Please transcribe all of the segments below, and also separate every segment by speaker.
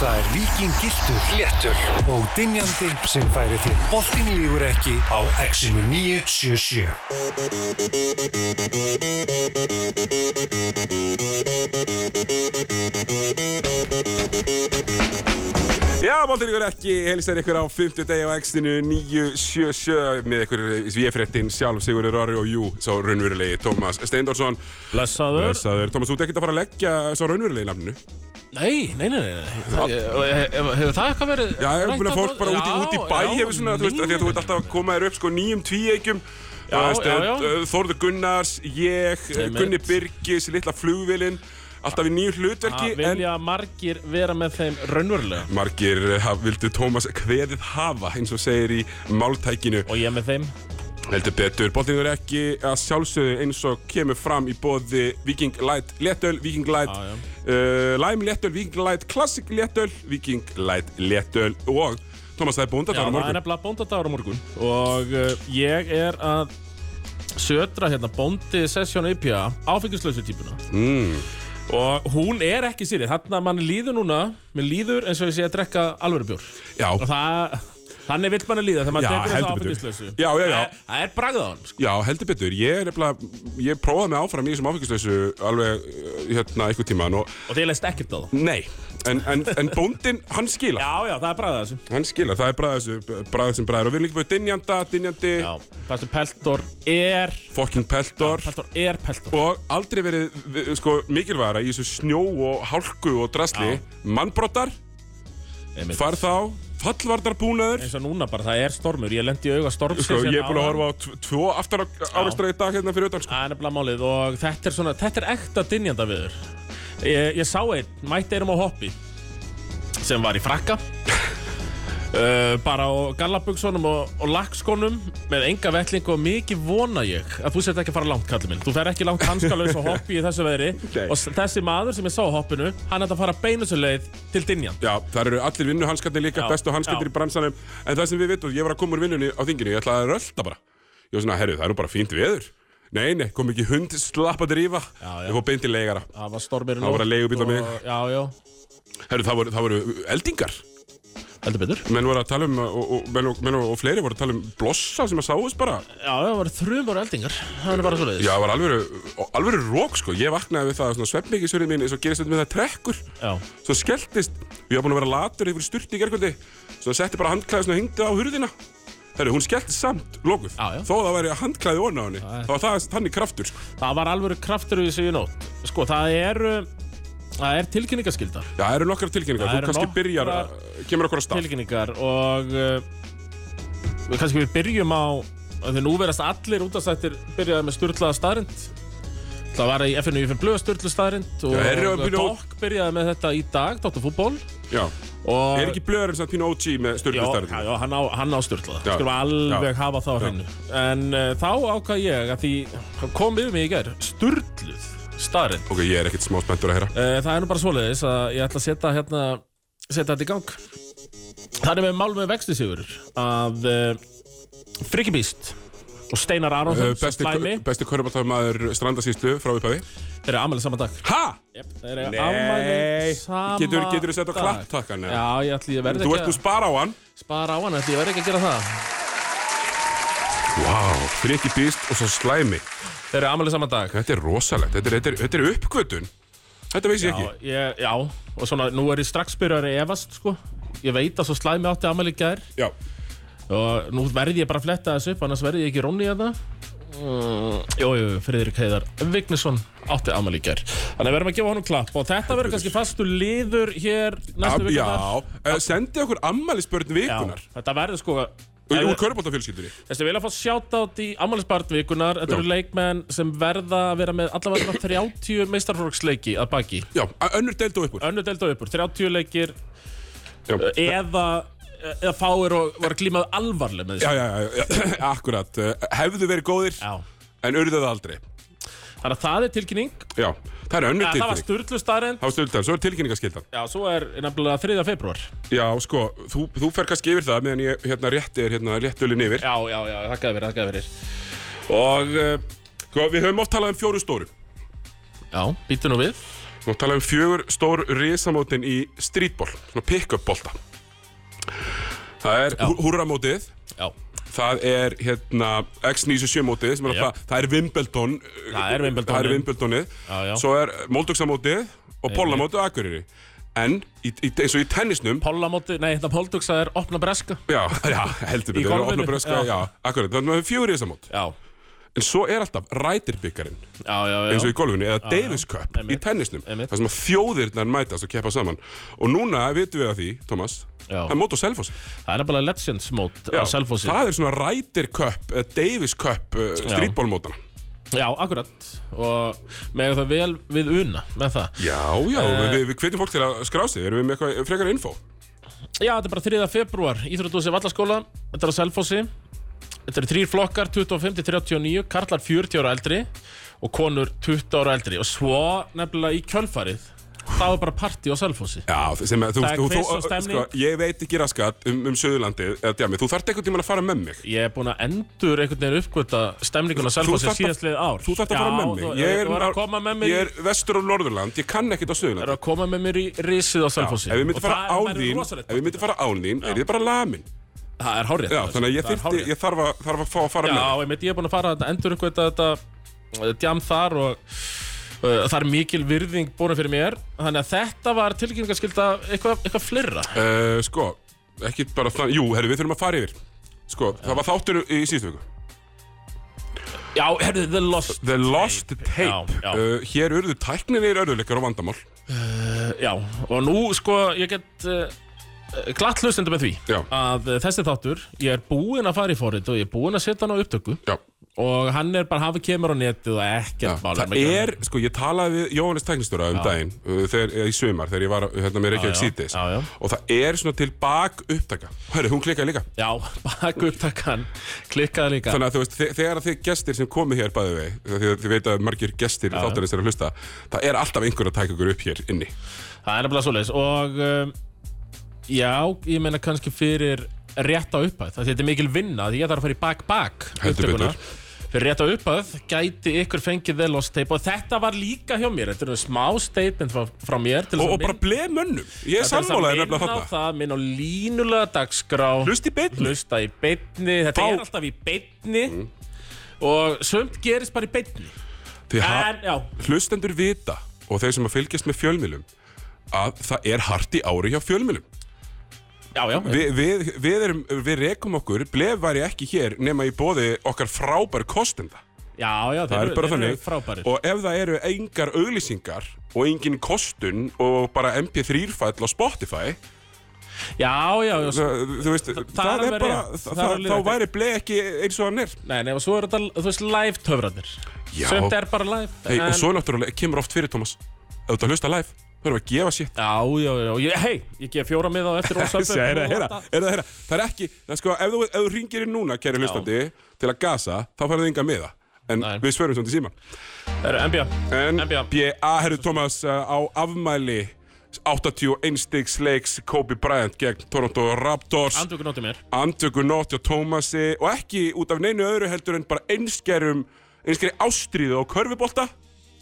Speaker 1: Það er vikingiltur, léttur og dinjandi sem færi þér boltin lígur ekki á Exinu 977.
Speaker 2: Já, Bóltin ykkur ekki, helistar ykkur á 50 degi á X-inu 977 með ykkur svífréttin sjálf Sigurður Orri og jú, svo raunverulegi Tómas Steindorsson
Speaker 3: Blessaður
Speaker 2: Blessaður, Tómas, þú ert ekkert að fara að leggja svo raunverulegi nafninu
Speaker 3: Nei, nei, nei, nei. Ég- Hefur hefur það eitthvað verið
Speaker 2: Já, ég meina fólk bara út í, út í bæ
Speaker 3: Já,
Speaker 2: hefur svona, þú veist, af því að þú ert alltaf að koma þér upp sko nýjum tvíegjum
Speaker 3: Já, já, já.
Speaker 2: eh, Þórður Gunnars, ég, eh,
Speaker 3: Einmitt.
Speaker 2: Gunni Birgis, litla flugvilinn Alltaf í nýju hlutverki
Speaker 3: Það vilja margir vera með þeim raunverulega
Speaker 2: Margir haf, vildu Tómas kveðið hafa, eins og segir í máltækinu.
Speaker 3: Og ég með þeim
Speaker 2: Heldur betur, boltinn er ekki að sjálfsögðu eins og kemur fram í bóði Viking Light Léttöl, Viking Light
Speaker 3: Já, já.
Speaker 2: uh, Lime Léttöl, Viking Light Classic Léttöl, Viking Light Léttöl og Tómas það er bónda þar á
Speaker 3: Já, það er
Speaker 2: morgun.
Speaker 3: nefnilega bóndadagur á morgun Og uh, ég er að södra hérna bóndi sessjón IPA áfengislausu típuna
Speaker 2: Mm,
Speaker 3: og hún er ekki sýrið þannig að mann líður núna mér líður eins og ég sé að drekka alvöru bjór
Speaker 2: já,
Speaker 3: og það, þannig vill mann líða þegar
Speaker 2: Já,
Speaker 3: maður drekkur þess að
Speaker 2: heldur betur.
Speaker 3: áfengislausu
Speaker 2: Já, já, já.
Speaker 3: Það- það er bragðað á hann sko.
Speaker 2: já, heldur betur. Ég er nefnilega, ég prófaði mig áfram í þessum áfengislausu alveg uh, hérna einhver tíman og
Speaker 3: og þið leist ekkert á það
Speaker 2: nei, en, en, en bóndin, hann skila.
Speaker 3: já, já, það er bragðað á þessu
Speaker 2: Hann skilur, það er bræðið þessu, bræðið sem bræðir og við erum líka búið dynjanda, dynjandi,
Speaker 3: Já, þessu peltor er
Speaker 2: fokkin peltor
Speaker 3: peltor er peltor
Speaker 2: og aldrei verið vi- sko, mikilvægara í þessu snjó og hálku og drasli,
Speaker 3: Já.
Speaker 2: mannbrottar,
Speaker 3: Einmitt.
Speaker 2: far þá, fallvardarbúnaður,
Speaker 3: eins og núna bara, það er stormur ég lendi í auga stormsins
Speaker 2: sko ég er
Speaker 3: hérna
Speaker 2: búin að
Speaker 3: áðan.
Speaker 2: horfa á tv- tvo aftar áreistra í dag hérna fyrir utan sko.
Speaker 3: Það er nefnilega málið og þetta er svona, þetta er ekta dynjanda viður. Ég, ég sá einn, mætti einum á hoppi sem var í frakka uh, bara á gallabugsunum og, og lakskonum með enga velling og mikið vona ég að þú sett ekki að fara langt kallið minn þú fer ekki langt hanskalaus á hoppi í þessu veðri
Speaker 2: Nei.
Speaker 3: og s- þessi maður sem ég sá á hoppinu hann ætti að fara beinu svo leið til dynjand
Speaker 2: Já, það eru allir vinnuhanskarnir líka,
Speaker 3: Já,
Speaker 2: bestu hanskarnir
Speaker 3: já.
Speaker 2: í bransanum, en það sem við vitum, ég var að koma úr vinnunni á þinginu, ég ætlaði að rölda bara. Ég var svona, herru, það eru bara fínt veður. Nei, nei, kom ekki hund, slapp að drífa,
Speaker 3: Já, já.
Speaker 2: ég fór beint í leigara.
Speaker 3: það var stormir í
Speaker 2: Það var
Speaker 3: nótt
Speaker 2: að leigubíll á mig.
Speaker 3: og- já, já,
Speaker 2: Herru, það voru, það voru eldingar
Speaker 3: heldur betur
Speaker 2: Menn voru að tala um, og, og, menn, og, menn og, og fleiri voru að tala um blossa sem að sáðust bara
Speaker 3: já, það var þrjum ára eldingar það var bara svo leiðis
Speaker 2: Já, það var alvöru, alvöru rók sko Ég vaknaði við það, svona sveppmikisurinn mín eins og gerist þetta með það trekkur
Speaker 3: Já.
Speaker 2: Svo skelltist, ég var búin að vera latur yfir styrti í gerkvöldi Svo setti bara handklæði svona hengdi á hurðina Herru, hún skelltist samt, lokuð
Speaker 3: Já, já.
Speaker 2: Þó að það væri handklæði ón á henni Þá var það þannig kraftur sko
Speaker 3: Það var alvöru kraftur í þessu í nótt Sko, það er uh, Það er tilkynningaskilda
Speaker 2: Já, það eru nokkar tilkynningar,
Speaker 3: Það
Speaker 2: þú
Speaker 3: eru
Speaker 2: kannski byrjar,
Speaker 3: nokkrar
Speaker 2: uh, kemur okkur að stað
Speaker 3: Tilkynningar og uh, við Kannski við byrjum á af Því nú verðast allir útastættir Byrjaði með sturlaða staðrind Það var í FNU fyrir blöða sturlu staðrind Og
Speaker 2: Já, þeir eru að byrja út-
Speaker 3: Dokk byrjaði með þetta í dag Dóttu fútból
Speaker 2: Já,
Speaker 3: Og
Speaker 2: er ekki blöður eins og Pino OG með
Speaker 3: Já,
Speaker 2: styrtistærið
Speaker 3: já, já, hann á, hann á sturlaða
Speaker 2: Já.
Speaker 3: Skulum alveg
Speaker 2: Já.
Speaker 3: hafa það á
Speaker 2: Já.
Speaker 3: hennu En uh, þá ákvað ég að því hann Kom yfir mig í gær Sturluð staðrind
Speaker 2: Ok, ég er ekkert smá spenntur að heyra
Speaker 3: Eh, Það er nú bara svoleiðis að ég ætla að setja hérna, setja þetta í gang Það er með mál með vexti sigur að uh, Friggi Bíst og Steinar Aronsson
Speaker 2: Uh, besti
Speaker 3: Slæmi,
Speaker 2: besti körbaltamaður strandasýslu frá upphæði
Speaker 3: þeir eru afmælið saman dag
Speaker 2: Ha?
Speaker 3: yep, Þeir eru afmælið saman
Speaker 2: Getur, getur þú sett á
Speaker 3: dag.
Speaker 2: klapptakkan? eða?
Speaker 3: Já, ég ætli ég verði
Speaker 2: Þú ert
Speaker 3: ekki
Speaker 2: nú spara á hann
Speaker 3: að spara á hann ætli ég verði ekki að gera það
Speaker 2: Vá, wow, friki býst og svo slæmi
Speaker 3: Þeir eru afmælið saman dag
Speaker 2: Þetta er rosalegt, þetta er, þetta er, þetta er uppkvötun Þetta veist ég
Speaker 3: Já,
Speaker 2: ekki
Speaker 3: ég, já, og svona nú er ég strax byrjar að efast sko Ég veit að svo slæmi átti afmælið gær
Speaker 2: Já,
Speaker 3: og nú verði ég bara að fletta þessu upp annars verði ég ekki rónni að það Jú, jú, Friðrik Heiðar Vignesson átti afmæli í gær Þannig að verðum að gefa honum klapp og þetta verður kannski fastur liður hér næstu
Speaker 2: Ab, já.
Speaker 3: vikunar
Speaker 2: Uh, Sendi okkur ammælisbörn vikunar
Speaker 3: þetta verður sko
Speaker 2: Úr, úr körbaltafjölskyldunni
Speaker 3: Þessi vilja að fá shoutout í afmælisbarn vikunar Þetta
Speaker 2: Já.
Speaker 3: eru leikmenn sem verða að vera með allavega svona 30 meistarfólksleiki að baki
Speaker 2: Já, a- önnur deild og uppur
Speaker 3: Önnu delt og uppur, 30 leikir
Speaker 2: Já, já,
Speaker 3: eða, eða fáir og var glímað alvarleg með þessu
Speaker 2: já, já, já. akkurat uh, Hefðu verið góðir, en urðu það aldrei
Speaker 3: Þannig að það er tilkynning
Speaker 2: Já, það er önnur
Speaker 3: Ja, Það var
Speaker 2: tilkynning
Speaker 3: sturglu starrend
Speaker 2: Það var stöldan, svo er tilkynningaskildan
Speaker 3: Já, svo er nefnilega 3. februar
Speaker 2: Já, sko, þú, þú fer kannski yfir það meðan ég hérna rétti er hérna réttölin yfir. eh,
Speaker 3: Já, já, já, þakkaði verið, þakkaði verið
Speaker 2: Og uh, sko, við höfum oft talað um fjóru stóru.
Speaker 3: Já, býttu nú við
Speaker 2: Nú tala um fjögur stór risamótin í streetball, svona pick-up bolta. Það er hú- húrramótið,
Speaker 3: Já,
Speaker 2: það er hérna X97 mótið, sem er
Speaker 3: Já.
Speaker 2: alltaf, það er Wimbledon.
Speaker 3: Það er Wimbledon.
Speaker 2: Það er Wimbledonið.
Speaker 3: Já, já.
Speaker 2: Svo er Moldugsamótið og Bollamótið og Akureyri. En í, í, eins og í tennisnum,
Speaker 3: Pollamóti, nei hérna Poldugsa er opna breska
Speaker 2: já, já, heldur
Speaker 3: Í
Speaker 2: betur,
Speaker 3: golfinu?
Speaker 2: opna bröska,
Speaker 3: Já.
Speaker 2: já, akkurat, þannig að það er fjögur risamót.
Speaker 3: Já,
Speaker 2: En svo er alltaf rætirbyggarinn.
Speaker 3: já, já, já.
Speaker 2: eins og í golfinu, eða Davis Cup í
Speaker 3: Einmitt.
Speaker 2: tennisnum,
Speaker 3: Einmitt.
Speaker 2: þar sem að þjóðirnar mætast og keppa saman og núna vitum við að því, Thomas
Speaker 3: Já.
Speaker 2: það er mót á Selfossi
Speaker 3: Það er bara Legends mót á
Speaker 2: Já,
Speaker 3: Selfossi
Speaker 2: það er svona Ryder Cup, eða Davis Cup uh, strítbólmótana
Speaker 3: Já, akkurat Og með það vel við una með það
Speaker 2: já, já,
Speaker 3: Eh,
Speaker 2: við, við hvetjum fólk til að skrá sig erum við með eitthvað frekar info
Speaker 3: Já, þetta er bara 3. februar, Íþrótúsi Vallaskóla Þetta er á Selfossi Þetta eru þrýr flokkar, 25-39 Karlar 40 ára eldri Og konur 20 ára eldri Og svo nefnilega í kjölfarið Þá er bara partí á Selfossi
Speaker 2: já, sem að þú,
Speaker 3: Það er
Speaker 2: þú, þú,
Speaker 3: quiz og stemning.
Speaker 2: ég veit ekki raskat um, um Suðurlandið, eða djami, þú þarft einhvern tímann að fara með mig
Speaker 3: Ég er búinn að endur einhvern veginn uppgöta stemninguna Selfossi
Speaker 2: þarft að-
Speaker 3: síðastlið ár
Speaker 2: þú þarft að fara með mig
Speaker 3: þú-
Speaker 2: ég
Speaker 3: þú
Speaker 2: er,
Speaker 3: er að koma með mig
Speaker 2: ég er vestur á Norðurland, ég kann ekkert á
Speaker 3: Það er
Speaker 2: Suðurland
Speaker 3: að koma með mér í risið á Selfossi
Speaker 2: ef við myndum
Speaker 3: Og
Speaker 2: fara
Speaker 3: það-
Speaker 2: án
Speaker 3: það verður
Speaker 2: þín
Speaker 3: rosalegt.
Speaker 2: ef við myndum fara án þín, er ég bara lamin
Speaker 3: Það er hárið
Speaker 2: Já, þannig að ég, þyrfti, ég þarf, að, þarf að fá að fara
Speaker 3: Já,
Speaker 2: með þig.
Speaker 3: einmitt, ég er búinn að fara að endur einhvern þetta uh, djam þar og uh, það er mikil virðing búin fyrir mér Þannig að þetta var tilkynningarskylda eitthvað eitthva fleira
Speaker 2: uh, Sko, ekki bara þannig Jú, herru, við þurfum að fara yfir Sko, það var þáttur í síðustu viku
Speaker 3: Já, herðu, The Lost
Speaker 2: The Lost Tape
Speaker 3: Já, já.
Speaker 2: Uh, Hér urðu tækninir örðuleikar og vandamál
Speaker 3: Já, og nú sko, ég get uh, glatt hlustandi með því
Speaker 2: Já.
Speaker 3: að uh, þessi þáttur, ég er búinn að fara í forrið og ég er búinn að setja hann á upptöku
Speaker 2: Já,
Speaker 3: og hann er bara hafi kemur á netið og
Speaker 2: já.
Speaker 3: ekkert um
Speaker 2: það
Speaker 3: með-
Speaker 2: er, sko, ég talaði við Jóhannes tæknistóra um daginn uh, þegar, eða í sumar, þegar ég var hérna með Reykjavík
Speaker 3: Já, já.
Speaker 2: síðdegis
Speaker 3: Já, já.
Speaker 2: og það er svona til bak upptaka Hörru, hún klikkaði líka
Speaker 3: Já, baku upptakan, klikkaði líka
Speaker 2: Þannig að þú veist, þe- þegar að þið gestir sem komið hér bæðu vei, því þið veit að margir gestir þáttarins er að hlusta, það er alltaf einhver að tæka ykkur upp hér inni.
Speaker 3: Það er nefnilega svoleiðis og um, já, ég meina kannski fyrir rétt á upphæð, það þetta er mikil vinna því ég þarf að fara í bak-bak
Speaker 2: Heldur
Speaker 3: upptökuna.
Speaker 2: betur.
Speaker 3: Fyrir rétt á upphæð gæti ykkur fengið The Lost Tape og þetta var líka hjá mér, þetta er smá statement frá, frá mér til þess
Speaker 2: og,
Speaker 3: að
Speaker 2: og bara
Speaker 3: minn-
Speaker 2: bleið mönnum Ég er
Speaker 3: til þess að
Speaker 2: sammálaðið nefnilega
Speaker 3: minna á
Speaker 2: þarna
Speaker 3: það, minn á línulega dagskrá
Speaker 2: Hlust í beinni.
Speaker 3: Hlusta í beinni, þetta
Speaker 2: Fá-
Speaker 3: er alltaf í beinni og sömt gerist bara í beinni
Speaker 2: Því ha-
Speaker 3: en já,
Speaker 2: hlustendur vita og þeir sem að fylgjast með fjölmilum að það er hart í ári hjá fjölmilum
Speaker 3: já, já
Speaker 2: Vi, við, við, erum, við rekum okkur bleið væri ekki hér nema í bóði okkar frábær kostenda
Speaker 3: já, já,
Speaker 2: það er bara þannig
Speaker 3: frábærir
Speaker 2: og ef það eru engar auglýsingar og engin kostun og bara mp3-fæll á Spotify
Speaker 3: Já, já, já,
Speaker 2: það, þú veist, það,
Speaker 3: það
Speaker 2: er
Speaker 3: er alveg
Speaker 2: bara
Speaker 3: rétt.
Speaker 2: það,
Speaker 3: Það er alveg
Speaker 2: þá
Speaker 3: rétt.
Speaker 2: væri bleið ekki eins og hann er
Speaker 3: Nei, nei, og svo eru þetta, þú veist, live töfranir
Speaker 2: Já.
Speaker 3: Sumt er bara live
Speaker 2: hey, og svo náttúrulega kemur oft fyrir Thomas ef þú ert að hlusta live, þú erum að gefa sér
Speaker 3: Já, já, já, ég, hei, ég gef fjóra miða á eftir og
Speaker 2: Þessi, heyra, heyra, heyra, heyra. Það er ekki, það er sko, ef þú, ef þú ringir inn núna, kæri hlustandi, til að gasa, þá færðu ynga með það. En
Speaker 3: Nei.
Speaker 2: við svörum svona til síman.
Speaker 3: Herru, NBA
Speaker 2: En
Speaker 3: NBA.
Speaker 2: B.A. herru Thomas uh, á afmæli 81 stigs leiks Kobe Bryant gegn Toronto Raptors.
Speaker 3: Andvöku nóti mér
Speaker 2: Andöku nótt hjá Thomasi og ekki út af neinu öðru heldur en bara einskerum, einskeri ástríðu á körfubolta.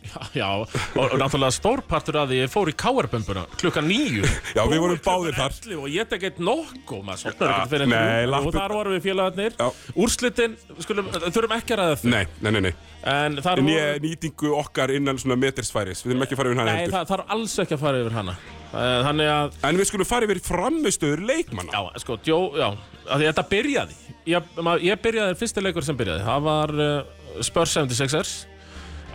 Speaker 3: Já, já og, og náttúrulega stórpartur að því ég fór í káarbömbuna klukkan níu
Speaker 2: Já, við
Speaker 3: Þú
Speaker 2: vorum
Speaker 3: klukkan
Speaker 2: báðir þar.
Speaker 3: 11 Og ég tek eitt nokku, maður
Speaker 2: Ja,
Speaker 3: sopnar ekkert fyrir en
Speaker 2: nei,
Speaker 3: þrjú.
Speaker 2: lappir-
Speaker 3: Og þar vorum við félagarnir
Speaker 2: Já.
Speaker 3: Úrslitin, skulum, þurfum ekki að ræða þau
Speaker 2: Nei, nei, nei, nei.
Speaker 3: En þar
Speaker 2: Né,
Speaker 3: voru
Speaker 2: nýtingu okkar innan svona metersfæris. Við erum ekki að fara yfir hana
Speaker 3: Nei,
Speaker 2: heldur.
Speaker 3: það þarf alls ekki að fara yfir hana Eh, Þannig að
Speaker 2: En við skulum fara yfir framistöður leikmanna.
Speaker 3: Já, sko, djó, já, að því þetta byrjaði Ég, ma- ég byrjaði, fyrsti leikur sem byrjaði Það var uh, Spurs 76ers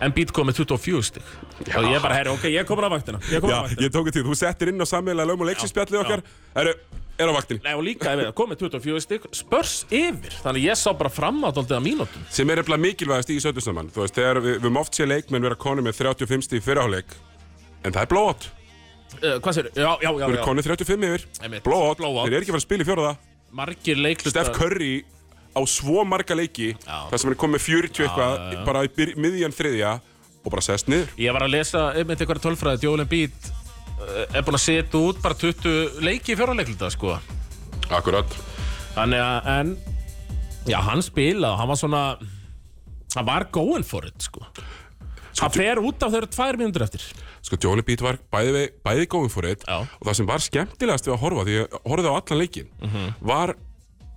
Speaker 3: En beat kom með 24 stig Og ég bara, herri, ok, ég komur á vaktina Ég komur
Speaker 2: Já,
Speaker 3: á vaktina
Speaker 2: ég tók þetta, þú settir inn á sammeila lögum og leiksinsspjallið okkar Eru, er á vaktinni
Speaker 3: Nei, og líka, ég veit, kom með 24 stig Spurs yfir, þannig ég sá bara fram á daldið að mínútum
Speaker 2: Sem er eftir mikilvægast í sötu saman Þú veist, þegar við, við mátt sé leikmenn vera konu með 35 stíð fyrirháleik En það er blót,
Speaker 3: uh, Hvað sér, já, já, já,
Speaker 2: þú eru
Speaker 3: já.
Speaker 2: konu 35 yfir
Speaker 3: Einmitt.
Speaker 2: Blót,
Speaker 3: Blowout.
Speaker 2: þeir eru ekki að fara að spila í fjóraða
Speaker 3: Margir leikluta
Speaker 2: Steph Curry á svo marga leiki
Speaker 3: Já.
Speaker 2: þar sem hann kom með 40 eitthvað Bara í byr, miðjan þriðja og bara sest niður
Speaker 3: Ég var að lesa einmitt einhverja tölfræði Jólin Beat er búin að setja út bara 20 leiki í fjóra leikluta, sko
Speaker 2: Akkurat
Speaker 3: Þannig að, en Já, hann spilaði og hann var svona Hann var going for it, sko Hann fer út af þeirra tvær mínútur eftir
Speaker 2: Sko, Johnny Beat var bæði, vei- bæði going for it
Speaker 3: Já.
Speaker 2: og það sem var skemmtilegast við að horfa, því ég horfði á allan leikin,
Speaker 3: Mhm.
Speaker 2: var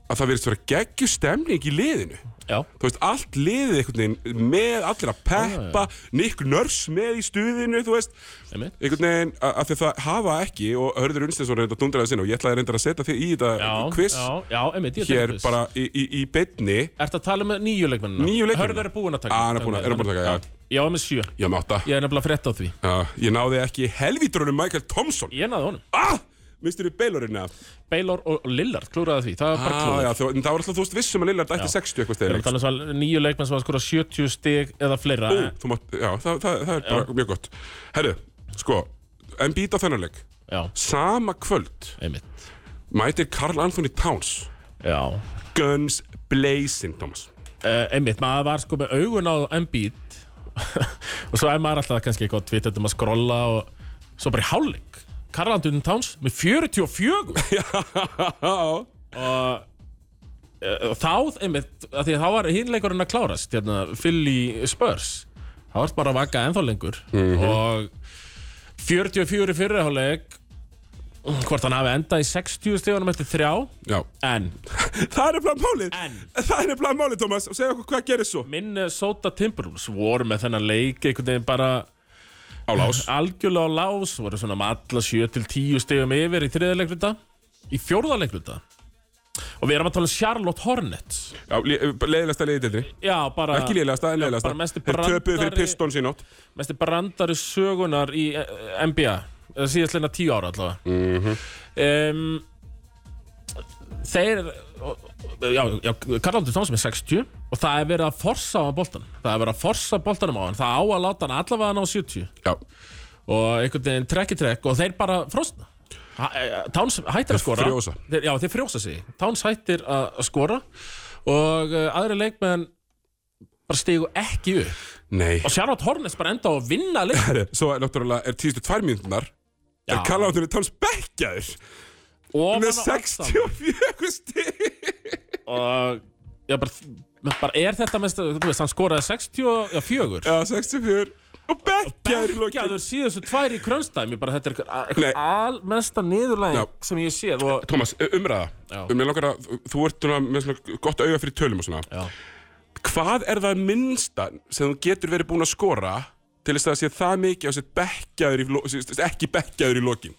Speaker 2: að það virðist vera geggju stemning í liðinu.
Speaker 3: Já,
Speaker 2: Þú veist, allt liðið einhvern veginn með allir að peppa, Nick Nurse með í stuðinu, þú veist,
Speaker 3: einmitt
Speaker 2: einhvern veginn að að því að það hafa ekki og Hörður Unstensson reynda dundraði sinna og ég ætlaði reyndar að setja þig í þetta
Speaker 3: Já,
Speaker 2: quiz
Speaker 3: já, já, einmitt, ég
Speaker 2: hér
Speaker 3: quiz.
Speaker 2: bara í, í, í beinni
Speaker 3: Ertu að tala með nýju leikmennina?
Speaker 2: Nýju leikmennina?
Speaker 3: Hörður er búinn að taka
Speaker 2: Ah, hann er búinn að- er hann búinn að taka, já.
Speaker 3: Já, ég er með sjö
Speaker 2: Já, með átta
Speaker 3: Ég er nefnilega frétt á því
Speaker 2: Já, ég náði ekki helvítrunum Michael Thompson
Speaker 3: Ég náði honum
Speaker 2: Ah! Mistur í beilurinn að
Speaker 3: Baylor og og Lillard klúraði því Það var bara
Speaker 2: ah,
Speaker 3: klúður
Speaker 2: já, þú- en Það var alltaf þú veist vissum að Lillard ætti
Speaker 3: Já.
Speaker 2: 60 eitthvað
Speaker 3: Við erum að
Speaker 2: stegur
Speaker 3: tala um svo nýju leikmenn sem var skora 70 stig eða fleira
Speaker 2: Ú, þú mátt, já, það, það, það er bara mjög gott Herru, sko, en býta á þennan leik
Speaker 3: Já,
Speaker 2: Sama kvöld
Speaker 3: einmitt
Speaker 2: mætir Karl Anthony Towns
Speaker 3: Já
Speaker 2: Guns blazing, Thomas
Speaker 3: uh, Einmitt, maður var sko með augun á Embiid Og svo er maður alltaf kannski eitthvað tvitt um að skrolla og svo bara í hálfleik Karlandun Towns með 44
Speaker 2: Já,
Speaker 3: og Eh, þá, einmitt, að því að þá var hinleikurinn að klárast, hérna, Philly Spurs þá var bara að vaka ennþá lengur og 44 í fyrirháleik hvort hann hafi endað í 60 stíðunum eftir þrjá,
Speaker 2: já
Speaker 3: en
Speaker 2: Það er nefnilega málið
Speaker 3: En?
Speaker 2: Það er nefnilega málið, Tómas og segja okkur hvað gerir svo
Speaker 3: Minnesota Timberwolves voru með þennan leik einhvern veginn bara
Speaker 2: Á lás
Speaker 3: algjörlega á lás, voru svona með alla 7 til 10 stíðum yfir í þriða leikluta í fjórða leikluta og við erum að tala um Charlotte Hornets
Speaker 2: Já, leiðilegasta leiðildri
Speaker 3: já, bara
Speaker 2: Ekki leiðilegasta, en leiðilegasta
Speaker 3: bara mestu
Speaker 2: Þeir töpuðu fyrir
Speaker 3: brandari-
Speaker 2: Pistons í nótt
Speaker 3: mest brandari sögunar í eh, NBA eða síðastleina tíu ára allavega mm þeir já, já Karlandur Tómsson er 60 og það er verið að forsa á hann boltan það er verið að forsa boltanum á hann það á að láta hann allavega hann á 70
Speaker 2: Já
Speaker 3: og einhvern veginn trekk í trekk og þeir bara frosna Ha- eh, Towns hættir að skora
Speaker 2: frjósa.
Speaker 3: þeir, Já, þeir frjósa sig Towns hættir að að skora og uh, aðri leikmenn bara stigu ekki upp
Speaker 2: Nei
Speaker 3: og Charlotte Hornets bara enda á að vinna leik
Speaker 2: Herru, svo er náttúrulega er tíðstu tvær mínútunar Er
Speaker 3: Já.
Speaker 2: Karl-Anthony Towns bekkjaður
Speaker 3: og
Speaker 2: Með 64 stig
Speaker 3: og já, bara, bara er þetta mest, þú veist, hann skoraði 64
Speaker 2: Já, 64 Og bekkjaður í lokin
Speaker 3: Bekkjaður síðustu tvær í krönstæmi bara þetta er eitthvað-
Speaker 2: Nei.
Speaker 3: eitthvað almesta niðurlæg
Speaker 2: Já.
Speaker 3: sem ég séð og
Speaker 2: Tómas, e, umræða
Speaker 3: Já.
Speaker 2: Mér langar að þú- Þú ert svona með svona gott auga fyrir tölum og svona
Speaker 3: já,
Speaker 2: Hvað er það minnsta sem þú getur verið búin að skora til þess að það sé það mikið á sér bekkjaður í, lo- sem sagt, ekki bekkjaður í lokin?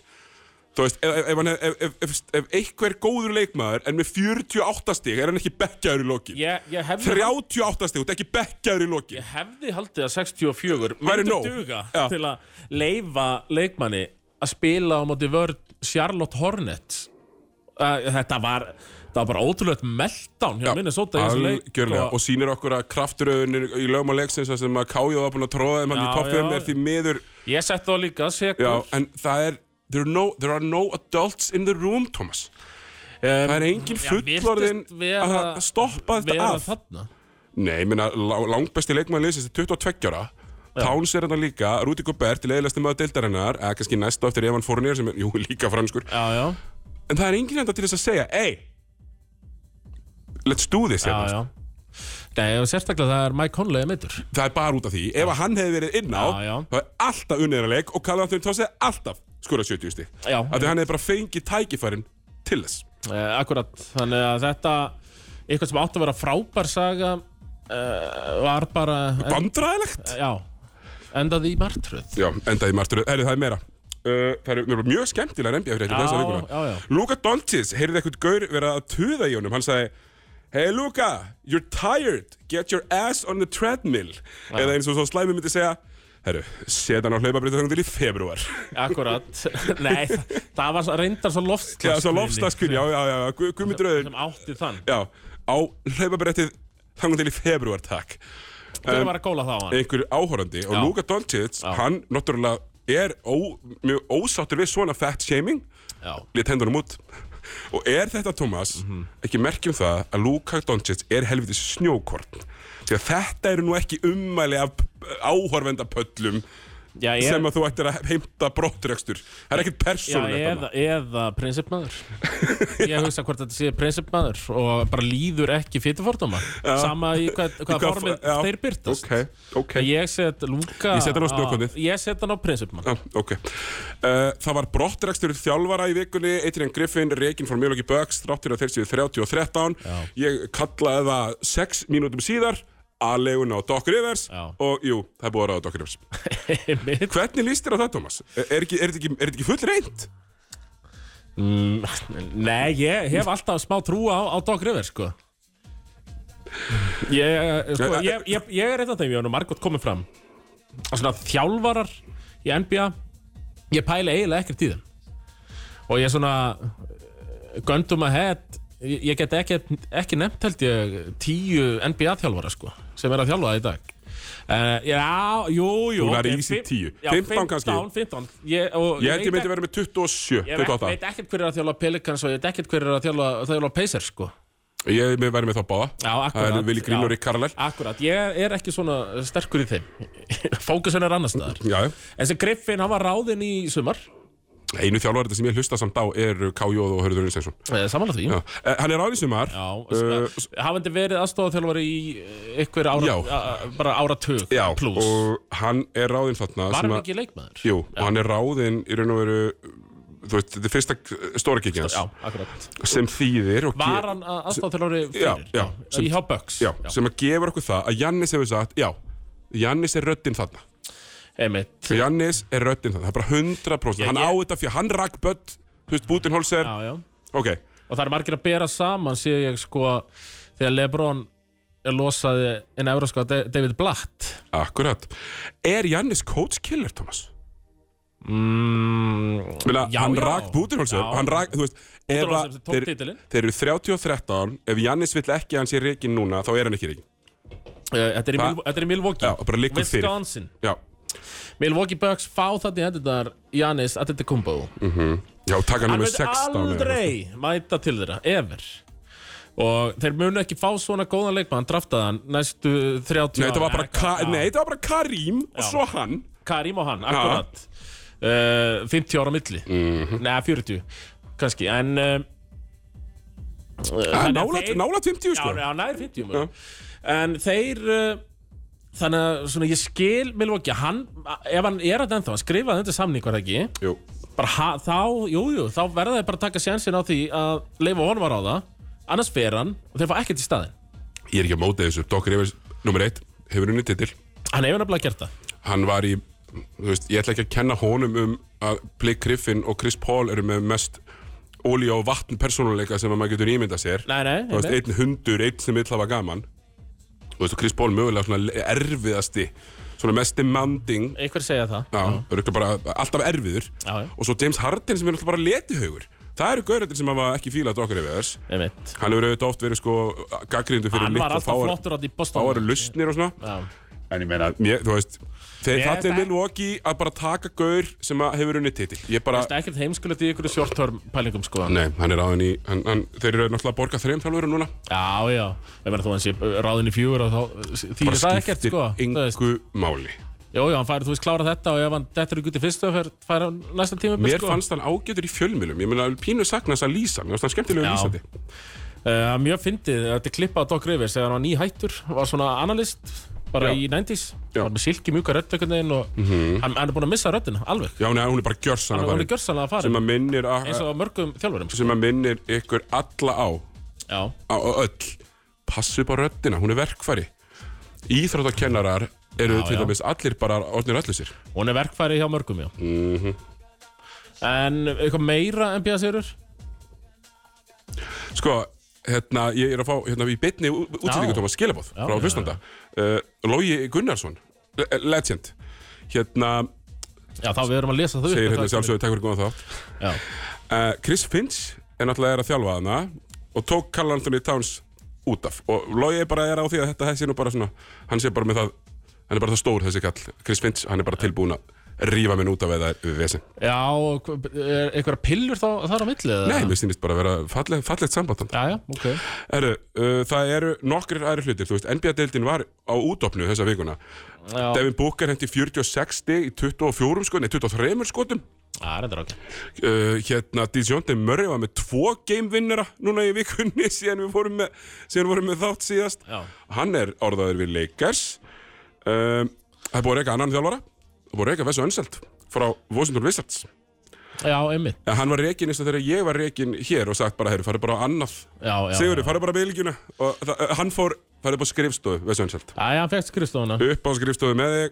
Speaker 2: Þú veist, ef, ef, hann- ef, ef, ef, ef einhver góður leikmaður er með 48 stig, er hann ekki bekkjaður í lokin?
Speaker 3: ég, ég hefði
Speaker 2: 38 stig, þú ert ekki bekkjaður í lokin?
Speaker 3: ég hefði haldið að 64
Speaker 2: Væri
Speaker 3: myndi
Speaker 2: nóg.
Speaker 3: duga
Speaker 2: Já.
Speaker 3: til að leifa leikmanni að spila á móti vörð Charlotte Hornets uh, þetta var það var bara ótrúlegt meltdown hjá Minnesota í þessum leik sko.
Speaker 2: algjörlega, og sýnir okkur að krafturöðunir í lögum og leiksins þar sem að Kájóð var búin að tróða þeim hann í
Speaker 3: Já,
Speaker 2: toppum
Speaker 3: já.
Speaker 2: er því miður
Speaker 3: ég sett þá líka sekur
Speaker 2: Já, en það er There are, no, there are no adults in the room, Thomas Það er engin
Speaker 3: já,
Speaker 2: fullorðin
Speaker 3: virtist vera-
Speaker 2: að að stoppa þetta
Speaker 3: vera
Speaker 2: af
Speaker 3: þarna
Speaker 2: Nei, ég meina, lá- langbesti leikmann leysins er 22 ára Towns er hann líka, Rúti Gobert, leiðilegsti maður deildarinnar eða kannski næsta eftir Evan Fournier sem er, jú, líka franskur
Speaker 3: já, já,
Speaker 2: En það er engin enda til þess að segja, ei Let's do this
Speaker 3: já,
Speaker 2: hérna.
Speaker 3: já. Nei, og sérstaklega það er Mike Conley meittur
Speaker 2: Það er bara út af því, ef að hann hefði verið inn á
Speaker 3: Já, já.
Speaker 2: þá er alltaf unnirleik og Karl Anthony Towns hefði alltaf skurað 70 stig
Speaker 3: Já.
Speaker 2: Af því að hann hefði bara fengið tækifærin til þess
Speaker 3: eh, Akkurat, þannig að þetta eitthvað sem átti að vera frábær saga eh, var bara en,
Speaker 2: Vandræðilegt
Speaker 3: Já, endaði í martröð
Speaker 2: Já, endaði margtur Herri, það er meira Uh, það eru mér var mjög skemmtilega NBA fréttir
Speaker 3: Já,
Speaker 2: þessa vikuna
Speaker 3: já, já.
Speaker 2: Luka Doncic, heyrði eitthvað gaur vera að tuða í honum Hann sagði Hey Luka, you're tired Get your ass on the treadmill Eða eins og svo slæmi myndi segja Herru, set hann á hlaupabrið þangum til í februar
Speaker 3: Akkurat, nei, það, það var svo- reyndar svo
Speaker 2: Já,
Speaker 3: loftslagskunni
Speaker 2: svo lofstaskur, já, já, já, já, Gu- guðmyndröður
Speaker 3: sem átti þann
Speaker 2: Já, á hlaupabrettið þangum til í februar, takk
Speaker 3: Hver var að góla það á hann?
Speaker 2: einhver áhorandi og
Speaker 3: Já.
Speaker 2: Luka Doncic, hann náttúrulega er ó, mjög ósáttur við svona fat shaming
Speaker 3: Já,
Speaker 2: lét hendunum út og er þetta Thomas
Speaker 3: Mhm.
Speaker 2: ekki merkjum það að Luka Doncic er helvitis snjókorn því að þetta eru nú ekki ummæli af áhorvenda pöllum
Speaker 3: Já, ég-
Speaker 2: sem að þú ættir að heimta brottrekstur það er ekkert
Speaker 3: Já,
Speaker 2: persónulegt
Speaker 3: eða,
Speaker 2: þarna.
Speaker 3: eða prinsipmaður Ég hugsa hvort þetta sé prinsipmaður og bara líður ekki fytufordóma Sama í hvað,
Speaker 2: Í
Speaker 3: hvað
Speaker 2: hvaða
Speaker 3: formið
Speaker 2: fo- já.
Speaker 3: þeir byrtast
Speaker 2: ok, ok
Speaker 3: Ég set Lúka
Speaker 2: Ég set hann á snjókornið.
Speaker 3: Ég set hann á prinsipmann
Speaker 2: Já, ok. Uh, það var brottrekstur þjálfara í vikunni, Adrian Griffin, Rekin frá Mjölóki Böks, þráttir að þeir séu 30 og 13. Ég kallaði það 6 mínútum síðar, aðlegun á Doc Rivers
Speaker 3: Já.
Speaker 2: og jú, það er búið að ráða Doc Rivers.
Speaker 3: Einmitt.
Speaker 2: Hvernig líst þér á það, Thomas? Er, er, ekki, er, þetta ekki, er þetta ekki full reynd?
Speaker 3: Mm, Nei, ég hef alltaf smá trú á, á Doc Rivers sko. Ég, sko, ég, ég, ég er einn af þeim, ég hef nú margótt komið fram að svona þjálfarar í NBA ég pæla eiginlega ekkert í þeim og ég svona eh, göndum að hett ég ég get ekki, ekki nefnt held ég tíu NBA þjálfara sko sem er að þjálfa það í dag uh, Já, jú, jú
Speaker 2: Þú nær
Speaker 3: ok,
Speaker 2: í sig
Speaker 3: fim-
Speaker 2: 10.
Speaker 3: já,
Speaker 2: 15 kannski.
Speaker 3: 15, 15 Ég, og
Speaker 2: Ég held ég
Speaker 3: veit
Speaker 2: myndi vera með 27,
Speaker 3: Ég veit,
Speaker 2: 28.
Speaker 3: veit ekkert hver er að þjála Pelicans og ég veit ekkert hver er að þjála, þjála Pacers sko.
Speaker 2: Ég myndi vera með þá báða.
Speaker 3: Já, akkurat
Speaker 2: Það er Vili Green og Rick Carlisle.
Speaker 3: Akkurat, ég er ekki svona sterkur í þeim Fókusin er annars staðar
Speaker 2: Já, já.
Speaker 3: En sem Griffin, hann var ráðinn í sumar
Speaker 2: einu þjálfari sem ég hlusta samt á er K.J. og Hörður Unnsensson.
Speaker 3: eh, Samanlega því
Speaker 2: Já. Eh, Hann er ráðinsumar.
Speaker 3: Já,
Speaker 2: Eh,
Speaker 3: uh, hafandi verið aðstofaþjálfari í eh, einhver ára,
Speaker 2: Já.
Speaker 3: a, bara áratug
Speaker 2: Já,
Speaker 3: plus,
Speaker 2: og hann er ráðinn þarna
Speaker 3: var
Speaker 2: sem
Speaker 3: hann
Speaker 2: að-
Speaker 3: ekki leikmaður?
Speaker 2: Jú, og hann er ráðinn í raun og veru þú veist, þetta er fyrsta k- stóra kikið
Speaker 3: Já,
Speaker 2: hans
Speaker 3: akkurat
Speaker 2: sem þýðir og ge-
Speaker 3: Var hann aðstofaþjálfari
Speaker 2: Já,
Speaker 3: fyrir?
Speaker 2: já, sem-
Speaker 3: Í hjá Bucks?
Speaker 2: já, sem að gefur okkur það að Jannis hefur sagt, já Jannis er röddinn þarna
Speaker 3: Einmitt
Speaker 2: Jannis er röddinn þarna, það er bara 100%
Speaker 3: Já,
Speaker 2: hann
Speaker 3: ég-
Speaker 2: á þetta fyrir, hann rakk börn þú veist, Bútinholzer,
Speaker 3: Já, já
Speaker 2: ok
Speaker 3: og það er margir að bera saman sé ég sko þegar Lebron losaði en euróska David Blatt
Speaker 2: Akkurat. Er Jannis coach killer, Thomas?
Speaker 3: mm,
Speaker 2: Meina,
Speaker 3: Já,
Speaker 2: hann
Speaker 3: já.
Speaker 2: rak Bútinholzer,
Speaker 3: Já.
Speaker 2: hann rak, þú veist ef að-
Speaker 3: Budenholzer sem tók
Speaker 2: þeir,
Speaker 3: titilinn.
Speaker 2: þeir eru 30 og 13 ef Jannis vill ekki að hann sé reikin núna þá er hann ekki reikin,
Speaker 3: eh, þetta er í
Speaker 2: Hva?
Speaker 3: Mil- þetta er í Milwaukee
Speaker 2: já, bara liggur fyrir
Speaker 3: Wisconsin
Speaker 2: Já,
Speaker 3: Milwaukee Bucks fá þetta í hendunar Giannis Antetokounmpo
Speaker 2: já, taka hann
Speaker 3: hann
Speaker 2: með
Speaker 3: veit
Speaker 2: 16 eða eitthvað.
Speaker 3: aldrei mæta til þeirra ever og þeir munu ekki fá svona góðan leikmann hann draftaði hann næstu 30
Speaker 2: Nei, þetta var
Speaker 3: ára.
Speaker 2: bara, ka
Speaker 3: Já.
Speaker 2: nei, þetta var bara Karim og svo hann
Speaker 3: Karim og hann, akkurat uh, 50 ára á milli
Speaker 2: Mhm.
Speaker 3: Nei, 40 kannski En uh,
Speaker 2: Það er
Speaker 3: þannig að
Speaker 2: Ah, nálægt
Speaker 3: þeir-
Speaker 2: nálægt 50
Speaker 3: Já,
Speaker 2: sko
Speaker 3: já, nær 50 maður. En þeir uh, Þannig að svona, ég skil Milwaukee, hann, ef hann er að ennþá hann skrifaði undir samning var það ekki
Speaker 2: Jú,
Speaker 3: bara ha, þá, jújú, jú, þá verða þeir bara að taka sjansin á því að leifa honum að ráða annars fer hann og þeir fá ekkert í staðinn
Speaker 2: Ég er ekki að móta þessu Doc Rivers, nummer 1, hefur unni titil
Speaker 3: Hann hefur nefnilega gert það
Speaker 2: Hann var í, þú veist, ég ætla ekki að kenna honum um að Blake Griffin og Chris Paul eru með mest ólíu og vatn persónuleika sem að maður getur ímynda sér
Speaker 3: Nei, nei,
Speaker 2: Þú veist,
Speaker 3: einmitt.
Speaker 2: einn hundur, einn sem vill hafa gaman Þú veist, og Chris Paul mögulega svona le- erfiðasti svona mest demanding
Speaker 3: einhver segja það
Speaker 2: Já, örugglega bara alltaf erfiður
Speaker 3: Já, já.
Speaker 2: Og svo James Harden sem er alltaf bara letihaugur Það eru gaurðir sem hafa ekki fílað Doc Rivers
Speaker 3: einmitt.
Speaker 2: Hann hefur auðvitað oft verið sko gaggrindu fyrir
Speaker 3: Hann
Speaker 2: mitt
Speaker 3: var
Speaker 2: og
Speaker 3: alltaf
Speaker 2: fáar-
Speaker 3: flottur átt í Boston
Speaker 2: fáar lusnir og svona
Speaker 3: Já.
Speaker 2: En ég meina, mér, þú veist Þegar
Speaker 3: Ég
Speaker 2: það
Speaker 3: veist
Speaker 2: er
Speaker 3: það.
Speaker 2: Milwaukee að bara taka gaur sem að hefur unni titil Ég bara,
Speaker 3: Það er ekkert heimskulegt í ykkur short-term pælingum sko
Speaker 2: nei, hann er áðin í hann, hann, Þeir eru náttúrulega að borga þreim þjálfur núna
Speaker 3: Já, já, ég meina þú hans ég ráðin uh, í fjúur og þá uh, þýðir það ekkert sko þú veist.
Speaker 2: engu máli
Speaker 3: Jú, jú, hann fær, þú veist, klára þetta og ef hann dettur ekki út í fyrstu fær, fær hann næsta tíma upp,
Speaker 2: Mér
Speaker 3: sko.
Speaker 2: fannst hann ágætur í fjölmilum Ég meina, pínu sakna þess að lýsa hann Mér fannst hann skemmtilega
Speaker 3: Já.
Speaker 2: lýsandi
Speaker 3: uh, Mjög fyndið, þetta er klippa á Doc Rivers þegar hann var nýhættur, var svona analyst bara
Speaker 2: Já.
Speaker 3: í 90s,
Speaker 2: Já. Mhm.
Speaker 3: var með silki mjúka rödd einhvern veginn og hann, hann er búin að missa röddina, alveg
Speaker 2: Já, nei, hún er bara gjörsann
Speaker 3: hann, hann er gjörsanlega að
Speaker 2: sem
Speaker 3: fara,
Speaker 2: að minnir a,
Speaker 3: eins og á mörgum þjálfurum sko.
Speaker 2: sem að minnir ykkur alla á,
Speaker 3: Já,
Speaker 2: á, á öll passu upp á röddina, hún er verkfæri íþróttakennarar eru
Speaker 3: Já,
Speaker 2: til
Speaker 3: já.
Speaker 2: dæmis allir bara orðnir öllu sér
Speaker 3: hún er verkfæri hjá mörgum, já
Speaker 2: Mhm.
Speaker 3: En eitthvað meira NBA-sérur?
Speaker 2: sko, hérna, ég er að fá hérna, í beinni ú- útsendingu
Speaker 3: Já.
Speaker 2: Tómas Skilabóð
Speaker 3: Já,
Speaker 2: frá
Speaker 3: já,
Speaker 2: hlustanda uh, Lógi Gunnarsson, le- legend hérna,
Speaker 3: Já, þá við erum að lesa þau
Speaker 2: segir hérna sjálfsögur takk fyrir góðan þátt
Speaker 3: Já,
Speaker 2: uh, Chris Finch er náttúrulega er að þjálfa hana og tók Karl Anthony Towns út af og Lógi bara er á því að þetta sé nú bara svona hann sé bara með það hann er bara það stór þessi kall Chris Finch, hann er bara tilbúin að rífa minn út af eða vesen.
Speaker 3: Já, og hva- er einhverja pillur þá þar á milli? eða?
Speaker 2: Nei, mér sýnist bara að vera falleg, fallegt samband þarna.
Speaker 3: Já, já, ok.
Speaker 2: Herru, uh, það eru nokkrir aðri hlutir Þú veist, NBA-deildin var á útopnu þessa vikuna
Speaker 3: Já,
Speaker 2: Devin Booker hendi 46 stig í 24 skotum, sko, nei 23 skotum
Speaker 3: það er þetta ok.
Speaker 2: uh, Hérna, Dijonte Murray var með tvo gamevinnera núna í vikunni síðan við fórum með, síðan vorum með þátt síðast
Speaker 3: Já.
Speaker 2: Hann er orðaður við Lakers um, Það er búið að reyka annan þjálfara Það er búið að reyka Vessu Önselt frá Washington Wizards
Speaker 3: Já, einmitt.
Speaker 2: En hann var reikin eins og þegar ég var reikin hér og sagt bara, herru, farið bara á annað
Speaker 3: Já, já.
Speaker 2: Sigurður, farið bara bylgjuna og það, eh, hann fór, farið upp á skrifstofu við Sönselt,
Speaker 3: Já, já, hann fekk skrifstofuna.
Speaker 2: upp á skrifstofu með þig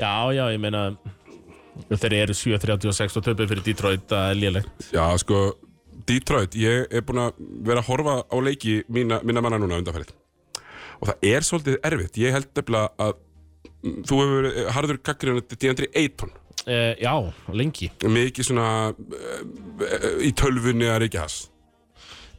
Speaker 3: Já, já, ég meina, þeir eru 7.36 og töpuð fyrir Detroit, það er lélegt.
Speaker 2: já, sko, Detroit ég er búinn að vera að horfa á leiki mína, mína manna núna undanfærið og það er svolítið erfitt, ég held nefnilega að mm, þú hefur verið harður kakkurinn að D.Andri Eiton
Speaker 3: Eh, já, lengi.
Speaker 2: mikið svona eh, eh, í tölfunni að reykja hans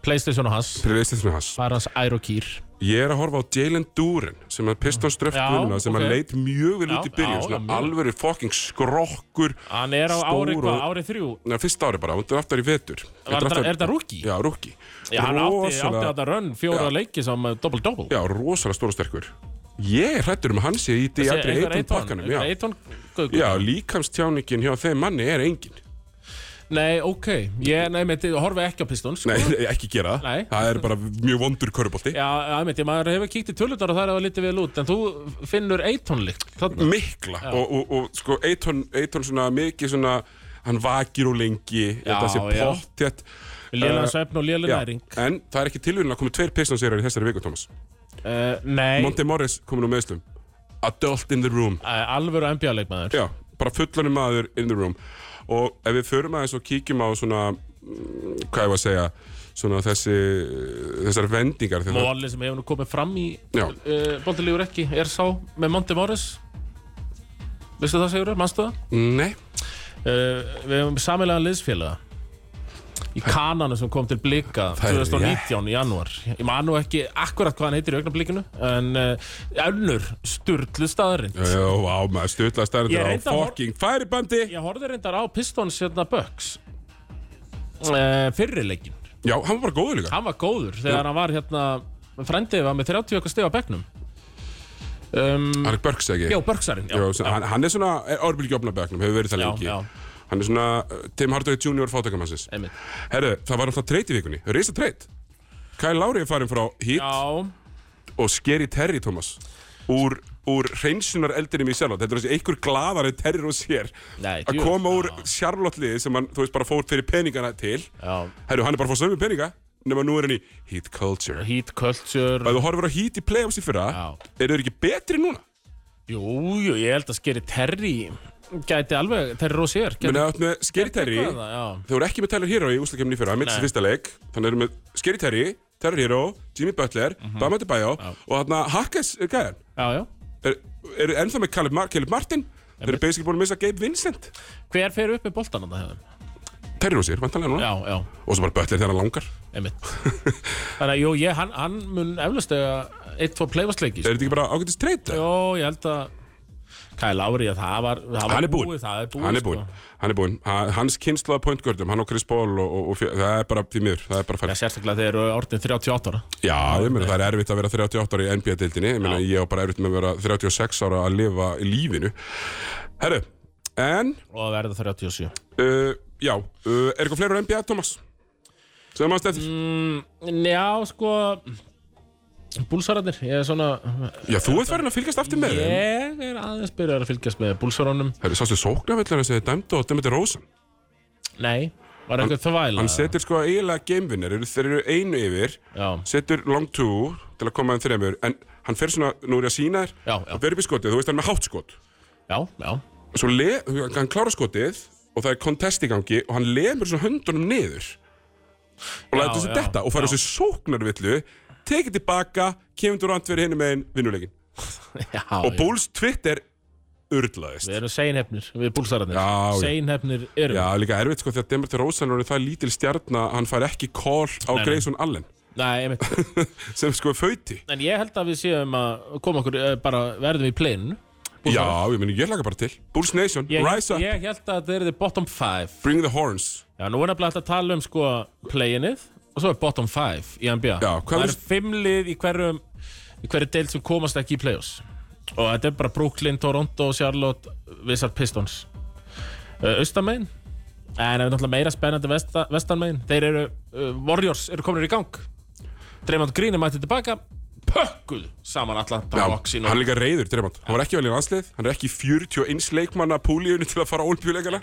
Speaker 3: Playstation og hans.
Speaker 2: Playstation hans.
Speaker 3: Það er hans Airo Kýr.
Speaker 2: Ég er að horfa á Jalen Duren sem er Pistons
Speaker 3: Já,
Speaker 2: dröftvinna sem
Speaker 3: ok.
Speaker 2: að leit mjög vel út í
Speaker 3: Já,
Speaker 2: byrjun
Speaker 3: já,
Speaker 2: svona
Speaker 3: mjög.
Speaker 2: alvöru fucking skrokkur
Speaker 3: Hann er á ári,
Speaker 2: Stór
Speaker 3: hvað,
Speaker 2: og-
Speaker 3: ári þrjú.
Speaker 2: Nei, fyrsta ári bara, hún er aftar í vetur
Speaker 3: Var,
Speaker 2: Þetta
Speaker 3: þetta-
Speaker 2: aftar-
Speaker 3: er þetta rúki?
Speaker 2: Já, rúki
Speaker 3: Já, hann átti, átti þetta rönn fjóra
Speaker 2: Já.
Speaker 3: leiki sem eh, double-double.
Speaker 2: Já, rosalega stóra sterkur Ég er hrættur um að hann sé í D.A.D. Eiton pakkanum Já,
Speaker 3: Eitón,
Speaker 2: já líkamstjáningin hjá þeim manni er engin
Speaker 3: Nei, ok. Ég, nei, meti, horfi ekki á Pistons. sko.
Speaker 2: Nei, ekki gera það
Speaker 3: Nei.
Speaker 2: Það er bara mjög vondur körubólti
Speaker 3: Já, að meti, maður hefur kíkt í tölutar og það er að lítið vel út, en þú finnur Eitón-líkt. Þarna.
Speaker 2: Mikla og, og, og sko, Eiton, Eiton svona mikið svona Hann vakir og lengi Þetta sé
Speaker 3: já.
Speaker 2: pottjætt Eh,
Speaker 3: Lélega svefn og lélega næring.
Speaker 2: en það er ekki tilvíðin að koma tveir pistonsýrar í þessari viku, Thomas
Speaker 3: Uh, nei,
Speaker 2: Monte Morris komin úr meðslum Adult in the room
Speaker 3: uh, alvöru NBA-leikmaður.
Speaker 2: Já, bara fullanum maður in the room og ef við förum aðeins og kíkjum á svona, mm, hvað ég var að segja svona þessi, þessar vendingar þegar það-
Speaker 3: Móli sem hefur nú komið fram í
Speaker 2: Já.
Speaker 3: uh, Bóndilífur ekki, er sá með Monte Morris. Vistu það, Sigurður? Manstu það?
Speaker 2: Nei,
Speaker 3: Uh, við hefum samilega liðsfélaga í kananu sem kom til blika
Speaker 2: er
Speaker 3: 2019 í janúar ég man nú ekki akkurat hvað hann heitir í augnablikinu en uh, önnur sturlu staðarind
Speaker 2: já, á maður stutlaði
Speaker 3: Ég
Speaker 2: stærnir á
Speaker 3: reyndi að hor-
Speaker 2: fucking færibandi
Speaker 3: ég horfði reyndar á Pistons hérna Bucks uh, fyrirleikin
Speaker 2: Já, hann var bara góður líka
Speaker 3: hann var góður þegar hann var hérna frendið var með 30 okkar stið á bekknum um,
Speaker 2: Hann er Burks ekki
Speaker 3: já, Börksarinn já,
Speaker 2: já, já. Hann, hann er svona, er orðbylgi opnabæknum, hefur verið það
Speaker 3: Já,
Speaker 2: lengi
Speaker 3: já.
Speaker 2: Hann er svona uh, Tim Hardaway Jr. fátakamannsins
Speaker 3: einmitt.
Speaker 2: Herru, það var alltaf treyt í vikunni, reysa treyt Kyle Lowry er farin frá Heat
Speaker 3: já,
Speaker 2: og Scary Terry, Thomas úr, úr hreinsunar eldinum í Charlotte þetta er þessi einhver glaðari Terry og sér
Speaker 3: Nei,
Speaker 2: að
Speaker 3: djú.
Speaker 2: koma úr Charlotte liði sem hann, þú veist, bara fór fyrir peningana til
Speaker 3: já.
Speaker 2: herru, hann er bara að fá sömu peninga nema nú er hann í Heat Culture
Speaker 3: Heat Culture
Speaker 2: og ef þú horfir á Heat í playoffs í fyrra
Speaker 3: Já.
Speaker 2: eru þeir ekki betri núna?
Speaker 3: Jú, jú, ég held að skeri Terry gæti alveg, Terry Rosier gæti
Speaker 2: Menni að með Scary Terry
Speaker 3: eitthvað það, já.
Speaker 2: þau voru ekki með Tyler Hero í úslakefni í fyrra mitt
Speaker 3: Nei.
Speaker 2: sem fyrsta leik, þannig eru með Scary Terry Tyler Hero, Jimmy Butler, mm
Speaker 3: Mhm.
Speaker 2: -hmm. Bama Debajo og hann að Hakkes er gæðan
Speaker 3: Já, já.
Speaker 2: eru er ennþá með Caleb, Mar Caleb Martin þeir eru basically búin að missa Gabe Vincent
Speaker 3: Hver fer upp með boltan á það hefðum?
Speaker 2: Terry Rosier, vantanlega núna
Speaker 3: Já, já,
Speaker 2: og svo bara Butler þegar hann langar
Speaker 3: einmitt. Þannig að, jú, ég, hann, hann mun eflaust eða eitt, tvo pleifastleiki.
Speaker 2: er þetta ekki bara ágætist treyta?
Speaker 3: Jó, ég held að Kyle Lowry, að það var, það var
Speaker 2: Hann er búinn.
Speaker 3: Það er búið, sko.
Speaker 2: hann er búinn, hann er búinn Ha- hans kynsla á pointgördum, hann og Chris Paul og, og, og fjö- það er bara því miður, það er bara
Speaker 3: Já,
Speaker 2: fælt
Speaker 3: sérstaklega þegar eru orðin 38 ára.
Speaker 2: já, ég meina það er erfitt að vera 38 ára í NBA-deildinni, ég meina ég á bara erfitt með að vera 36 ára að lifa í lífinu herru, en
Speaker 3: Og verða 37.
Speaker 2: uh, já, uh, er eitthvað fleira úr NBA, Thomas? sem að stæði
Speaker 3: Mm, Já, sko, búlsararnir, ég er svona,
Speaker 2: já, þú ert farin að fylgjast aftur með þeim
Speaker 3: ég er aðeins byrjar að fylgjast með búlsararnum.
Speaker 2: herru, sástu sóknarvellarna sem þið dæmdu og dæmdu Rósan
Speaker 3: Nei, var eitthvað þvæla.
Speaker 2: Hann setur sko eiginlega gamevinner, eru- þeir eru einu yfir,
Speaker 3: Já.
Speaker 2: setur long two til að koma þeim þremur, en hann fer svona, nú er ég að sína þér,
Speaker 3: Já, já.
Speaker 2: og fer upp í skotið, þú veist hann er með hátt skot.
Speaker 3: Já, já.
Speaker 2: Svo le, hann klára skotið og það er contest í gangi og hann lemur svona höndunum niður og
Speaker 3: Já,
Speaker 2: lætur þessu
Speaker 3: já,
Speaker 2: detta og fara
Speaker 3: já.
Speaker 2: þessu sóknarvillu, tekið tilbaka, kemur þú rand fyrir hinn með einn vinnuleikin.
Speaker 3: Já,
Speaker 2: Og Bulls Twitter urlaðist.
Speaker 3: Við erum seinhefnir, við búlsararnir
Speaker 2: Já, já.
Speaker 3: Seinhefnir erum
Speaker 2: Já, líka erfitt sko þegar Demertur Rósan er það lítil stjarnar, hann fær ekki call á
Speaker 3: nei.
Speaker 2: Grayson Allen
Speaker 3: Nei, einmitt.
Speaker 2: sem sko er föyti.
Speaker 3: En ég held að við séum að koma okkur eh, bara verðum í plinn
Speaker 2: Já, ég meni, ég laka bara til Bulls Nation,
Speaker 3: Ég,
Speaker 2: Rise Up,
Speaker 3: ég held að þetta er þið bottom 5
Speaker 2: Bring the Horns
Speaker 3: Já, nú er nefnilega hægt að tala um sko play-inið og svo er bottom 5 í NBA.
Speaker 2: Já, hvað
Speaker 3: það
Speaker 2: veist-
Speaker 3: eru fimm lið í hverjum í hverju deild sem komast ekki í play-offs. Og þetta er bara Brooklyn, Toronto, Charlotte, Wizard Pistons. Uh, Austamein, en ef náttúrulega meira spennandi vesta, vestanmein, þeir eru, uh, Warriors eru kominir í gang. Dreymond Green er mættið tilbaka, pökkuð saman Atlanta
Speaker 2: Já,
Speaker 3: Hawks í
Speaker 2: hann er
Speaker 3: nóg.
Speaker 2: líka reyður, Dremond Hann var ekki valinn landslið, hann er ekki í 41 leikmanna púlíunni til að fara olimpíuleikana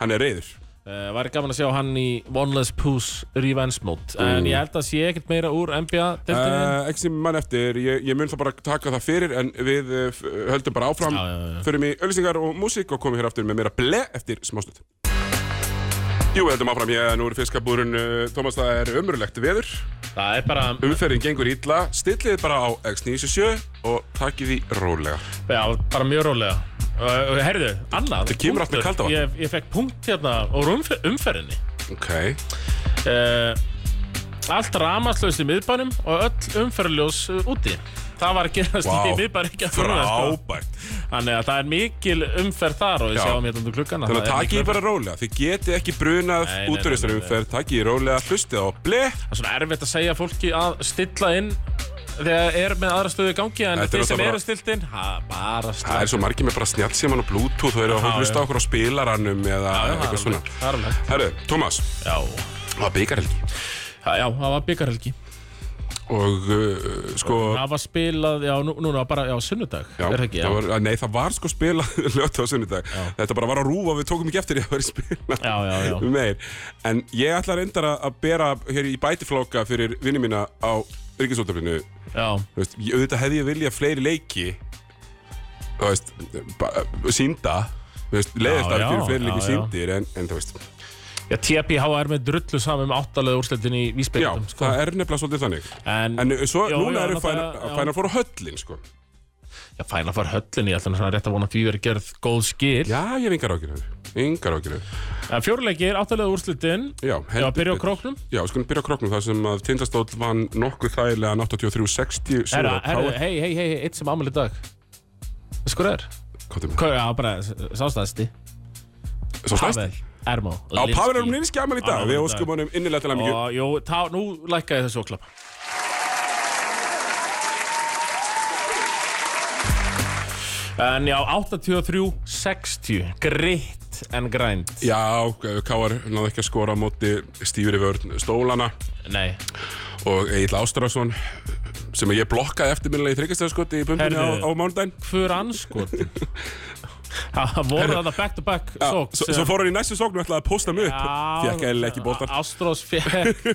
Speaker 2: Hann er reyður
Speaker 3: Uh, væri gaman að sjá hann í One Less Puss Revenge Mode, en ég held að sé ekkert meira úr
Speaker 2: uh,
Speaker 3: NBA-deltinni.
Speaker 2: Ekki sem mann eftir, ég, ég mun það bara taka það fyrir En við uh, f- höldum bara áfram
Speaker 3: Já, já, já.
Speaker 2: Förum í öllisingar og músík og komum hér aftur með meira ble eftir smástund Jú, við höldum áfram hér, nú er fiskabúrun uh, Tómas, það er ömurlegt veður
Speaker 3: Það er bara,
Speaker 2: Umferðin gengur illa, stillið bara á X97 og takið því rólega
Speaker 3: já, bara mjög rólega. Uh, herðu, annað.
Speaker 2: Þetta kemur allt með
Speaker 3: punktur.
Speaker 2: kalda vatn.
Speaker 3: Ég, ég fekk punkt hérna úr umfer umferðinni.
Speaker 2: Ok,
Speaker 3: Uh, allt ramaslaust í miðbænum og öll umferðljós uh, úti. Það var að gerast
Speaker 2: Vá,
Speaker 3: í miðbænum ekki að sko.
Speaker 2: frábært
Speaker 3: Þannig að það er mikil umferð þar og við
Speaker 2: Já.
Speaker 3: sjáum hérna undir klukkana.
Speaker 2: Þannig að
Speaker 3: það er mikil
Speaker 2: takið því bara
Speaker 3: umferð.
Speaker 2: rólega, þið getið ekki brunað
Speaker 3: Nei, nei, nei,
Speaker 2: útverðistarumferð, takið því rólega, hlustið á ble
Speaker 3: Það er svona erfitt að segja fólki að stilla inn þegar er með aðra stöðu í gangi
Speaker 2: Þetta
Speaker 3: en
Speaker 2: er
Speaker 3: þeir sem
Speaker 2: náttúrulega
Speaker 3: eru stilt inn, ha, bara
Speaker 2: Það er
Speaker 3: stilla.
Speaker 2: svo margir með bara snjallsíman og bluetooth og eru að
Speaker 3: Já,
Speaker 2: hlusta okkur á spilaranum eða eitthvað svona
Speaker 3: Það er alveg.
Speaker 2: Herru, Tómas,
Speaker 3: Já.
Speaker 2: það var byggarhelgi
Speaker 3: Ha- Já, það var byggarhelgi.
Speaker 2: og uh, sko
Speaker 3: Það var spilað, já, nú- núna var bara, já, sunnudag,
Speaker 2: Já,
Speaker 3: er það ekki? Já,
Speaker 2: var, að nei, það var sko spila lötu á sunnudag Þetta bara var að rúfa, við tókum ekki eftir ég að vera í spila
Speaker 3: já, já. já.
Speaker 2: meir En ég ætla reyndar að- að bera hér í bætiflóka fyrir vinni mína á Ríkisútaflinu
Speaker 3: já.
Speaker 2: Auðvitað hefði ég viljað fleiri leiki Þú veist, ba- sýnda Þú veist, leiðist
Speaker 3: Já,
Speaker 2: að fyrir
Speaker 3: já,
Speaker 2: fleiri leiki
Speaker 3: já, já.
Speaker 2: sýndir en, en þú veist,
Speaker 3: Já, TPH er með drullu saman með áttalega úrslitin í
Speaker 2: já,
Speaker 3: vísbyrjum, sko.
Speaker 2: það er nefnilega svolítið þannig
Speaker 3: En,
Speaker 2: En eh, svo,
Speaker 3: já,
Speaker 2: núna
Speaker 3: já,
Speaker 2: eru fæna,
Speaker 3: náttúrulega, já.
Speaker 2: fæna fór á höllin, sko
Speaker 3: Já, fæna fara höllin í alltaf svona rétt að vona að því verið gerð góð skil.
Speaker 2: Já, ég hef yngar ágjörður, yngar ágjörður
Speaker 3: En fjóruleikir, áttalega úrslitin,
Speaker 2: Já,
Speaker 3: já,
Speaker 2: heldur
Speaker 3: byrja á
Speaker 2: betur.
Speaker 3: króknum.
Speaker 2: Já, við skulum byrja á króknum þar sem að Tindastóll vann nokkuð þægilega 83-60 sigur
Speaker 3: Herra,
Speaker 2: á
Speaker 3: eh, herra,
Speaker 2: KR.
Speaker 3: hei, hei, hei, hei, eitt sem ámæli dag. Skur er?
Speaker 2: Hvað er það?
Speaker 3: Hvað, já, bara sástæðsti.
Speaker 2: Svo stærst?
Speaker 3: Pavel, Ermo.
Speaker 2: Á Pavel erum nýrinski afmæli í dag
Speaker 3: Afmæli í
Speaker 2: Við
Speaker 3: dag.
Speaker 2: óskum honum innilega til aðmyggju
Speaker 3: Og, jú, tá, nú lækkaði þessu oklappa. En já, 83-60, gritt en grænt.
Speaker 2: Já, Káar náði ekki að skora á móti Stífri Vörn Stólana
Speaker 3: Nei,
Speaker 2: og Egil Ástrason sem ég blokkaði eftirminnilega í þryggastöðskoti í bumbunni á,
Speaker 3: Herðu.
Speaker 2: á mánudaginn
Speaker 3: hver anskotin? Það voru þetta back to back
Speaker 2: Já,
Speaker 3: sók.
Speaker 2: Svo svo fór hann í næstu sóknu og ætlaði að posta mig upp Fekk eða ekki bóttan
Speaker 3: Ástrós fekk.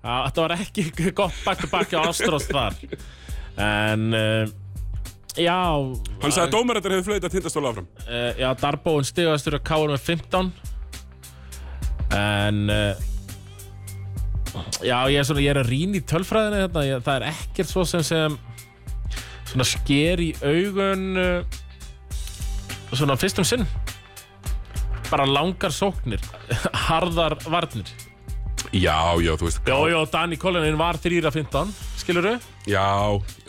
Speaker 3: Já, þetta var ekki gott back to back á Ástrós þar. En, uh, já.
Speaker 2: Hann sagði að dómarættar hefur flöðið að Tindastóla áfram
Speaker 3: uh, Já, Darbóin stigastur að káur með 15 En uh, Já, ég er svona, ég er að rýna í tölfræðinu þetta ég, Það er ekkert svo sem sem Svona sker í augun uh, Svona fyrst um sinn Bara langar sóknir Harðar varnir
Speaker 2: Já, já, þú veist
Speaker 3: Jó, jó, Dani Kolinin var 3-15 Skilurðu?
Speaker 2: Já,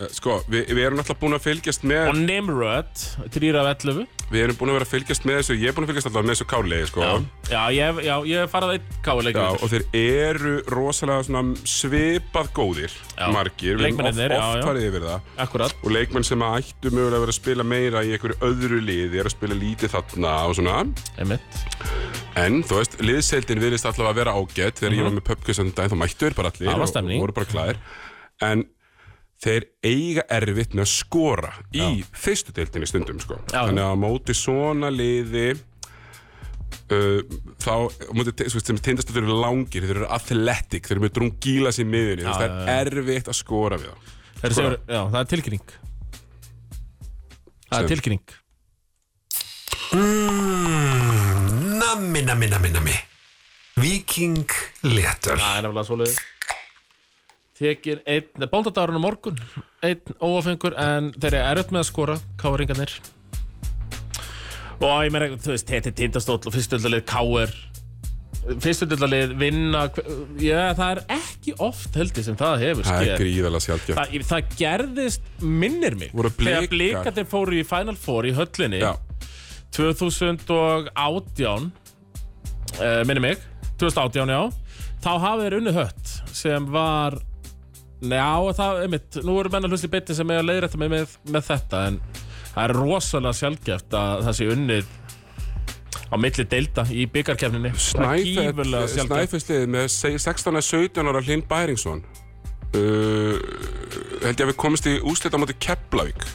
Speaker 2: eh, sko, við, við erum náttúrulega búin að fylgjast með
Speaker 3: Og Nimrod 3-11
Speaker 2: Við erum búin að vera að fylgjast með þessu, ég er búin að fylgjast alltaf með þessu kálegi, sko.
Speaker 3: Já, já, ég, já, ég hef farað einn
Speaker 2: Já,
Speaker 3: káuleikur
Speaker 2: og þeir eru rosalega svona svipað góðir,
Speaker 3: Já.
Speaker 2: margir. Við höfum
Speaker 3: Leikmennirnir,
Speaker 2: oft,
Speaker 3: já, já.
Speaker 2: oft farið yfir það.
Speaker 3: Akkurat
Speaker 2: Og leikmenn sem að ættu mögulega að vera að spila meira í einhverju öðru liði, er að spila lítið þarna og svona.
Speaker 3: Einmitt
Speaker 2: En, þú veist, liðseildin viðlist alltaf að vera ágætt. Þegar ég var með pubkvissan daginn, þá mættu þeir bara allir.
Speaker 3: Það var
Speaker 2: og-
Speaker 3: Mhm. stemning.
Speaker 2: Og voru bara klæðir. En þeir eiga erfitt með að skora í fyrstu deildinni stundum, sko.
Speaker 3: Já, já.
Speaker 2: Þannig að á móti svona liði... Uh, þá, á móti, te- sko, sem tindastöður eru langir, þeir eru athletic, þeir eru með drungílas í miðunni, þú veist, það er erfitt að skora við þá.
Speaker 3: Þeir
Speaker 2: Sko.
Speaker 3: Sigur, já, það er tilkynning Það
Speaker 2: Sem-
Speaker 3: er tilkynning
Speaker 1: Nammi, nammi, nammi, nammi Viking Léttöl
Speaker 3: Það er nefnilega svoleiðið Tekir einn, bóndadagurinn á morgun Einn óafengur en þeir eru erut með að skora Káringarnir Og ég meina, þú veist, þetta er tindastóll og fyrstöldalið Káir fyrstundalið vinna hve- já, það er ekki oft heldur sem það hefur
Speaker 2: Það er
Speaker 3: skeð
Speaker 2: gríðalega sjálfgjörn
Speaker 3: það, það gerðist minnir mig
Speaker 2: Voru
Speaker 3: þegar
Speaker 2: Blikar?
Speaker 3: blikarnir fóru í Final Four í höllinni
Speaker 2: Já,
Speaker 3: 2018 uh, minni mig 2018 já þá hafa þeir unni hött sem var já það er mitt nú eru menn að hlusta í beti sem er að leiðrætta mig með, með þetta en það er rosalega sjálfgeft að það sé unnið á milli deilda í byggarkefninni gífurlega sjálfgeft
Speaker 2: Snæfellsliðið með se- 16 að 17 ára Hlinn Bæringsson uh, held ég að við komist í úslita á móti Keflavík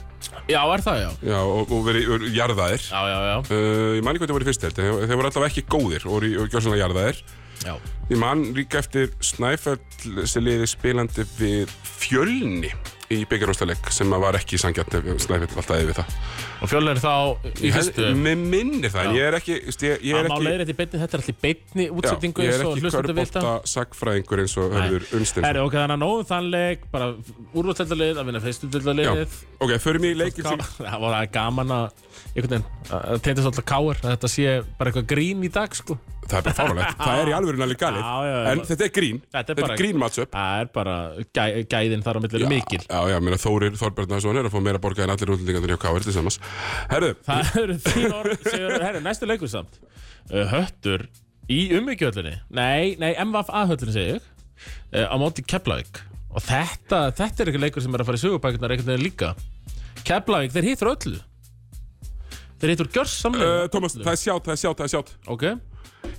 Speaker 3: já er það já
Speaker 2: Já, og, og verið verið jarðaðir
Speaker 3: já já já,
Speaker 2: uh, Ég man ekki hvað það voru í fyrst held Þeir þeir voru allavega ekki góðir og voru í- og gjörsanlega jarðaðir
Speaker 3: já.
Speaker 2: Ég man líka eftir Snæfell sem liði spilandi við Fjölni í byggarústaleg sem að var ekki sangjarn ef Snæfell alltaf eða við það
Speaker 3: og fjölnir þá í
Speaker 2: Ég held-
Speaker 3: fyrstu
Speaker 2: Mig minnir það, en
Speaker 3: Já.
Speaker 2: ég er ekki veist, ég, ég
Speaker 3: að
Speaker 2: er
Speaker 3: má
Speaker 2: ekki,
Speaker 3: leiðrætta í beinni þetta er allir beinni
Speaker 2: já,
Speaker 3: útsettingu
Speaker 2: ég er
Speaker 3: eins og
Speaker 2: ekki
Speaker 3: hlustandu vilta
Speaker 2: körbólta sagfræðingur eins og höfður unnstinn
Speaker 3: Herri, ok, þannig að nóðum þann leik, bara úrvátteldarlið, að vinna fyrstundöldarliðið.
Speaker 2: Ok, förum í leikinn sem
Speaker 3: Það var það gaman að, einhvern veginn, að að tengdast alltaf káir, að þetta sé bara eitthvað grín í dag, sko.
Speaker 2: Það er bara fáralegt, það er í alvöru alveg galið
Speaker 3: Já, já, já.
Speaker 2: En þetta er grín,
Speaker 3: Þetta er
Speaker 2: þetta
Speaker 3: bara-
Speaker 2: er grín matchup
Speaker 3: Það er bara, gæ, gæðin þar á millir
Speaker 2: Já,
Speaker 3: eru mikil.
Speaker 2: Já, já, meina Þórir Þorbjarnarsson er að fá meira borgað en allir útlendingandur hjá Káir til samans Herðu,
Speaker 3: Það eru þín orð, segjur, herri, næstu leikur samt. Uh, Höttur í umbyggjöldinni, nei, nei, MVA-höldinni segi ég, uh, á móti Keflavík. Og þetta, þetta er eitthvað leikur sem er að fara í sögubækunar einhvern veginn líka. Keflavík, þeir hittur öllu. Þeir hittur gjörsamlega.
Speaker 2: uh, Thomas, það er sjátt, það er sjátt, það er sjátt
Speaker 3: Ok,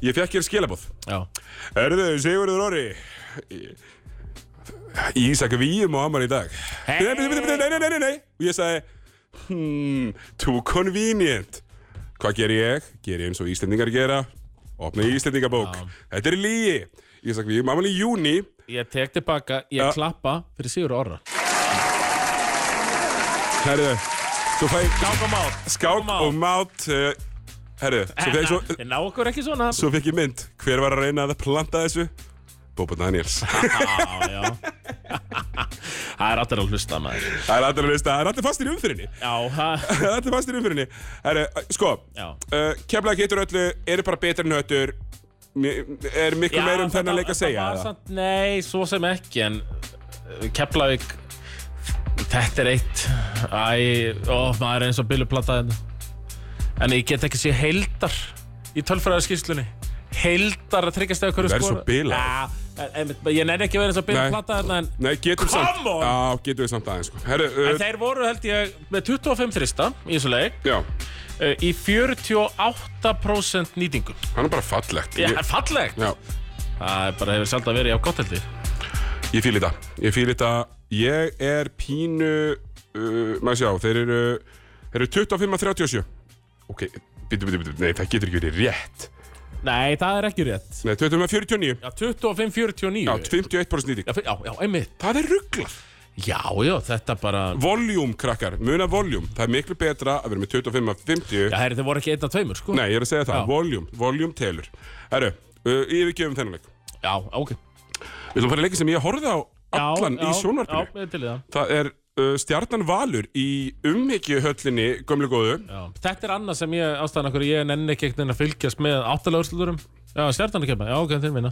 Speaker 2: Ég fekk hér skilabóð
Speaker 3: já.
Speaker 2: Herðu, Sigurður Orri Ísak Víum á Amman í dag hey. Nei, nei, nei, nei, nei, nei, nei Og ég sagði hmm, Too convenient Hvað ger ég? Ger ég eins og Íslendingar gera Opna í Íslendingabók Þetta er lígi Ísak Víum, Amman í júni
Speaker 3: Ég tek tilbaka, ég
Speaker 2: Ja.
Speaker 3: klappa fyrir Sigur Orra.
Speaker 2: Herðu, svo fæ ég
Speaker 3: Skák og mát.
Speaker 2: skák og mát uh, Herðu, svo fæ ég svo
Speaker 3: Ég ná okkur ekki svona.
Speaker 2: Svo fekk ég mynd, hver var að reyna að planta þessu? Bobo Daniels.
Speaker 3: Já, já. Það er allir að hlusta maður.
Speaker 2: það er allir að veist það er allir fastir í umfyrinni.
Speaker 3: Já, það...
Speaker 2: Það er allir fastir í umfyrinni. Herru, sko,
Speaker 3: Já.
Speaker 2: uh, kemlaði getur öllu, eru bara betri en höttur, mi- er miklu meira um þennan leik að segja.
Speaker 3: það.
Speaker 2: eða?
Speaker 3: Samt, nei, svo sem ekki, en uh, Keflavík, þetta er eitt. Æ, ó, maður er eins og bylluplata þetta. En ég get ekki sé heildar í tölfræðarskýrslunni. Heildar að tryggja stegu hverju
Speaker 2: Þú verður svo bilað.
Speaker 3: Já, en- en- ég nenni ekki að vera eins og bylluplata þetta, en...
Speaker 2: Nei, getum
Speaker 3: Come
Speaker 2: samt.
Speaker 3: on!
Speaker 2: Já, getum við samt aðeins, sko. Herru,
Speaker 3: En
Speaker 2: uh,
Speaker 3: þeir voru held ég með 25 þrista í þessu leik
Speaker 2: já,
Speaker 3: uh, í 48% nýtingu.
Speaker 2: hann er bara fallegt.
Speaker 3: Já, það
Speaker 2: Ég-
Speaker 3: er fallegt.
Speaker 2: Já,
Speaker 3: Það er bara hefur sjálf að vera hjá gott heldur.
Speaker 2: ég fýl þetta. Ég fýl þetta. Ég er pínu, uh, maður sjá, þeir eru, þeir eru 25 að 37. Ok, bitu, bitu, bitu, nei, það getur ekki verið rétt.
Speaker 3: Nei, það er ekki rétt.
Speaker 2: Nei, 25-49
Speaker 3: Já, 25-49.
Speaker 2: Já, 51% nýting
Speaker 3: Já, fyr- já, já, einmitt.
Speaker 2: Það er rugglað
Speaker 3: Já, já, þetta bara...
Speaker 2: Voljúm, krakkar, muna voljúm Það er miklu betra að vera með 25 af 50
Speaker 3: Já, herri, þeir voru ekki einn af tveimur, sko.
Speaker 2: Nei, ég er að segja það,
Speaker 3: Já.
Speaker 2: voljúm, voljúm telur Herru, uh, yfirgefum þennan leik Við
Speaker 3: Já, ok. Já,
Speaker 2: ætlum að fara í leikin sem ég horfði á allan
Speaker 3: já,
Speaker 2: í sjónvarpinu
Speaker 3: Já, ég er til í það.
Speaker 2: Það er uh, stjarnan Valur í umhyggjuhöllinni gömlu góðu
Speaker 3: Já. Þetta er annað sem ég ástæðan okkur ég nenni ekki einhvern veginn að fylgjast með áttalega úrsluturum. Já, stjartan að kemja. Já, ok, þeir vinna.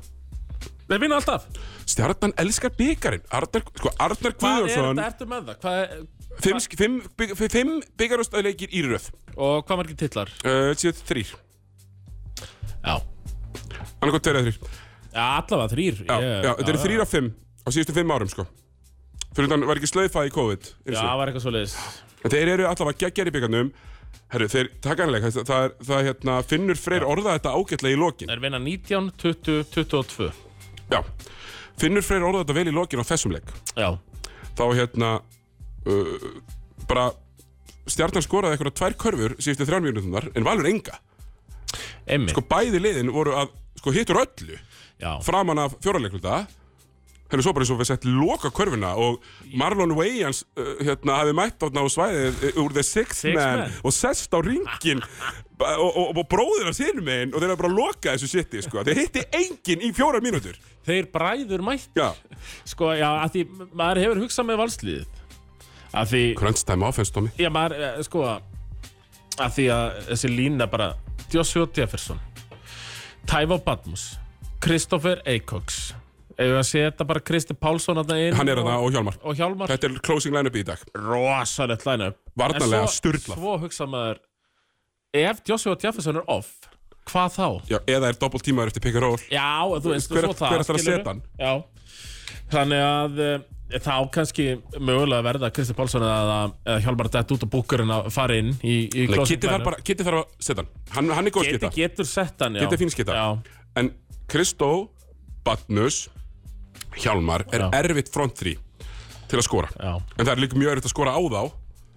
Speaker 3: Þeir vinna alltaf.
Speaker 2: Stjarnan elskar byggarinn Arnar, sko, Arnar
Speaker 3: Hvað er þetta
Speaker 2: Guðjónsson
Speaker 3: ertu með það? Hvað er,
Speaker 2: Fimm, fimm, bygg- fimm byggarústæðleikir í röð
Speaker 3: og hvað margir titlar?
Speaker 2: uh, Sér þrýr,
Speaker 3: Já.
Speaker 2: annarkoð tveir eða þrýr
Speaker 3: Já, allavega þrýr.
Speaker 2: Já, já, þetta eru þrýr af fimm á síðustu fimm árum sko Fyrir þannig var ekki slauðfæði í COVID
Speaker 3: Já,
Speaker 2: eins
Speaker 3: það
Speaker 2: og.
Speaker 3: var eitthvað svoleiðis.
Speaker 2: En þeir eru allavega geggjari byggarnum Herru, þeir takkanleik Það, það, er- það hérna, finnur freyr orða þetta ágætlega í lokin
Speaker 3: Það er vinna 19, 20, 22.
Speaker 2: Já, finnur freyr orða þetta vel í lokin á þessum leik
Speaker 3: Já.
Speaker 2: Þá hérna uh, Bara Stjarnan skoraði eitthvað tvær körfur síðustu þrjár mínútunar En valur enga
Speaker 3: Emmi.
Speaker 2: Sko bæði liðin voru að sko, hittur öllu
Speaker 3: já.
Speaker 2: framan af fjóraleikluta hérna svo bara eins og við sett loka körfuna og Marlon Wayans uh, hérna hafi mætt átna á svæðið uh, úr The Sixth
Speaker 3: Sixth
Speaker 2: Man,
Speaker 3: Man.
Speaker 2: og sest á ringin og, og, og bróðir hans hinn megin og þeir hafa bara lokað þessu sitti sko. þeir hitti enginn í fjóra mínútur
Speaker 3: Þeir bræður mætt.
Speaker 2: já,
Speaker 3: Sko, já, að því maður hefur hugsað með valsliðið. Að því,
Speaker 2: crunch time offense Tommy
Speaker 3: já, maður, eh, sko, að því að þessi lína bara, Joshua Jefferson, Taivo Badmus, Kristoffer Eikoks Ef við að setja bara Kristi Pálsson þarna inn
Speaker 2: Hann er þarna
Speaker 3: og,
Speaker 2: og Hjálmar.
Speaker 3: og Hjálmar
Speaker 2: Þetta er closing line-up í dag.
Speaker 3: Rosalett line-up
Speaker 2: Varnarlega
Speaker 3: En svo-
Speaker 2: sturlað.
Speaker 3: Svo hugsa maður Ef Joshua Jefferson er off Hvað þá?
Speaker 2: Já, eða er doppelt tímaður eftir pick and roll.
Speaker 3: Já, en þú veist,
Speaker 2: Hver-
Speaker 3: svo það
Speaker 2: hver ætlar að
Speaker 3: skilurðu?
Speaker 2: setja hann?
Speaker 3: Já, þannig að e, þá kannski mögulega að verða Kristi Pálsson eða, eða Hjálmar Dett út og búkurinn að fara inn í, í
Speaker 2: Nei,
Speaker 3: closing
Speaker 2: Kitty þarf
Speaker 3: lineup.
Speaker 2: bara, Kitty þarf að setja hann. hann. Hann er góð
Speaker 3: Kitty
Speaker 2: skita.
Speaker 3: getur sett hann, já
Speaker 2: Kitty er fín skita.
Speaker 3: Já,
Speaker 2: En Kristó, Batnus, Hjálmar er
Speaker 3: Já.
Speaker 2: erfitt front 3 til að skora.
Speaker 3: já,
Speaker 2: En það er líka mjög erfitt að skora á þá.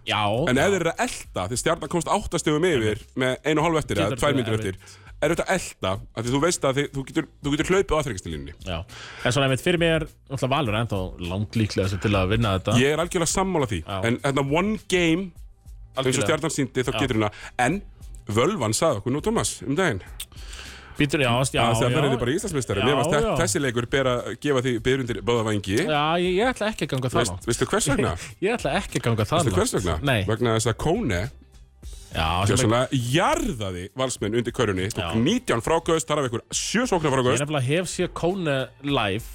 Speaker 3: já
Speaker 2: En ef þeir eru að elta, því stjarnan komst áttastegum yfir með einu og hálf eftir eða
Speaker 3: Getur
Speaker 2: tvær
Speaker 3: verið
Speaker 2: myndir eftir, er þetta að elta, af því þú veist að þið, þú, getur, þú getur hlaupið á aðþrengistilínni.
Speaker 3: Já, en svona einmitt fyrir mér Náttúrulega Valur er ennþá langt líklega til að vinna þetta
Speaker 2: Ég er algjörlega sammála því,
Speaker 3: Já.
Speaker 2: en þetta one game, eins og
Speaker 3: Algjörlega.
Speaker 2: stjarnan síndi, þá getur hérna, en völvan sagði okkur nú Thomas um daginn,
Speaker 3: Býtur, já, já,
Speaker 2: að
Speaker 3: já
Speaker 2: það verður bara íslensmistari,
Speaker 3: Já,
Speaker 2: mér varst
Speaker 3: já.
Speaker 2: þe- þessi leikur ber að gefa því byrjundir báða vangi,
Speaker 3: Já, ég, ég ætla ekki að ganga það
Speaker 2: Veist,
Speaker 3: langt
Speaker 2: veistu hvers vegna?
Speaker 3: Ég ætla ekki að ganga það
Speaker 2: Veistu hvers vegna?
Speaker 3: Nei,
Speaker 2: Vegna þess að Kone
Speaker 3: já, sem
Speaker 2: gjörsamlega jarðaði valsmenn undir körjunni, tók
Speaker 3: Já.
Speaker 2: 19 frákaust, þar af einhver 7 sóknar
Speaker 3: Ég
Speaker 2: frákaust,
Speaker 3: nefnilega hef séð Kóne live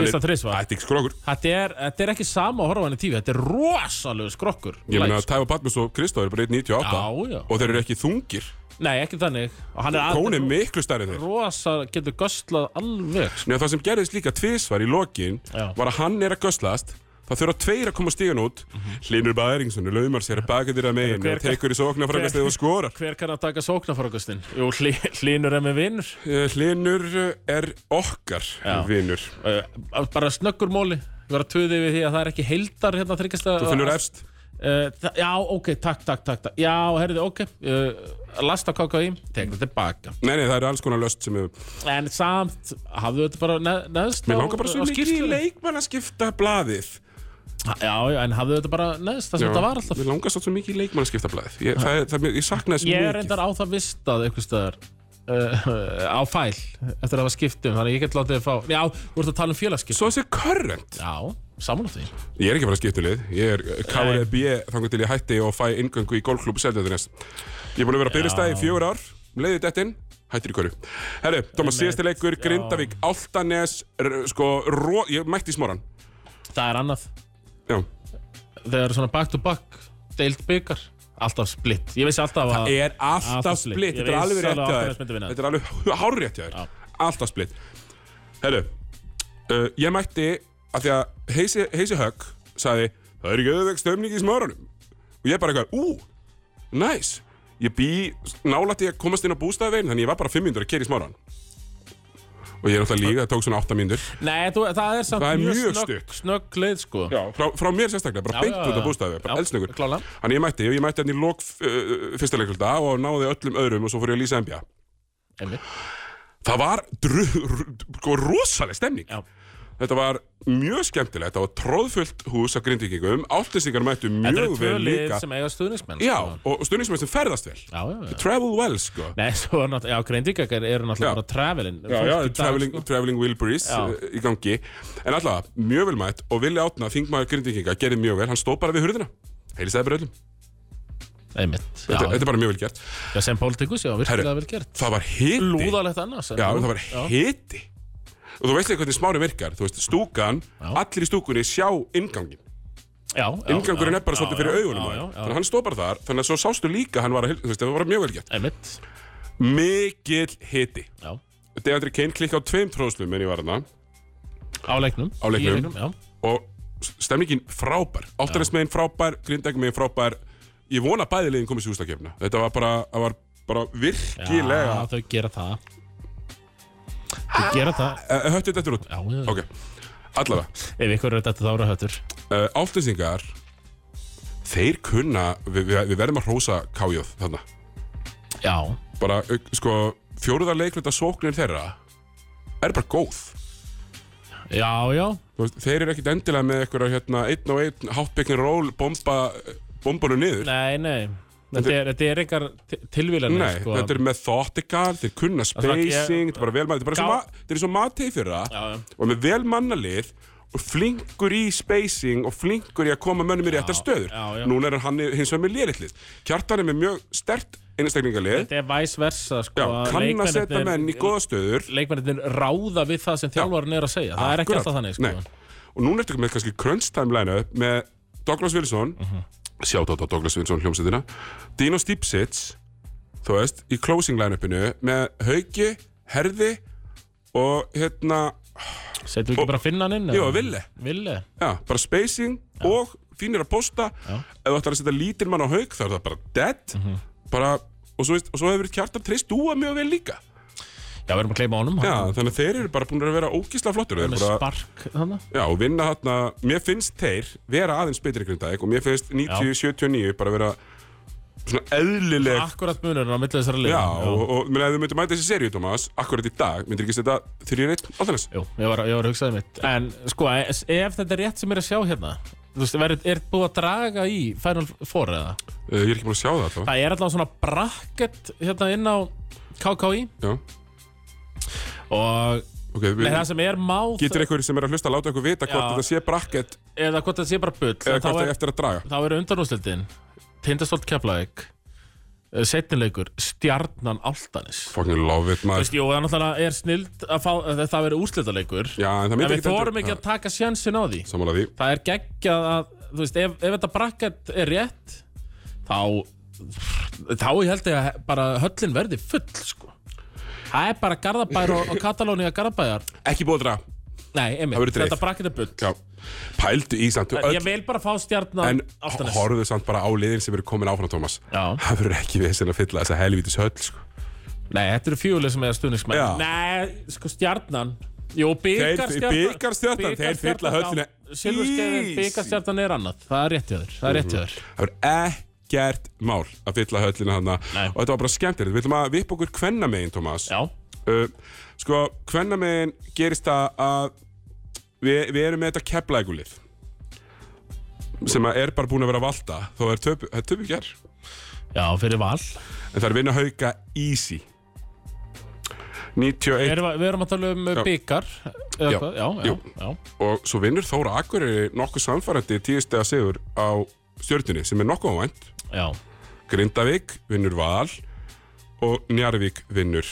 Speaker 3: Tvist að þrisva
Speaker 2: þetta er ekki skrókur.
Speaker 3: Þetta er, þetta er ekki sama að horfa á hann í tífi Þetta er rosalegu skrokkur
Speaker 2: Ég meina
Speaker 3: live,
Speaker 2: að Tæfa Patmus og Kristó eru bara 1.98
Speaker 3: Já, já.
Speaker 2: og þeir eru ekki þungir.
Speaker 3: sko. Nei, ekki þannig Og hann er
Speaker 2: Kón er
Speaker 3: alveg
Speaker 2: miklu stærri en þeir.
Speaker 3: rosa Getur göstlað alveg sko.
Speaker 2: Nei, það sem gerðist líka tvisvar í lokin
Speaker 3: Já.
Speaker 2: var að hann er að göslast, það þurfa tveir að koma stígan út, Hlinur Bæringssoni, laumar sér baka þér að megin
Speaker 3: Mhm. Hver-
Speaker 2: og tekur í sóknarfrækast eða skorar.
Speaker 3: Hver kann að taka sóknarfarkastin? Jú, hli, hlínur er með vinnur
Speaker 2: Eh, Hlinur er okkar
Speaker 3: Já.
Speaker 2: vinnur.
Speaker 3: uh, Bara snöggur móli Ég var að tuði við því að það er ekki heildar hérna þryggjast að
Speaker 2: Þú finnur efst.
Speaker 3: Uh, þa- já, ok, takk, takk, takk, takk. Já, herriði, ok uh, Lasta kokaín, tekur þetta tilbaka
Speaker 2: Nei, nei, það eru alls konar löst sem hefur...
Speaker 3: En samt, hafðu þetta bara ne neðst
Speaker 2: Mér
Speaker 3: á-
Speaker 2: langar bara svo
Speaker 3: á
Speaker 2: mikið í
Speaker 3: skýrslunni?
Speaker 2: leikmann að skipta blaðið.
Speaker 3: Já, já, en hafðu þetta bara neðst það sem þetta var alltaf
Speaker 2: Mér langar svo mikið í leikmann að skipta blaðið. Ég, það, er- það, ég sakna þess
Speaker 3: Ég er
Speaker 2: mikið.
Speaker 3: reyndar á það vistað einhvers staðar uh, á fæl eftir að hafa skiptum, þannig að ég get látið að fá Já, þú ert að tala um félagsskipt
Speaker 2: Svo þessi current.
Speaker 3: Já, samanlega því
Speaker 2: Ég er ekki að fara að skipta um lið Ég er KRB þangar til ég hætti og fæ inngöngu í golfklúbu Seltjöðunnes Ég er búin að vera að byrja stæði í fjögur ár Leiði þetta inn, hættir í körju Herru, Thomas, síðasti leikur, Grindavík, Áltanes r- Sko, ró, ég mætti í smoran
Speaker 3: Það er annað,
Speaker 2: Já,
Speaker 3: þegar er svona back to back deild byggar, alltaf splitt Ég vissi alltaf að
Speaker 2: er alltaf
Speaker 3: alltaf
Speaker 2: splitt
Speaker 3: splitt.
Speaker 2: Þetta
Speaker 3: Ég
Speaker 2: er
Speaker 3: veist
Speaker 2: alveg rétt
Speaker 3: alveg að
Speaker 2: hjá
Speaker 3: Álftanes myndi
Speaker 2: þér
Speaker 3: vinna.
Speaker 2: Þetta er alveg hárrétt hjá
Speaker 3: Já.
Speaker 2: þér Alltaf splitt Herru, uh, ég mætti að því að Heisi, Heisi Högg sagði Það er ekki auðveg stöfning í smoranum og ég bara eitthvað, ú, næs ég bý nálætti að komast inn á bústæðvegin þannig ég var bara 5 minnur að kera í smáran og ég er alltaf líka, það tók svona 8 minnur
Speaker 3: Nei, þú, það er samt
Speaker 2: Það er mjög
Speaker 3: snögg,
Speaker 2: stutt.
Speaker 3: snögg leið sko
Speaker 2: frá, frá mér sérstaklega, bara
Speaker 3: Já,
Speaker 2: beint
Speaker 3: já,
Speaker 2: út á
Speaker 3: já.
Speaker 2: bústæðvegin, bara
Speaker 3: Já,
Speaker 2: eldsnöggur
Speaker 3: klálega.
Speaker 2: þannig ég mætti, og ég mætti hann í lok uh, fyrsta leikulda og náði öllum öðrum og svo fór ég að lýsa NBA
Speaker 3: Einmitt.
Speaker 2: það var dru, r- sko, rosaleg stemning
Speaker 3: Já.
Speaker 2: Þetta var mjög skemmtilegt, það var tróðfullt hús af grindvíkingum, áltinsingar mættu
Speaker 3: Þetta eru
Speaker 2: mjög
Speaker 3: tvö
Speaker 2: vel
Speaker 3: lið
Speaker 2: líka.
Speaker 3: sem eiga stuðningsmenn
Speaker 2: Já,
Speaker 3: sko.
Speaker 2: og, og stundismenn sem ferðast vel.
Speaker 3: já, já, já.
Speaker 2: Travel well, sko.
Speaker 3: Nei, svo er náttúrulega, já, Greinvíkakar eru náttúrulega
Speaker 2: Já.
Speaker 3: bara travelin
Speaker 2: Já, já,
Speaker 3: sko.
Speaker 2: traveling, traveling Wilburys
Speaker 3: Já.
Speaker 2: uh, í gangi En allavega, mjög vel mætt og Vili Átna, þingmaður grindvíkinga, gerði mjög vel Hann stóð bara við hurðina Heilisaði bara öllum
Speaker 3: Einmitt, já,
Speaker 2: þetta, þetta er bara mjög vel gert
Speaker 3: já, sem pólitíkus, já, virkilega
Speaker 2: Herru,
Speaker 3: vel gert
Speaker 2: Það var hiti
Speaker 3: Lúðalegt annars en
Speaker 2: Já,
Speaker 3: jú,
Speaker 2: það var
Speaker 3: já.
Speaker 2: hiti Og þú veist ekki hvernig smári virkar Þú veist, stúkan,
Speaker 3: Já.
Speaker 2: allir í stúkunni sjá inngangin
Speaker 3: já, já,
Speaker 2: Inngangurinn
Speaker 3: já,
Speaker 2: er bara
Speaker 3: já,
Speaker 2: svolítið fyrir
Speaker 3: já,
Speaker 2: augunum á
Speaker 3: já,
Speaker 2: þér.
Speaker 3: já, já.
Speaker 2: Þannig að hann stóð bara þar Þannig að svo sástu líka að hann var að heil- Þú veist, það var mjög vel gert
Speaker 3: Einmitt,
Speaker 2: Mikill hiti
Speaker 3: já,
Speaker 2: Deandri Kane klikka á tveim tróðslum en ég var hann
Speaker 3: á leiknum
Speaker 2: Á leiknum.
Speaker 3: í já
Speaker 2: og stemningin frábær Áttanesmiðin frábær, Grindækmiðin frábær ég vona að bæði liðin komið sér úslakefna þetta var bara, það var bara virkilega
Speaker 3: Já, þau gera það Þau gera það,
Speaker 2: Eh, höttu þetta út,
Speaker 3: já, já
Speaker 2: ok allavega,
Speaker 3: Ef ykkur er þetta þá eru höttur
Speaker 2: uh, áltinsingar þeir kunna við, við, við verðum að hrósa kájóð þarna
Speaker 3: Já,
Speaker 2: bara, eh, sko, fjóruða leikluta sóknir þeirra er bara góð
Speaker 3: já, já
Speaker 2: Þú veist, þeir eru ekkit endilega með eitthvað hérna, einn og einn, hátbyggin ról bomba, bombanu niður
Speaker 3: Nei, nei Þetta er, þetta er engar tilvílanir
Speaker 2: Nei,
Speaker 3: sko.
Speaker 2: þetta er methodical, þeir kunna
Speaker 3: það er
Speaker 2: spacing,
Speaker 3: ekki-
Speaker 2: þetta er bara velmann, þetta er bara eins og
Speaker 3: Gá-
Speaker 2: ma- þetta er eins og matið fyrir
Speaker 3: Já, já.
Speaker 2: það og með velmannalið og flinkur í spacing og flinkur í að koma mönnum í réttar stöður.
Speaker 3: já, já.
Speaker 2: Núna er hann hins vegar með lélitlið. Kjartan er með mjög stert einstaklingalið
Speaker 3: Þetta er vice versa sko,
Speaker 2: Já, kann að setja menn í góða stöður
Speaker 3: Leikmennir ráða við það sem þjálfarinn er að segja Það er ekki
Speaker 2: Akkurat.
Speaker 3: alltaf þannig sko.
Speaker 2: Nei. Og núna ertu með kannski crunch time line-up með Douglas Wilson uh
Speaker 3: Mhm.
Speaker 2: á Douglas Wilson hljómsveitina Dino Stipsits þú veist, í closing line-upinu með Hauki, Herði og hérna,
Speaker 3: Setjum við ekki
Speaker 2: Og-
Speaker 3: bara að finna hann inn
Speaker 2: jú,
Speaker 3: eða?
Speaker 2: Ville
Speaker 3: Ville
Speaker 2: Já, bara spacing og fínir að posta
Speaker 3: Já. Mhm.
Speaker 2: ef þú ætlar að setja lítinn mann á haug þá er það bara dead bara, og, svo, veist- og svo hefur kjartan treyst dúa mjög vel líka
Speaker 3: Já, við erum að kleima honum
Speaker 2: Já, þannig að þeir eru bara búin að vera ógísla flottur Þeir eru
Speaker 3: Með
Speaker 2: bara-
Speaker 3: spark þannig
Speaker 2: Já, og vinna þarna, mér finnst þeir vera aðeins betri en Grindæk og mér finnst 90-79 bara vera svona eðlileg
Speaker 3: Akkurat munurinn á milli þessara liða
Speaker 2: Já, og, og mér ef þau myndir mæta þessi seríu, Tómas, akkurat í dag, myndir ekki setja 3-1 alltaf
Speaker 3: Jú, ég var, ég var að hugsaði mitt En sko, ef ef þetta er rétt sem er að sjá hérna Þú veist, verður- er búið að draga í Final Four eða?
Speaker 2: Uh, ég er ekki búin að sjá það alltaf.
Speaker 3: Það er alltaf svona bracket hérna inn á KKI
Speaker 2: Já,
Speaker 3: og
Speaker 2: ok, við,
Speaker 3: Nei, það sem er máð
Speaker 2: getur einhver sem er að hlusta að láta okkur vita hvort
Speaker 3: Já.
Speaker 2: þetta sé brakkett
Speaker 3: eða hvort það sé bara bull
Speaker 2: eða
Speaker 3: en þá
Speaker 2: hvort það
Speaker 3: er,
Speaker 2: er eftir að draga.
Speaker 3: þá er undanúslitin Tindastólt Keflavík setnilegur Stjarnan Altanis
Speaker 2: Fucking love it,
Speaker 3: Þú
Speaker 2: maður.
Speaker 3: veist, jú, það náttúrulega er snild að fá, að það verður úrslitaleikur
Speaker 2: Já, en það
Speaker 3: en
Speaker 2: myndir
Speaker 3: við þórum ekki að taka sjansin á því
Speaker 2: Samála því.
Speaker 3: það er geggjað að þú veist, ef, ef þetta bracket er rétt þá þá ég held ég að bara höllin verði full sko það er bara Garðabær og, og Katalóni að Garðabæjar
Speaker 2: Ekki búið að draga.
Speaker 3: nei,
Speaker 2: Það
Speaker 3: einmitt,
Speaker 2: verður dreif.
Speaker 3: þetta bracket er bull
Speaker 2: Já. Pældu í samt.
Speaker 3: ég vil bara fá stjarnan
Speaker 2: En
Speaker 3: Álftanes.
Speaker 2: horfðu samt bara á liðin sem eru komin áfram, Tómas.
Speaker 3: Já.
Speaker 2: Það verður ekki við að fylla þessa helvítis höll, sko.
Speaker 3: Nei, þetta eru fjöguleg sem er stuðningsmenn
Speaker 2: Já.
Speaker 3: Nei, sko stjarnan Jú, byggarstjarnan
Speaker 2: Þeir- bikarstjarnan, þeir fylla höllina.
Speaker 3: Silvurskeiðin,
Speaker 2: Easy.
Speaker 3: byggarstjarnan er annað Það er rétt hjá þér, það er rétt hjá þér
Speaker 2: Það verður ekkert mál að fylla höllina hana.
Speaker 3: Nei.
Speaker 2: Og þetta var bara skemmtilegt. Við ætlum að vipa okkur kvennamegin, Tómas.
Speaker 3: Já,
Speaker 2: Uh, sko, kvennamegin gerist það að við, við erum með þetta keplægulið sem að er bara búin að vera að valda þó er töpu, það er töpu ger
Speaker 3: já, fyrir val
Speaker 2: en það er vinna hauka easy 91
Speaker 3: Erum, Við erum að tala um
Speaker 2: Já.
Speaker 3: byggar
Speaker 2: Já.
Speaker 3: Já, já, já,
Speaker 2: Jú.
Speaker 3: já.
Speaker 2: og svo vinnur Þóra Akureyri nokkuð samfærandi tíðustega sigur á stjörnunni sem er nokkuð ávænt
Speaker 3: já.
Speaker 2: Grindavík vinnur Val og Njarvík vinnur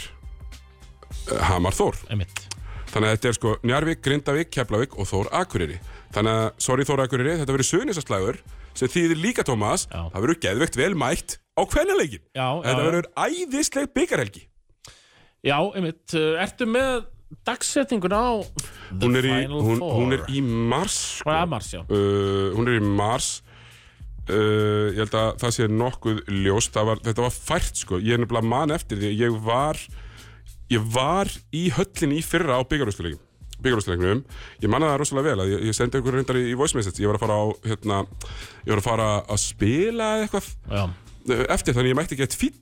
Speaker 2: uh, Hamar Þór.
Speaker 3: einmitt
Speaker 2: Þannig að þetta er sko Njarvík, Grindavík, Keflavík og Þór Akureyri. Þannig að, sorry Þór Akureyri, þetta verður suðnisaslægur sem þýðir líka Tómas,
Speaker 3: Já.
Speaker 2: það verður geðveikt vel mætt á kvennaleikin.
Speaker 3: Já, já,
Speaker 2: Þetta
Speaker 3: já.
Speaker 2: verður æðisleg byggarhelgi.
Speaker 3: Já, einmitt, Uh, ertu með dagsetninguna á The
Speaker 2: Hún er, í,
Speaker 3: Final
Speaker 2: hún,
Speaker 3: Four?
Speaker 2: hún er í mars.
Speaker 3: Hún er
Speaker 2: sko.
Speaker 3: að mars, já
Speaker 2: uh, hún er í Mars uh, ég held að það sé nokkuð ljóst, það var, þetta var fært sko ég er nefnilega man eftir því, ég var ég var í höllinni í fyrra á byggarústuleikum byggarústuleiknum, ég manna það rosalega vel að ég, ég sendi einhverju reyndar í, í voice message, ég var að fara á hérna, ég var að fara að spila eða eitthvað
Speaker 3: Já,
Speaker 2: uh, eftir þannig ég mætti ekki eitt fín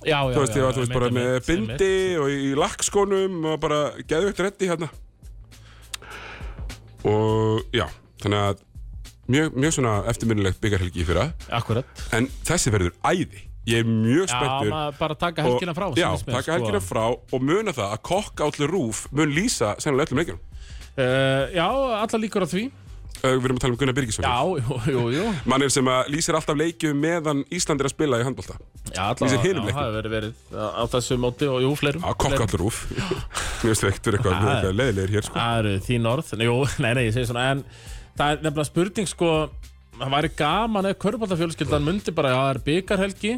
Speaker 3: já, já
Speaker 2: þú veist,
Speaker 3: já,
Speaker 2: ég var þú veist
Speaker 3: einmitt,
Speaker 2: bara með
Speaker 3: einmitt,
Speaker 2: bindi og í lakkskónum og bara geðvögt reddi hérna og já, þannig að mjög, mjög svona eftirminnilegt byggarhelgi í fyrra
Speaker 3: einmitt. Akkurat
Speaker 2: en þessi verður æði ég er mjög
Speaker 3: Já,
Speaker 2: spenntur
Speaker 3: maður bara taka
Speaker 2: og-
Speaker 3: helgina frá
Speaker 2: já,
Speaker 3: sýnist mér, sko.
Speaker 2: taka helgina frá og muna það að kokk átlu rúf mun lýsa sennilega öllum leikinum
Speaker 3: Uh, já, alla líkur á því
Speaker 2: Uh, við erum að tala um Gunnar Birgisson
Speaker 3: Já, jú, jú, jú
Speaker 2: mannir sem að lýsir alltaf leikjum meðan Ísland er að spila í handbólta
Speaker 3: Já,
Speaker 2: Lýsir
Speaker 3: allavega,
Speaker 2: hinum
Speaker 3: já,
Speaker 2: leiknum.
Speaker 3: það hefur verið verið á á þessu móti og jú, fleirum
Speaker 2: að kokk átlu rúf mjög sveikt fyrir eitthvað,
Speaker 3: Já,
Speaker 2: eitthvað leiðilegir hér sko.
Speaker 3: Það eru þín orð, Nei, jú, nei, nei, ég segi svona En það er nefnilega spurning, sko Það væri gaman ef körbáttafjölskyldan myndi bara að það er byggarhelgi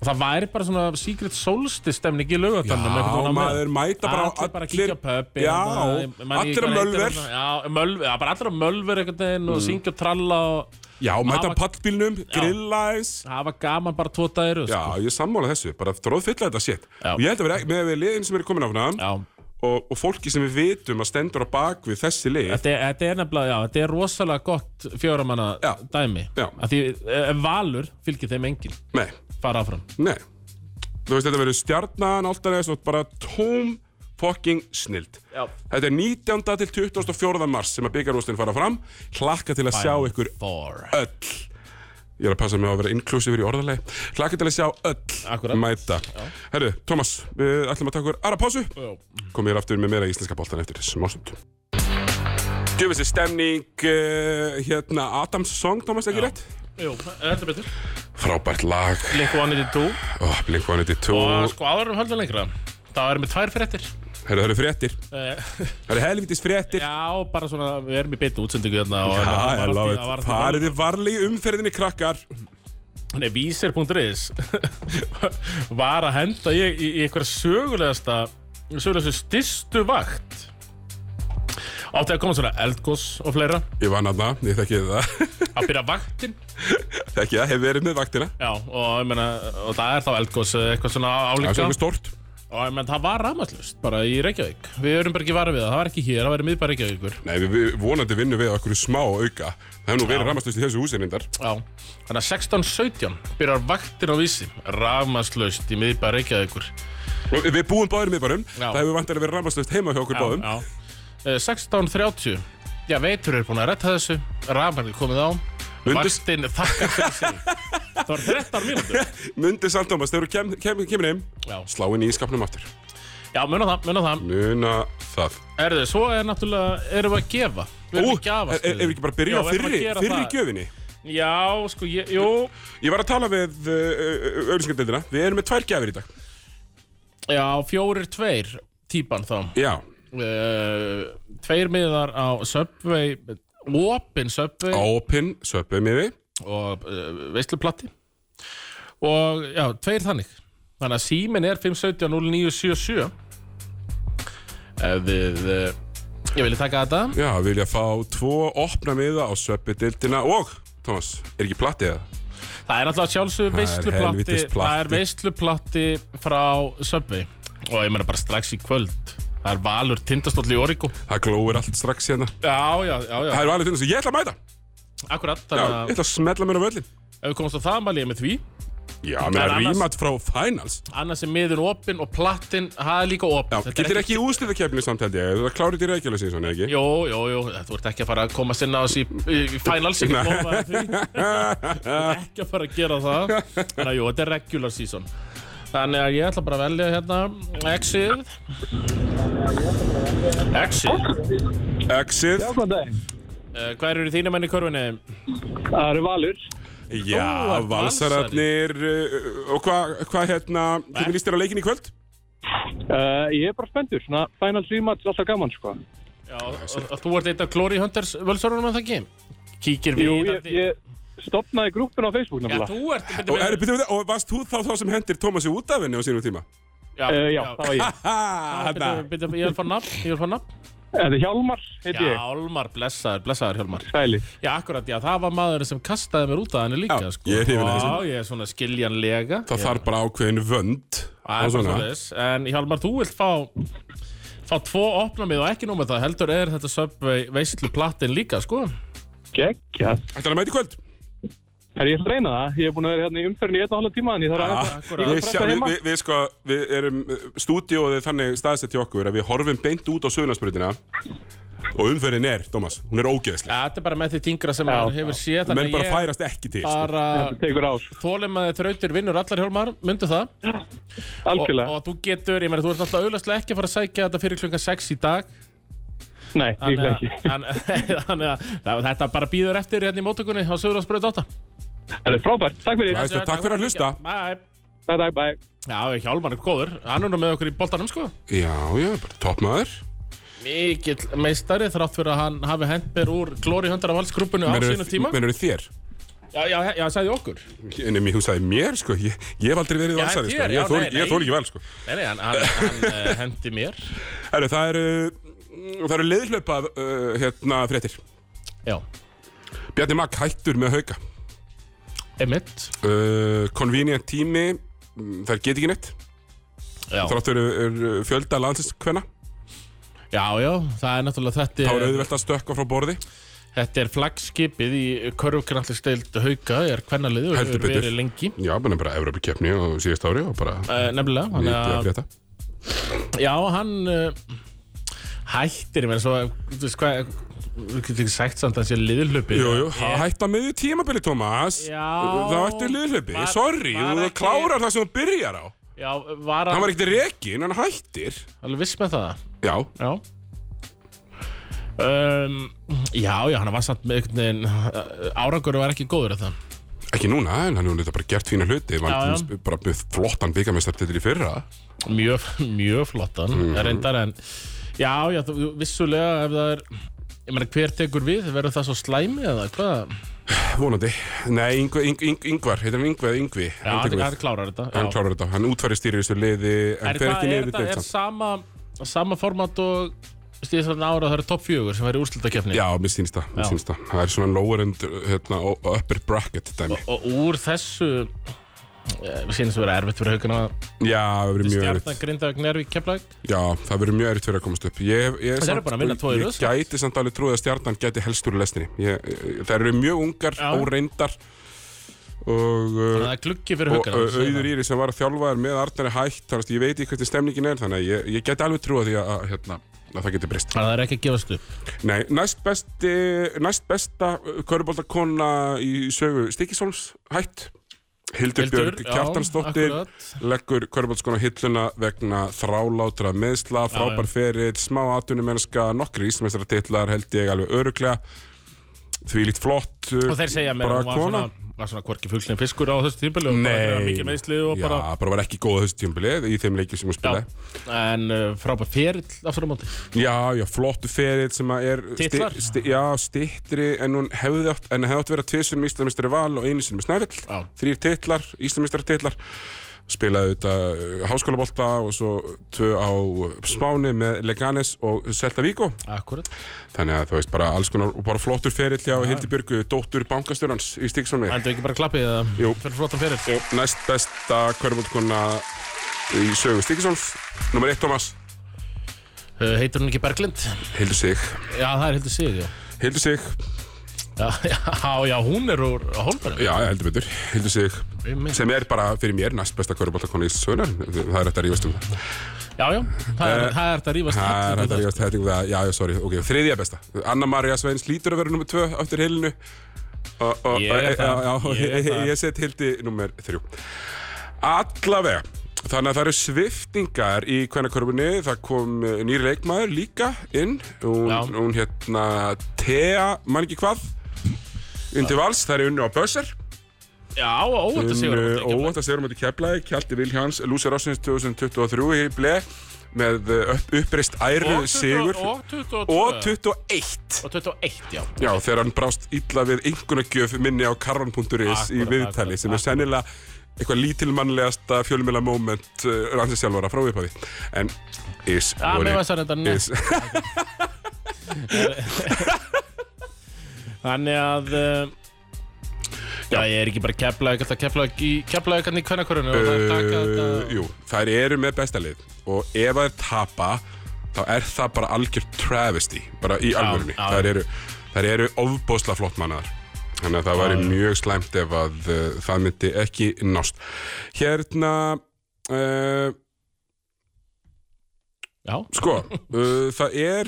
Speaker 3: og það væri bara svona secret solstice stemning í laugatalunum
Speaker 2: Já, maður mæta bara á
Speaker 3: Allir bara að kíkja á pöppi
Speaker 2: Já, allir að mölver Mm.
Speaker 3: Já, mölver, já, bara allir að mölver einhvern veginn og syngja og tralla og
Speaker 2: Já, mæta á
Speaker 3: Hafa-
Speaker 2: pallbílnum, grilla eins
Speaker 3: hafa gaman bara tvo sko. dagir
Speaker 2: Já, ég er sammála þessu, bara þróðfylla þetta shit
Speaker 3: Já.
Speaker 2: Og ég held að vera ekki með við liðin sem eru komin af hana
Speaker 3: já
Speaker 2: og, og fólki sem við vitum að stendur á bak við þessi lið
Speaker 3: Þetta er, þetta er nefnilega, já, þetta er rosalega gott fjóramanna
Speaker 2: Já.
Speaker 3: dæmi
Speaker 2: Já.
Speaker 3: að því eh, valur fylgir þeim engin
Speaker 2: Nei,
Speaker 3: fara áfram
Speaker 2: nei Þú veist, þetta verður stjarnan, áltanes og bara tóm fucking snild
Speaker 3: Já.
Speaker 2: Þetta er 19. til 24. mars sem að byggarústin fara fram Hlakka til að sjá ykkur
Speaker 3: Four.
Speaker 2: öll Ég er að passa mig á að vera inklusífur í orðalegi Hlakka til að sjá öll
Speaker 3: Akkúrat.
Speaker 2: mæta Herru, Tómas, við ætlum að taka okkur aðra pásu
Speaker 3: Já.
Speaker 2: Komið þér aftur með meira íslenska boltan eftir smástund Djöfisir stemning uh, hérna Adams eh, song, Tómas, ekki rétt?
Speaker 3: Jú, þetta er betur
Speaker 2: Frá frábært lag
Speaker 3: Blink-182
Speaker 2: oh, Blink-182
Speaker 3: og sko áður um höldum lengra það erum við tvær fréttir
Speaker 2: Herru, það eru fréttir
Speaker 3: Eh,
Speaker 2: Það eru helvitis fréttir
Speaker 3: Já, bara svona, við erum í beinni útsendingu hérna og hérna,
Speaker 2: Já,
Speaker 3: var
Speaker 2: ég
Speaker 3: allt í-
Speaker 2: lág
Speaker 3: var allt
Speaker 2: þetta
Speaker 3: í-
Speaker 2: Farið þið varlega í umferðinni krakkar
Speaker 3: Nei, vísir.is var að henda í, í, í einhverja sögulegasta sögulegastu styrstu vakt átti að koma svona eldgoss og fleira
Speaker 2: Ég vann aðna, ég þekki það
Speaker 3: að byrja vaktin
Speaker 2: Þekki það, hef verið með vaktina
Speaker 3: já, og, ég meina, og það er þá eldgoss eða eitthvað svona
Speaker 2: Það er
Speaker 3: álíka
Speaker 2: svo stort
Speaker 3: og ég meina, það var rafmagnslaust bara í Reykjavík við erum bara ekki varað við það, það var ekki hér, það var í miðbæri Reykjavíkur
Speaker 2: Nei, við, við vonandi vinnum við okkur smá auka Það hefur nú verið rammastust í þessu húsinindar
Speaker 3: já, þannig að 16.17 byrjar vaktin á vísi rafmagnslaust í miðbæri Reykjavíkur
Speaker 2: Við búum báðir með barum
Speaker 3: Já.
Speaker 2: Það hefur vantilega verið rammastust heima hjá okkur báðum
Speaker 3: já, já. Eh, 16.30 Já, veitur er búin að retta þessu Rafmæli komið á
Speaker 2: Undir-
Speaker 3: Vaktin þakka fyrir sig Það var 13 mínútur
Speaker 2: Mundi samt ámast, þegar þú kem, kem, kemur heim
Speaker 3: Já,
Speaker 2: Slá inn í ískapnum aftur
Speaker 3: já muna það, muna það
Speaker 2: Muna það
Speaker 3: Erðu, svo er náttúrulega, erum við að gefa Við erum
Speaker 2: Ú,
Speaker 3: að gefa
Speaker 2: er- er- Ef við ekki bara byrja á fyrri, fyrri gjöfinni
Speaker 3: Já, sko, ég, jú
Speaker 2: Ég var að tala við uh, auðlýsingardeildina Við erum með tvær gjafir í dag
Speaker 3: Já, fjórir tveir típan þá
Speaker 2: Já,
Speaker 3: uh, Tveir miðar á Subway Opin Subway
Speaker 2: Open Söpum í því
Speaker 3: og uh, veisluplatti og já, tveir þannig þannig að símin er 517-0977 ef þið uh, ég vilja taka þetta
Speaker 2: Já, vilja fá tvo opna miða á Söpudildina og Thomas, er ekki platið eða?
Speaker 3: það er náttúrulega sjálfsögur
Speaker 2: er
Speaker 3: veisluplatti
Speaker 2: helvítis platti.
Speaker 3: það er veisluplatti frá Subway og ég meina bara strax í kvöld það er Valur tindastóll í Origo
Speaker 2: Það glóir allt strax hérna
Speaker 3: já, já, já, já,
Speaker 2: Það eru alveg tundur sem ég ætla að mæta Já,
Speaker 3: akkurat
Speaker 2: ég
Speaker 3: þannig að
Speaker 2: ætla að smetla mér á völlin
Speaker 3: ef við komumst á það mæli ég með því
Speaker 2: Já, mér er
Speaker 3: En annars-
Speaker 2: rímat frá finals
Speaker 3: annars er miður opinn og plattin það er líka
Speaker 2: Já,
Speaker 3: opinn Þetta er
Speaker 2: getur ekki í úsliðakefni samt held ég Það klárir í reykjulega síðan, ekki?
Speaker 3: Jó, jó, jó, þú ert ekki að fara að komast inn á þessi í- í finals, ég get lofað þér því. Þú ert ekki að fara að gera það. Þannig að jú, þetta er regular season. Þannig að ég ætla bara að velja hérna Exið. Exið.
Speaker 2: Exit
Speaker 4: Já, góðan daginn.
Speaker 3: Uh, hver eru þínu menn í körfunni?
Speaker 4: Það eru Valur.
Speaker 2: Já,
Speaker 3: Ó,
Speaker 2: valsararnir uh, Og hvað, hva, hérna Hvernig líst þér á leikin í kvöld?
Speaker 4: Uh, ég er bara spenntur. Svona Final 3 match er alltaf gaman, sko.
Speaker 3: Já, og, og þú ert eitt af Glory Hunters völsarunum að það ekki? Kíkir við
Speaker 4: Jú, ég, ég stopnaði grúppuna á Facebook
Speaker 3: Já,
Speaker 4: náttúrulega.
Speaker 3: þú ert...
Speaker 2: Og, er, byrju, byrju, og varst þú þá þá sem hendir Tómasi út af henni á sínum tíma?
Speaker 3: Já,
Speaker 4: Uh, já, það var ég.
Speaker 2: Ha, hérna. þarna.
Speaker 3: Byrju, byrju, ég vil fá nafn, ég vil fá nafn.
Speaker 4: Þetta er Hjálmar, heiti
Speaker 3: Já,
Speaker 4: ég.
Speaker 3: Hjálmar, blessaður, blessaður Hjálmar.
Speaker 4: Sæli.
Speaker 3: Já, akkurat, já, það var maðurinn sem kastaði mér út af henni líka,
Speaker 2: Já,
Speaker 3: sko.
Speaker 2: ég er hrifinn af
Speaker 3: Já,
Speaker 2: þessu.
Speaker 3: ég er svona skiljanlega.
Speaker 2: Það þarf bara ákveðin vönd
Speaker 3: Það
Speaker 2: og
Speaker 3: er svona
Speaker 2: svona.
Speaker 3: þess. En Hjalmar, þú vilt fá, fá tvo opnamið og ekki nú með það, heldur er þetta Subway veistlu plattin líka, sko.
Speaker 4: Geggjað.
Speaker 2: Ætlar að mæta í kvöld?
Speaker 4: Er ég að reyna það? Ég er búin að vera hérna í umferðin í einn og halva tíma, en ég þarf að...
Speaker 3: akkúrat.
Speaker 2: við,
Speaker 4: Ég
Speaker 2: sjá,
Speaker 4: preppa
Speaker 2: við,
Speaker 4: heima.
Speaker 2: við, við, sko, við erum stúdíóðið þannig staðsett hjá okkur að við horfum beint út á sögurnarsbrutina og umferðin er, Tómas, hún er ógeðslega.
Speaker 3: Já, þetta er bara með því tingra sem
Speaker 4: Já.
Speaker 3: maður hefur séð,
Speaker 2: Menn
Speaker 3: þannig
Speaker 2: bara
Speaker 3: að ég
Speaker 2: færast ekki til. sko.
Speaker 3: bara
Speaker 4: Þetta tekur á, sko.
Speaker 3: þólum að þið þrautir vinnur allar Hjálmar, myndu það. Og,
Speaker 4: Algjörlega.
Speaker 3: og þú getur, ég meina, þú ert alltaf auðvitað ekki að fara að sækja þetta fyrir klunga 6 í dag.
Speaker 4: Nei, líklega
Speaker 3: Þannig
Speaker 4: ekki.
Speaker 3: að- þannig að þannig að þetta bara býður eftir hérna í mótökunni á Söðurlandsbröð 8.
Speaker 4: Þetta er frábært. Takk fyrir.
Speaker 2: Æsla, takk fyrir að hlusta.
Speaker 3: Bye.
Speaker 4: Takk, takk, bæ.
Speaker 3: Já, Hjálmar er góður. Hann er nú með okkur í boltanum, sko.
Speaker 2: Já, já, bara toppmaður.
Speaker 3: Mikill meistari þrátt fyrir að hann hafi hent mér úr Glóri Höndar af valsgrúpunu á sínu tíma.
Speaker 2: Menn eru þér.
Speaker 3: Já, já, já, sagði okkur.
Speaker 2: En ég hugsaði mér, sko, ég, ég hef aldrei verið
Speaker 3: Já,
Speaker 2: valsari, sko.
Speaker 3: þér, já,
Speaker 2: Ég þól-
Speaker 3: nei, nei.
Speaker 2: Ég þól ekki vel, sko.
Speaker 3: Nei, nei, hann, hann, hann uh, hendi mér.
Speaker 2: Herru, það eru, það eru leiðhlaupa uh, hérna fréttir.
Speaker 3: Já,
Speaker 2: Bjarni Mag hættur með hauka.
Speaker 3: emitt.
Speaker 2: Uh, convenient tími, mm, þær get ekki neitt.
Speaker 3: Já.
Speaker 2: Þráttur er, er fjölda landsinskvenna.
Speaker 3: já, já, það er náttúrulega
Speaker 2: Þá er
Speaker 3: þetta er,
Speaker 2: auðvelt að stökka frá borði.
Speaker 3: þetta er flaggskipið í körfknallistild Hauka, er kvennaliði og
Speaker 2: Heldur
Speaker 3: hefur
Speaker 2: betur.
Speaker 3: verið lengi.
Speaker 2: Já, bara bara Evrópikeppni og síðast ári og bara
Speaker 3: Uh, nefnilega,
Speaker 2: lítið
Speaker 3: þannig
Speaker 2: að
Speaker 3: að
Speaker 2: frétta.
Speaker 3: Já, hann uh, hættir, ég meina svo, þú veist hvað, þú getur ekki sagt samt að það sé liðlöpið.
Speaker 2: Jú, jú, yeah. hætta miðju tímabili, Tómas.
Speaker 3: Já.
Speaker 2: Það ertu liðhlaupi.
Speaker 3: Var-
Speaker 2: Sorry,
Speaker 3: var
Speaker 2: þú
Speaker 3: ekki-
Speaker 2: klárar það sem þú byrjar á.
Speaker 3: Já, var
Speaker 2: Hann
Speaker 3: hann,
Speaker 2: var ekkert rekin, hann hættir.
Speaker 3: alveg viss með það,
Speaker 2: Já,
Speaker 3: já. Um, já, já, hann var samt með einhvern veginn, árangur var ekki góður að það.
Speaker 2: Ekki núna, en hann hefur þetta bara gert fína hluti Hann
Speaker 3: Já, já.
Speaker 2: já, bara með flottan vikamestar til í fyrra
Speaker 3: mjög, mjög flottan
Speaker 2: Mhm.
Speaker 3: reyndar en já, já, þú- vissulega ef það er ég meina hver tekur við, verður það svo slæmi eða hvað,
Speaker 2: Vonandi Nei, Ingvar, Ing, Ing, Ingvar heitir hann Ingvar eða Ingvi
Speaker 3: já,
Speaker 2: hann,
Speaker 3: hann,
Speaker 2: tekur
Speaker 3: hann
Speaker 2: við.
Speaker 3: klárar þetta
Speaker 2: hann
Speaker 3: já.
Speaker 2: klárar þetta, hann útfæri stýri þessu liði En
Speaker 3: er,
Speaker 2: fer
Speaker 3: það,
Speaker 2: ekki
Speaker 3: er,
Speaker 2: niður í
Speaker 3: það, er
Speaker 2: deilt samt
Speaker 3: sama sama format og stíðis þarna ára það eru topp fjögur sem verður úrslutakefni
Speaker 2: Já, mér sýnst það, mér
Speaker 3: Já.
Speaker 2: sýnst það Það er svona lower end, hérna, og upper bracket dæmi
Speaker 3: og úr þessu eh, við sínum sem verður erfitt fyrir hauguna
Speaker 2: Já, það verður mjög
Speaker 3: stjarnan,
Speaker 2: erfitt
Speaker 3: grindaug, nervi, keflag
Speaker 2: Já, það verður mjög erfitt fyrir að komast upp Ég, hef- ég,
Speaker 3: Þeir eru bara að vinna tvo í
Speaker 2: ég,
Speaker 3: röð, sko.
Speaker 2: gæti samt alveg trúið að stjarnan gæti helst úr lestinni ég, ég, Það eru mjög ungar,
Speaker 3: Já.
Speaker 2: óreyndar Og uh,
Speaker 3: það er gluggi fyrir
Speaker 2: og
Speaker 3: hauguna
Speaker 2: Au- auður Íri sem var að þjálfa er með Arnari hægt þannig að ég veit ekki hvernig stemningin er þannig að ég, ég geti alveg trúa því að, að, hérna, að það geti breyst
Speaker 3: það er ekki að gefast upp
Speaker 2: Nei, næst, besti, næst besta köruboltakona í sögu Stikisóls hætt Hildur,
Speaker 3: Hildur,
Speaker 2: Björg
Speaker 3: já,
Speaker 2: Kjartansdóttir
Speaker 3: akkurat.
Speaker 2: leggur köruboltskona hilluna vegna þrálátra meðsla, frábær ferill smá atvinnumennska, nokkri ísmestaratitlar held ég alveg öruglega því lít flott uh,
Speaker 3: og þeir segja mér
Speaker 2: bara
Speaker 3: að hún var
Speaker 2: kona.
Speaker 3: svona var svona hvorki fugslinn fiskur á þessu tímpil og bara þegar mikið meðsli og
Speaker 2: já,
Speaker 3: bara
Speaker 2: bara var ekki góð á þessu tímbili í þeim leikjum sem hún
Speaker 3: Já,
Speaker 2: spilaði
Speaker 3: en uh, frábær ferill aftur á móti
Speaker 2: Já, já, flottu ferill sem að er
Speaker 3: Titlar?
Speaker 2: sti, Já, stittri en hún hefði átt en hefði átt að vera tvisum Íslamistari val og einu sinni með
Speaker 3: Já.
Speaker 2: Snæfell Þrýr titlar, Íslamistari titlar spilaði þetta háskólabolta og svo tvö á uh, Spáni með Leganes og Celta Vigo
Speaker 3: Akkurat
Speaker 2: þannig að þú veist bara alls konar og bara flottur ferill hjá Hildibjörgu, dóttur bankastjórans í Stíksónmi
Speaker 3: Endur ekki bara klappið það
Speaker 2: Jú.
Speaker 3: Fyrir flottan ferill Jú
Speaker 2: Næst besta hverfaldkona í sögu Stíksóns Númer 1, Thomas,
Speaker 3: Heitir hún ekki Berglind?
Speaker 2: Hildur Sig
Speaker 3: Já, það er heldur sig, já
Speaker 2: Hildur Sig,
Speaker 3: Já, já, já hún er úr Holmberg
Speaker 2: já, heldur betur Hildur Sig,
Speaker 3: Já,
Speaker 2: sem er bara fyrir mér næst besta köruboltakonu í sögunar það er þetta rífast um það
Speaker 3: já, það er, það er þetta að rífast
Speaker 2: það er
Speaker 3: allir
Speaker 2: þetta
Speaker 3: við
Speaker 2: rífast þetta um það já, já, sorry, ok, þriðja besta Anna Maria Sveins lítur að vera nummer tvö áttir heilinu og, og,
Speaker 3: Ég er
Speaker 2: já,
Speaker 3: þar.
Speaker 2: eh, já,
Speaker 3: Ég er
Speaker 2: ég,
Speaker 3: þar.
Speaker 2: ég set hildi nummer þrjú allavega Þannig að það eru sviftingar í kvennakörfunni, það kom eh, nýr leikmaður líka inn, hún,
Speaker 3: Já.
Speaker 2: hún hérna Thea, mann ekki hvað, inn til vals, það er unni á Bösser.
Speaker 3: þetta. Já, óvænt að sigur hún ekki
Speaker 2: Óvænt að segja um þetta keflaði Kjaldi Vilhjáns, Lúsi Rossins 2023 í ble með uh, upp, uppreist æru
Speaker 3: Og 20
Speaker 2: sigur
Speaker 3: og 22.
Speaker 2: og 21
Speaker 3: Og 21, já
Speaker 2: Já, þegar hann brást illa við einhvernagjöf minni á karvan.is í
Speaker 3: Akkurat,
Speaker 2: viðtali sem er
Speaker 3: akkurat.
Speaker 2: sennilega eitthvað lítilmannlegasta fjölmjöla moment uh, rannsins sjálfara frá upphæði en is
Speaker 3: Já,
Speaker 2: what
Speaker 3: mér
Speaker 2: it
Speaker 3: var það reyndar neitt
Speaker 2: is.
Speaker 3: Þannig að uh, Já, ég er ekki bara keflaði Þetta keflaði í keflaði hvernig hvernig hvernig Og það er taka
Speaker 2: Uh,
Speaker 3: þetta
Speaker 2: jú, þær eru með besta lið og ef þær tapa þá er það bara algjör travesty bara í alvörunni
Speaker 3: já.
Speaker 2: þær eru, þær eru ofbóðsla flott mannaðar þannig að það væri mjög slæmt ef að uh, það myndi ekki nást hérna uh,
Speaker 3: Já,
Speaker 2: sko uh, það er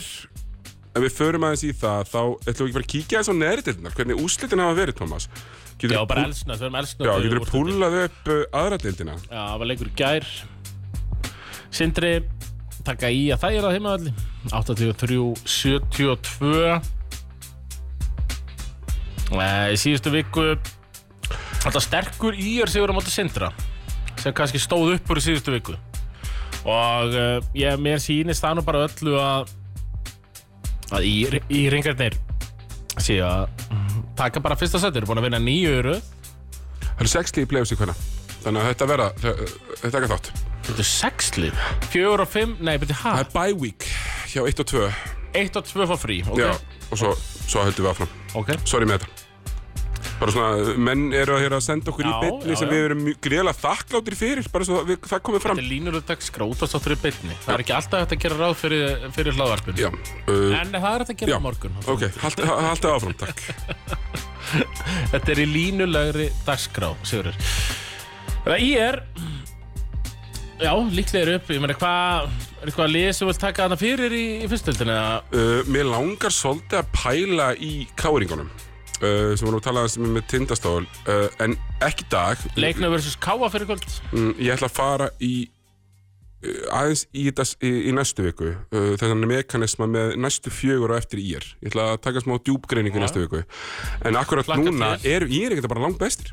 Speaker 2: ef við förum aðeins í það þá ætlum við ekki bara að kíkja aðeins á neðritildinar hvernig úrslitin hafa verið Thomas getur
Speaker 3: já, bara elsnöð Við erum elsnöð
Speaker 2: Já, getur þú púlað upp uh, aðra deildina?
Speaker 3: Já, það var leikur í gær Sindri taka í að það er að heimavalli 83-72 Eh, Í síðustu viku Þetta sterkur í er sigur á móti Sindra sem kannski stóð upp úr í síðustu viku og uh, ég mér sýnist það nú bara öllu að að í, í ringarnir sé að mm, taka bara fyrsta sæti, eru búin að vinna nýju öru
Speaker 2: Það eru sex lið í play-offs í hverna Þannig að þetta verða, þetta er ekki þátt
Speaker 3: Þetta er sexlið Fjögur og fimm, nei, betur hæ
Speaker 2: Það er bye week hjá 1 og 2
Speaker 3: Eitt og tvö fá frí, ok?
Speaker 2: Já, og svo, svo höldum við áfram
Speaker 3: Ok.
Speaker 2: Sorry með þetta Bara svona, menn eru að, eru að senda okkur
Speaker 3: Já,
Speaker 2: í beinni
Speaker 3: já,
Speaker 2: sem
Speaker 3: já.
Speaker 2: við erum greiðlega þakkláttir fyrir bara svo við, það komið fram
Speaker 3: Þetta er línuleg dag skrótastáttur í beinni. Það er ekki alltaf hægt að gera ráð fyrir, fyrir hlaðvarpinu.
Speaker 2: Já, uh,
Speaker 3: En það er hægt að gera
Speaker 2: já,
Speaker 3: á morgun.
Speaker 2: ok, haldið hald áfram, takk
Speaker 3: Þetta er í línulegri dagskrá, Sigurður. Það ég er... Já, líklega er upp. Ég meina, hvað... Er eitthvað lið sem vil taka þarna fyrir í, í fyrstöldinu?
Speaker 2: uh, Mér langar svolítið að pæla í káringunum uh, sem vorum að tala aðeins um með tindastól uh, en ekki í dag
Speaker 3: Leiknað versus káa fyrir kvöld?
Speaker 2: Mm, Ég ætla að fara í uh, aðeins í, þess, í, í næstu viku uh, þessan mekanisma með næstu fjögur og eftir í er ég ætla að taka smá djúbgreiningu í næstu viku en akkurat
Speaker 3: Hlakka
Speaker 2: núna
Speaker 3: til.
Speaker 2: er ég er ekkert bara langt bestir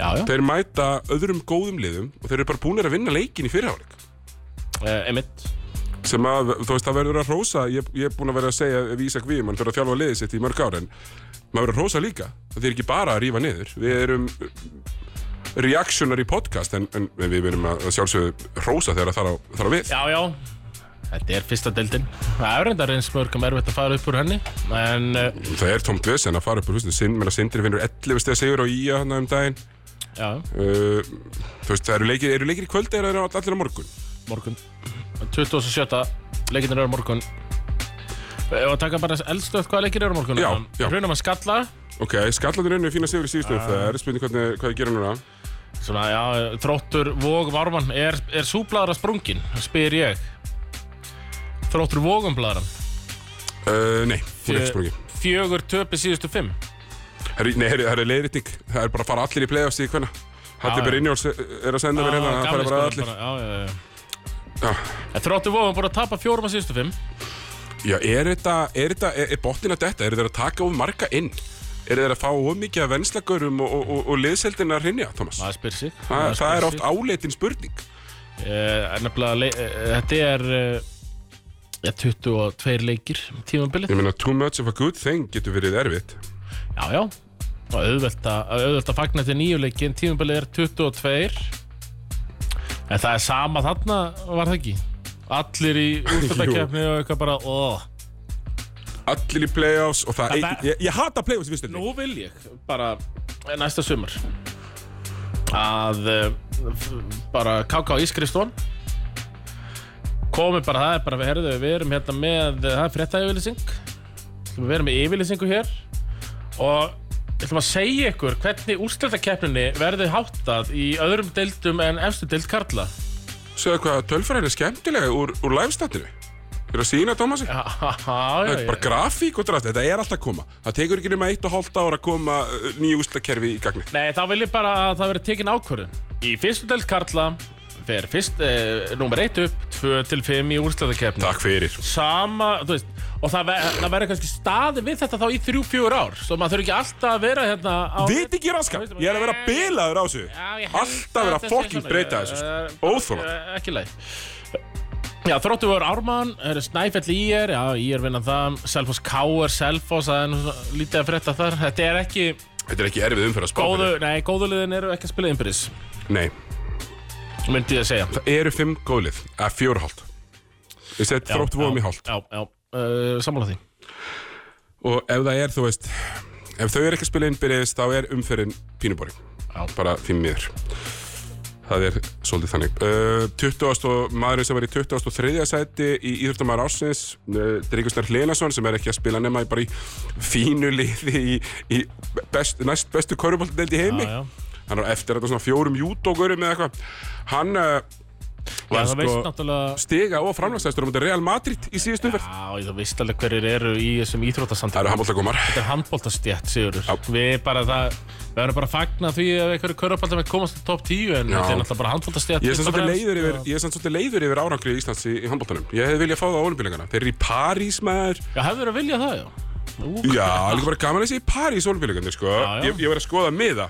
Speaker 3: já, já,
Speaker 2: Þeir mæta öðrum góðum liðum og þeir eru bara búinir að vinna leikin í fyrirháleik
Speaker 3: Eh, einmitt
Speaker 2: sem að, þú veist, það verður að hrósa ég, ég er búin að vera að segja við Ísak Víum hann fyrir að þjálfa liðið sitt í mörg ára en maður verður að hrósa líka, það er ekki bara að rífa niður við erum uh, reactionary podcast en, en við verum að að sjálfsögðu hrósa þegar það þarf að við
Speaker 3: Já, já Þetta er fyrsta deildin Það er reyndar eins mörgum erfitt að fara upp úr henni En eh,
Speaker 2: það er tómt vesen að fara upp úr húsinu Sin, menna, Sindri finnur 11 steg sigur á ía hann um daginn
Speaker 3: já,
Speaker 2: uh, þú veist, það eru leikir, eru leikir í kvöld eða eru allir á morgun
Speaker 3: morgun 27. leikinir eru á morgun Ef að taka bara eldstöð hvaða leikir eru á morgun
Speaker 2: Já, já.
Speaker 3: Hrunum að skalla
Speaker 2: ok, skallandur einu fína sigur í síðustu uh. það er spurning hvernig, hvað þið gerum núna
Speaker 3: Svona, já, þróttur vóg varman Er, er súbladra sprungin? Spyr ég Þróttur vógum blaðran
Speaker 2: uh, nei, hún er ekki sprungin
Speaker 3: Fjögur töpi síðustu fimm
Speaker 2: Herri, nei, herri, það er leiðritning. Það er bara að fara allir í play-offs í hvenna. Halli
Speaker 3: Já, já.
Speaker 2: Brynjóls er að senda mér hérna,
Speaker 3: Ah,
Speaker 2: það fara
Speaker 3: gamli
Speaker 2: bara
Speaker 3: skólinn
Speaker 2: allir.
Speaker 3: bara, já, já, já.
Speaker 2: Já,
Speaker 3: En Þróttur vógum bara að tapa fjórum að síðustu fimm
Speaker 2: já er þetta, er þetta, er, er botnin að detta? Eru þeir að taka of marga inn? Eru þeir að fá of mikið af venslagörum og, og, og, og liðseldin að hrynja, Thomas?
Speaker 3: Það spyr sig
Speaker 2: Þa, það
Speaker 3: spyr
Speaker 2: er
Speaker 3: sig.
Speaker 2: oft áleitin spurning.
Speaker 3: Uh, nefnilega, le- eh, þetta er uh, ja, 22 leikir um tímabilið.
Speaker 2: Ég meina, too much of a good thing getur verið erfitt.
Speaker 3: Já, já. Og auðvelt að auðvelt að fagna þetta nýju leikin. Tímabilið er 22. En það er sama þarna, var það ekki? Allir í úrstættakefni og eitthvað bara, óh.
Speaker 2: Allir í play-offs og það...
Speaker 3: Það-
Speaker 2: Ég, ég, ég hata play-offs, viðstu þetta?
Speaker 3: Nú vil ég bara eh, næsta sumar að eh, f- bara KK Ískristón komi bara það er bara við herðu við erum hérna með það er frétta yfirlýsing við erum með yfirlýsingu hér og við ætlum að segja ykkur hvernig úrslitakeppninni verði háttað í öðrum deildum en efstu deild Karla
Speaker 2: Segðu hvað, tölfræðin er skemmtilega úr, úr livestatinu. Þeir eru að sína, Thomasi?
Speaker 3: Já,
Speaker 2: Það
Speaker 3: já,
Speaker 2: er
Speaker 3: já.
Speaker 2: bara grafík og drast, þetta er alltaf að koma. Það tekur ekki nema eitt og hálft ára að koma uh, nýju úslakerfi í gagni.
Speaker 3: Nei, þá vil ég bara að það veri tekin ákvörðun. Í fyrstu delt Karla fer fyrst, eh, nummer 1 upp, 2 til 5 í úrslæðakefni.
Speaker 2: Takk fyrir.
Speaker 3: Sama, þú veist, og það, ver, það verður kannski staði við þetta þá í 3-4 ár. Svo maður þurfi ekki alltaf að vera hérna á...
Speaker 2: Viti ekki raskar, ég er að vera bilaður á þessu.
Speaker 3: Já, ég held
Speaker 2: Alltaf vera
Speaker 3: þetta
Speaker 2: að
Speaker 3: sé
Speaker 2: fokking
Speaker 3: svona,
Speaker 2: breyta
Speaker 3: ég-
Speaker 2: þessu.
Speaker 3: eh,
Speaker 2: sko. Óþolandi.
Speaker 3: eh, Ekki leið. Já, þróttu voru Ármann, það eru Snæfell í er, já, í er vinnan það, Selfoss K er Selfoss, það er nú svona lítið að frétta þar. Þetta er ekki,
Speaker 2: Þetta er ekki erfið umfyrir að spá.
Speaker 3: góðu, nei, góðuliðin eru ekki að spila innbyrðis,
Speaker 2: Nei,
Speaker 3: myndi ég að segja.
Speaker 2: það eru fimm gólið, að fjóra hálft. Ég sett
Speaker 3: Já,
Speaker 2: þrótt vóðum
Speaker 3: já,
Speaker 2: í hálft.
Speaker 3: Já, já, uh, sammála því
Speaker 2: Og ef það er, þú veist, ef þau eru ekki að spila innbyrðis, þá er umfyrin pínuboring.
Speaker 3: Já.
Speaker 2: Bara fimm miður. Það er svolítið þannig. Uh, 20. og maðurinn sem er í 23. sæti í Íþróttamæður ársins, uh, Dríkusnar Hlenason, sem er ekki að spila nema í bara í fínu liði í, í best, næst bestu korfbóltdeld í heimi.
Speaker 3: Já, já.
Speaker 2: Hann er eftir þetta svona fjórum jútógurum eða eitthvað. Hann uh,
Speaker 3: Já,
Speaker 2: var
Speaker 3: það veist
Speaker 2: sko
Speaker 3: náttúrulega
Speaker 2: stiga og framlagsæstur á um Real Madrid í síðustu umferð.
Speaker 3: Já, ég- þú veist alveg hverjir eru í þessum
Speaker 2: Það
Speaker 3: íþrótasandar
Speaker 2: eru handbóltakomar.
Speaker 3: Þetta er handbóltastjætt, Sigurður Við bara það Við verðum bara að fagna því að einhverju körfabaldar með komast í topp 10 En
Speaker 2: Já.
Speaker 3: þetta er náttúrulega bara handbóltastjætt
Speaker 2: Ég er samt svolítið leiður yfir, ég er samt svolítið leiður yfir árangri Íslands í, í handbóltanum. Ég hefði viljað fá það á olimpíuleikana. Þeir eru í París maður.
Speaker 3: Já, hefur verið að vilja það, já Ú,
Speaker 2: Já, líka bara gaman að sé í París olimpíuleikandir, sko.
Speaker 3: Já, já.
Speaker 2: Ég, ég var að skoða miða.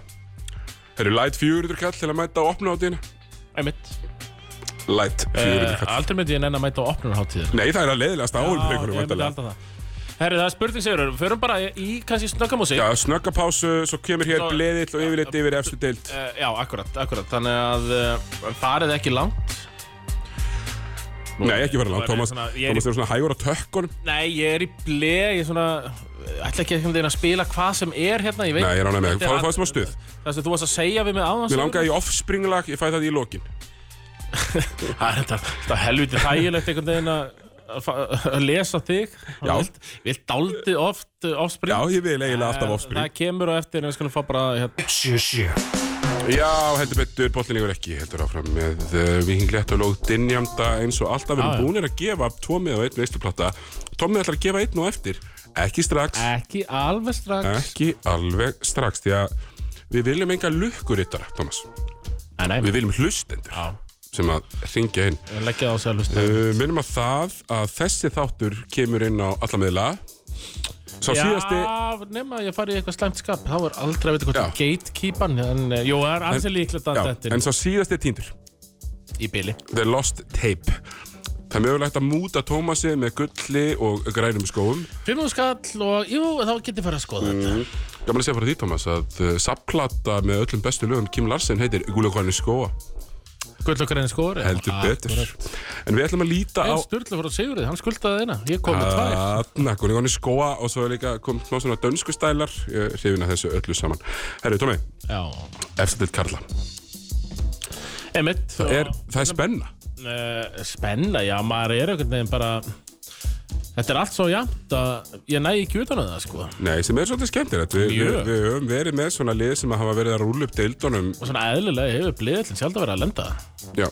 Speaker 2: Þeir eru light 400 kall til að mæta á opnáttina.
Speaker 3: einmitt
Speaker 2: Light 400
Speaker 3: Eh,
Speaker 2: kall.
Speaker 3: Aldrei myndi ég nenn að mæta á opnunarháttíðir
Speaker 2: Nei, það er að leiðilegast á olimpíuleikunum, vantarlega.
Speaker 3: Herri, það er spurning, Sigurður Förum bara í, í kannski snöggamúsík
Speaker 2: Já, snöggapásu, svo kemur hér
Speaker 3: Svo-
Speaker 2: bleðill og yfirleitt yfir efstu deild.
Speaker 3: Uh, já, akkurat, akkurat Þannig að uh, farið ekki langt
Speaker 2: Nei, ekki fara langt,
Speaker 3: Nú er ég
Speaker 2: Thomas.
Speaker 3: svona- ég er í-
Speaker 2: Thomas er svona hægur á tökkunum.
Speaker 3: Nei, ég er í ble Ég er svona ætla ekki einhvern veginn að spila hvað sem er hérna Ég veit
Speaker 2: Nei, ég er ánægð með það.
Speaker 3: Þetta
Speaker 2: Fá- fá smá stuð.
Speaker 3: Það sem þú varst að segja við mig áðan
Speaker 2: Mér langaði í offspringlag, ég fæ það í lokin.
Speaker 3: Hm? Sigurður. Það er þetta- þetta er helviti þægilegt einhvern veginn að að fa- að lesa þig
Speaker 2: Já.
Speaker 3: Við dáldi oft eh, offspring
Speaker 2: Já, ég vil eiginlega alltaf offspring.
Speaker 3: Eh, Það kemur á eftir en við skulum fá bara hérna.
Speaker 1: 77
Speaker 2: Já, heldur betur, boltin yfir ekki heldur áfram með uh, vikinglétt og lóð dinjanda eins og alltaf við
Speaker 3: Já,
Speaker 2: erum
Speaker 3: já.
Speaker 2: búinir að gefa tómið og einn veisluplata Tómið ætlar að gefa einn og eftir ekki strax,
Speaker 3: Ekki alveg strax
Speaker 2: ekki alveg strax því að við viljum enga lukkurittara, Thomas
Speaker 3: Nei, nei
Speaker 2: við viljum hlustendur
Speaker 3: Já,
Speaker 2: sem að ringja inn Eh,
Speaker 3: ég leggja það á sjálfust
Speaker 2: uh, minnum að það að þessi þáttur kemur inn á alla miðla Sá síðasti,
Speaker 3: Já, nema að ég fari í eitthvað slæmt skap Þá er aldrei að vita hvort
Speaker 2: Já.
Speaker 3: það er gatekeepan En, eh, jú, það er alls líklegt að
Speaker 2: já,
Speaker 3: þetta
Speaker 2: en sá síðasti er týndur
Speaker 3: er í bili
Speaker 2: The Lost Tape Það er mögulegt að múta Tómasi með gulli og grænum skóum
Speaker 3: Fimmum skall og, jú, þá getið farið að skoða
Speaker 2: Mm.
Speaker 3: þetta
Speaker 2: Gaman að segja frá því, Tómas, að uh, sapplata með öllum bestu lögum Kim Larsen heitir Gulagvarni skóa,
Speaker 3: Gull okkar enn skóri
Speaker 2: heldur betur En við ætlum að líta á Ah.
Speaker 3: En Sturla fór á Sigurðið, hann skuldaði eina Ég kom með tvær
Speaker 2: Þarna, Gulagvarni skóa og svo er líka kom smá svona dönsku stælar eh, hrifin að þessu öllu saman Herri, Tómi,
Speaker 3: Já
Speaker 2: eftir til Karla
Speaker 3: Emitt
Speaker 2: Það er, það er spenna
Speaker 3: uh, spenna, já, maður er einhvern veginn bara Þetta er allt svo jafnt að ég næ ekki utan að það, sko
Speaker 2: Nei, sem er svolítið skemmtilegt Við, við,
Speaker 3: Mjög.
Speaker 2: við höfum verið með svona lið sem hafa verið að rúla upp deildunum
Speaker 3: Og svona eðlilega hefur bliðillin sjálf að vera að lenda
Speaker 2: Já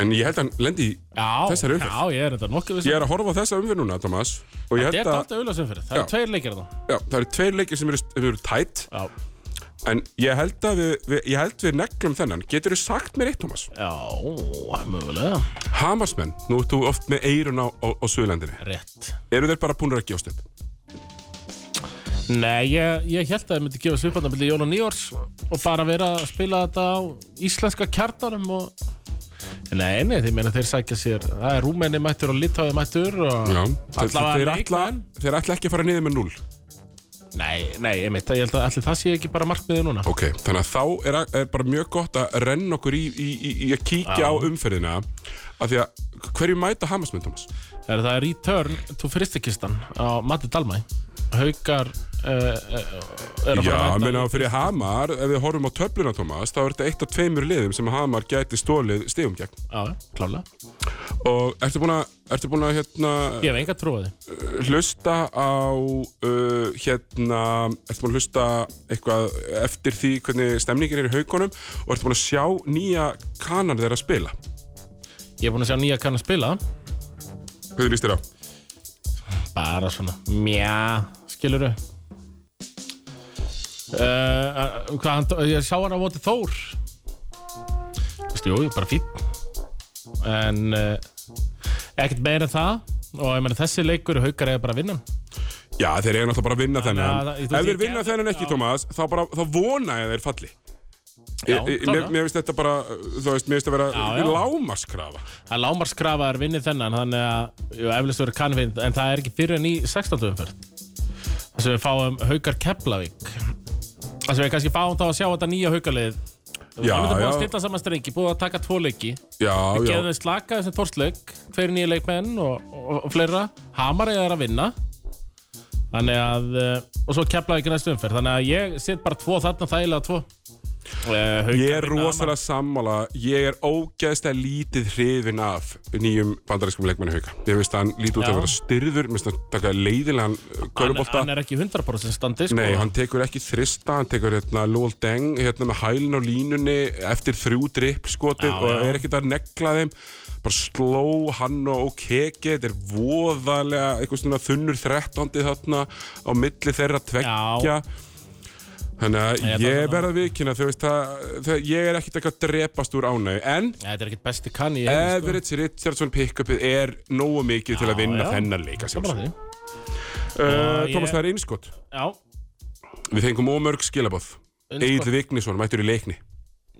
Speaker 2: En ég held að hann lendi í
Speaker 3: Já,
Speaker 2: Þessari umferð.
Speaker 3: já, ég er þetta nokkuð
Speaker 2: Ég
Speaker 3: viss um-
Speaker 2: er að horfa á þessa umfyrir núna, Thomas Og ég
Speaker 3: Þetta er
Speaker 2: held að
Speaker 3: alltaf auðvitað umferð, það
Speaker 2: Já.
Speaker 3: eru tveir leikir þá
Speaker 2: já, Það eru tveir leikir sem eru, sem eru tætt
Speaker 3: Já,
Speaker 2: En ég held að við, við, ég held við neglum þennan Getur þú sagt mér eitt, Thomas?
Speaker 3: já, mögulega
Speaker 2: Hamarsmenn, nú ert þú oft með eirun á, á, á Suðurlandinni
Speaker 3: Rétt
Speaker 2: Eru þeir bara búinir að gefast upp?
Speaker 3: Nei, ég, ég held að það myndi gefa svipanna millir Jón og Nýjórs og bara vera að spila þetta á íslenska kjartanum og Nei, nei, því meina þeir sækja sér Það er Rúmeni mættur og Litáði mættur og
Speaker 2: Já Þeir,
Speaker 3: Allavega
Speaker 2: þeir, ætla,
Speaker 3: leikmenn.
Speaker 2: þeir ætla ekki að fara niður með 0
Speaker 3: Nei, nei, einmitt, ég held að allir það sé ekki bara markmiðið núna
Speaker 2: Ok, þannig að þá er, er bara mjög gott að renna okkur í, í, í, í að kíkja
Speaker 3: Já.
Speaker 2: á umferðina af því að hverju mæta Hamarsmenn, Thomas?
Speaker 3: Það er það er return to fristikistan á Matti Dalmæ Haukar uh, uh, er að fara
Speaker 2: Já,
Speaker 3: að mæta
Speaker 2: menna fyrir Hamar, ef við horfum á töfluna, Thomas, þá er þetta eitt af tveimur liðum sem Hamar gæti stólið stigum gegn.
Speaker 3: Já, klálega
Speaker 2: Og ertu búin að, ertu búin að hérna,
Speaker 3: Ég hef enga trú á því
Speaker 2: hlusta á, uh, hérna, ertu búin að hlusta eitthvað eftir því hvernig stemningin er í haugunum og ertu búin að sjá nýja kanan þeirra að spila?
Speaker 3: Ég hef búin að sjá nýja kann að spila
Speaker 2: Hvernig líst þér á?
Speaker 3: bara svona mjá, skiluru uh, hvað hann ég sá hann á móti Þór Vistu, jú, bara fín en uh, ekkert meira en það og ég meina þessi leikur haukar eða bara að vinna hann.
Speaker 2: Já, þeir eru náttúrulega bara að vinna
Speaker 3: að
Speaker 2: þennan.
Speaker 3: það- ég- þú-
Speaker 2: Ef
Speaker 3: ég-
Speaker 2: þeir vinna þennan ekki,
Speaker 3: já.
Speaker 2: Thomas, þá bara, þá vona ég að þeir falli.
Speaker 3: Já,
Speaker 2: Ég- ég-
Speaker 3: klárlega.
Speaker 2: Mér mér finnst þetta bara, þú veist, mér finnst þetta
Speaker 3: Já,
Speaker 2: vera
Speaker 3: já.
Speaker 2: lámaskrafa.
Speaker 3: að lámarskrafa er vinnið þennan þannig að jú, eflust verður kannfinn en það er ekki fyrir en í 16. umferð þar sem við fáum haukar Keflavík þar sem við kannski fáum þá að sjá þetta nýja haukarlið
Speaker 2: Já,
Speaker 3: það er búið að
Speaker 2: já.
Speaker 3: stilla saman strengi búið að taka tvo leiki
Speaker 2: Já,
Speaker 3: Við
Speaker 2: já.
Speaker 3: geðum þeim slaka þessum þorstleik Tveir nýja leikmenn og, og, og fleira Hamar er að vinna Þannig að eh, Og svo keflaði ekki næstu umferð Þannig að ég set bara tvo þarna þægilega tvo Eh, Haukar
Speaker 2: Ég er
Speaker 3: vinna
Speaker 2: rosalega sammála, ég er ógeðslega lítið hrifin af nýjum bandarískum leikmenni hauka. Ég veist að hann lítið út
Speaker 3: Já.
Speaker 2: að vera styrður, mér finnst að taka uh, leiðilegan
Speaker 3: Hamar. hann,
Speaker 2: körubólta.
Speaker 3: hann er ekki 100% standi sko.
Speaker 2: Nei, hann tekur ekki þrista, hann tekur hérna Lól Deng, hérna með hælin á línunni eftir þrjú dripp skotið
Speaker 3: Já,
Speaker 2: og
Speaker 3: já.
Speaker 2: er ekkert að negla þeim bara sló hann og keki þetta er voðalega eitthvað svona þunnur þrettándið þarna á milli þeirra tveggja þannig
Speaker 3: Nei,
Speaker 2: að
Speaker 3: þetta er
Speaker 2: ég
Speaker 3: svona-
Speaker 2: verð að vikina þú veist það, það ég er ekkert eitthvað að drepast úr ánæg en
Speaker 3: Nei, Eh, Þetta er ekkert besti
Speaker 2: Eh,
Speaker 3: kanni
Speaker 2: Everett Richardson pick-upið er nógu mikið til að vinna þennan leika sjálfsagt.
Speaker 3: sjálfsög
Speaker 2: uh,
Speaker 3: Já,
Speaker 2: Thomas
Speaker 3: ég-
Speaker 2: það er einskott
Speaker 3: Já,
Speaker 2: við fengum ómörg skilabóð
Speaker 3: Innskot.
Speaker 2: Egil Vignisson mættur í leikni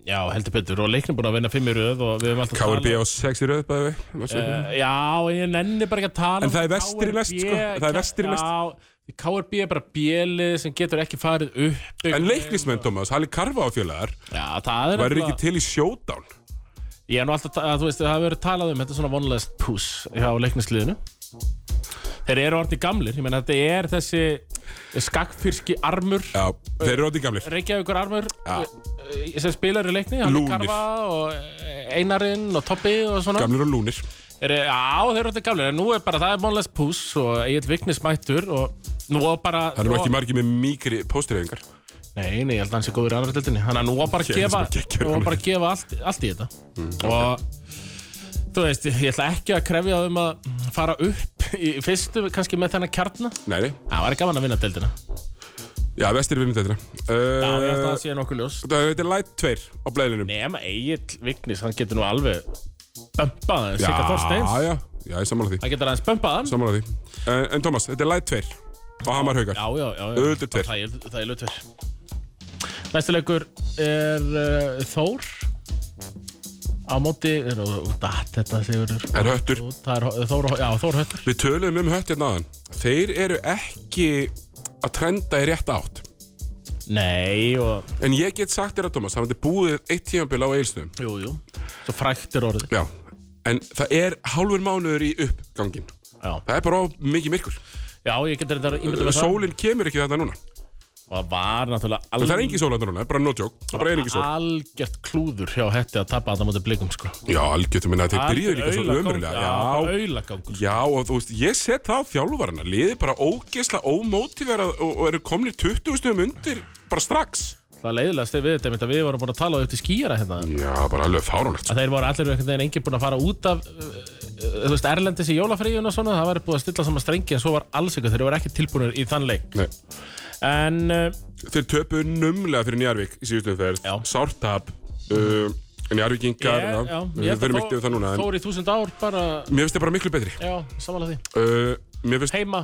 Speaker 3: já, heldur betur Og leiknir búin að vinna fimm í röð og við höfum alltaf
Speaker 2: KRB
Speaker 3: talað-
Speaker 2: á 6 í röð bæði við
Speaker 3: Eh, Já, en ég nenni bara ekki að
Speaker 2: En
Speaker 3: tala um
Speaker 2: það er vestir í
Speaker 3: KRB,
Speaker 2: lest, sko. Það er vestir í lest.
Speaker 3: Já, KRB er bara bjelið sem getur ekki farið upp
Speaker 2: En leiknismenn, Thomas, Halli Karfa á fjölaðar
Speaker 3: Já, það er
Speaker 2: væri
Speaker 3: nefnilega-
Speaker 2: ekki til í showdown
Speaker 3: Ég er nú alltaf, að, þú veist, það hefur verið talað um þetta er svona vonlegast pús hjá leiknisliðinu Þeir eru orðið gamlir, ég meina þetta er þessi skakkfyrski armur
Speaker 2: Já, þeir eru átti gamlir
Speaker 3: Reykjavíkur armur
Speaker 2: Já.
Speaker 3: eh, sem spilar í leikni, hann
Speaker 2: Lúnir.
Speaker 3: Karfa og eh, Einarinn og Toppi og svona
Speaker 2: Gamlir og lúnir
Speaker 3: Þeir, eru- Já, þeir eru orðið gamlir, en nú er bara, það er vonlegast pús og Egil Vignis mættur og nú á bara
Speaker 2: Það eru
Speaker 3: nú á-
Speaker 2: ekki margir með mikri póstreifingar
Speaker 3: Nei, nei, ég held að hann sé góður í annarri dildinni Þannig að nú var bara að
Speaker 2: Ég held að hann sé
Speaker 3: gefa,
Speaker 2: geggjaður
Speaker 3: nú var
Speaker 2: í
Speaker 3: bara að gefa allt, allt í þetta Og þú veist, ég ætla ekki að krefja þau um að fara upp í fyrstu, kannski með þennan kjarna
Speaker 2: Nei, nei.
Speaker 3: Það var gaman að vinna dildina
Speaker 2: já, vestir vinnum þetta
Speaker 3: Já, ég held að
Speaker 2: uh,
Speaker 3: það sé nokkuð ljós
Speaker 2: Það er light 2 á blæðinum
Speaker 3: Nema Egil Vignis, hann getur nú alveg bömpað hann,
Speaker 2: Já,
Speaker 3: Sigga Þorsteins
Speaker 2: já, já, ég sammála því
Speaker 3: Hann getur aðeins bömpað hann
Speaker 2: Sammála því uh, En Thomas, þetta er light 2 og hamar haugar
Speaker 3: Já, já, já, já.
Speaker 2: Auðvitað tveir.
Speaker 3: Það er, það er lutur Næsti leikur er uh, Þór Á móti er, og, dat, Þetta sigurður
Speaker 2: Er höttur.
Speaker 3: Og Það er Þór, og- já, Þór Höttur
Speaker 2: Við töluðum um hött hérna aðan Þeir eru ekki að trenda í rétt átt
Speaker 3: Nei og
Speaker 2: En ég get sagt þér að Thomas, það vandir búið eitt tímanbíl á eilsnum
Speaker 3: Jú, jú Svo frækt er orðið
Speaker 2: Já, en það er hálfur mánuður í uppgangin
Speaker 3: Já,
Speaker 2: Það er bara of mikið myrkur
Speaker 3: já ég getur þetta ímyndað með það
Speaker 2: Sólinn kemur ekki þetta núna
Speaker 3: Og það var náttúrulega
Speaker 2: Það er engin sól þetta núna, bara no joke Það bara er engin sól
Speaker 3: Algjört klúður hjá hætti að tapa þetta móti blikum sko
Speaker 2: Já, algjötum minna, þeir byrjuðu líka svo ömurlega Já,
Speaker 3: Auðlagangur
Speaker 2: já, og þú veist, ég set það á þjálfarana Liði bara ógesla, ómótiverað og, og eru komnir 20 stugum undir bara strax
Speaker 3: Það leiðilegast við þetta er einmitt að við vorum búin að tala upp til skýra hérna
Speaker 2: Já, bara alveg fáránlegt sko.
Speaker 3: að þeir voru allir einhvern veginn enginn búin að fara út af uh, uh, þú veist, Erlendis í jólafríðun og svona það var búið að stilla saman strengi en svo var alls ykkur þeir voru ekki tilbúinir í þann leik
Speaker 2: Nei.
Speaker 3: en uh,
Speaker 2: Þeir töpuðu numlega fyrir Njarvík í síðustu ferð
Speaker 3: Já.
Speaker 2: Sártab uh, Njarvíkingar,
Speaker 3: ég-
Speaker 2: já,
Speaker 3: ég
Speaker 2: við
Speaker 3: held að
Speaker 2: verum ekkert yfir það núna en,
Speaker 3: Þór í þúsund ár bara,
Speaker 2: Mér finnst það bara miklu betri
Speaker 3: já, samanlega því
Speaker 2: uh, Mér finnst,
Speaker 3: heima,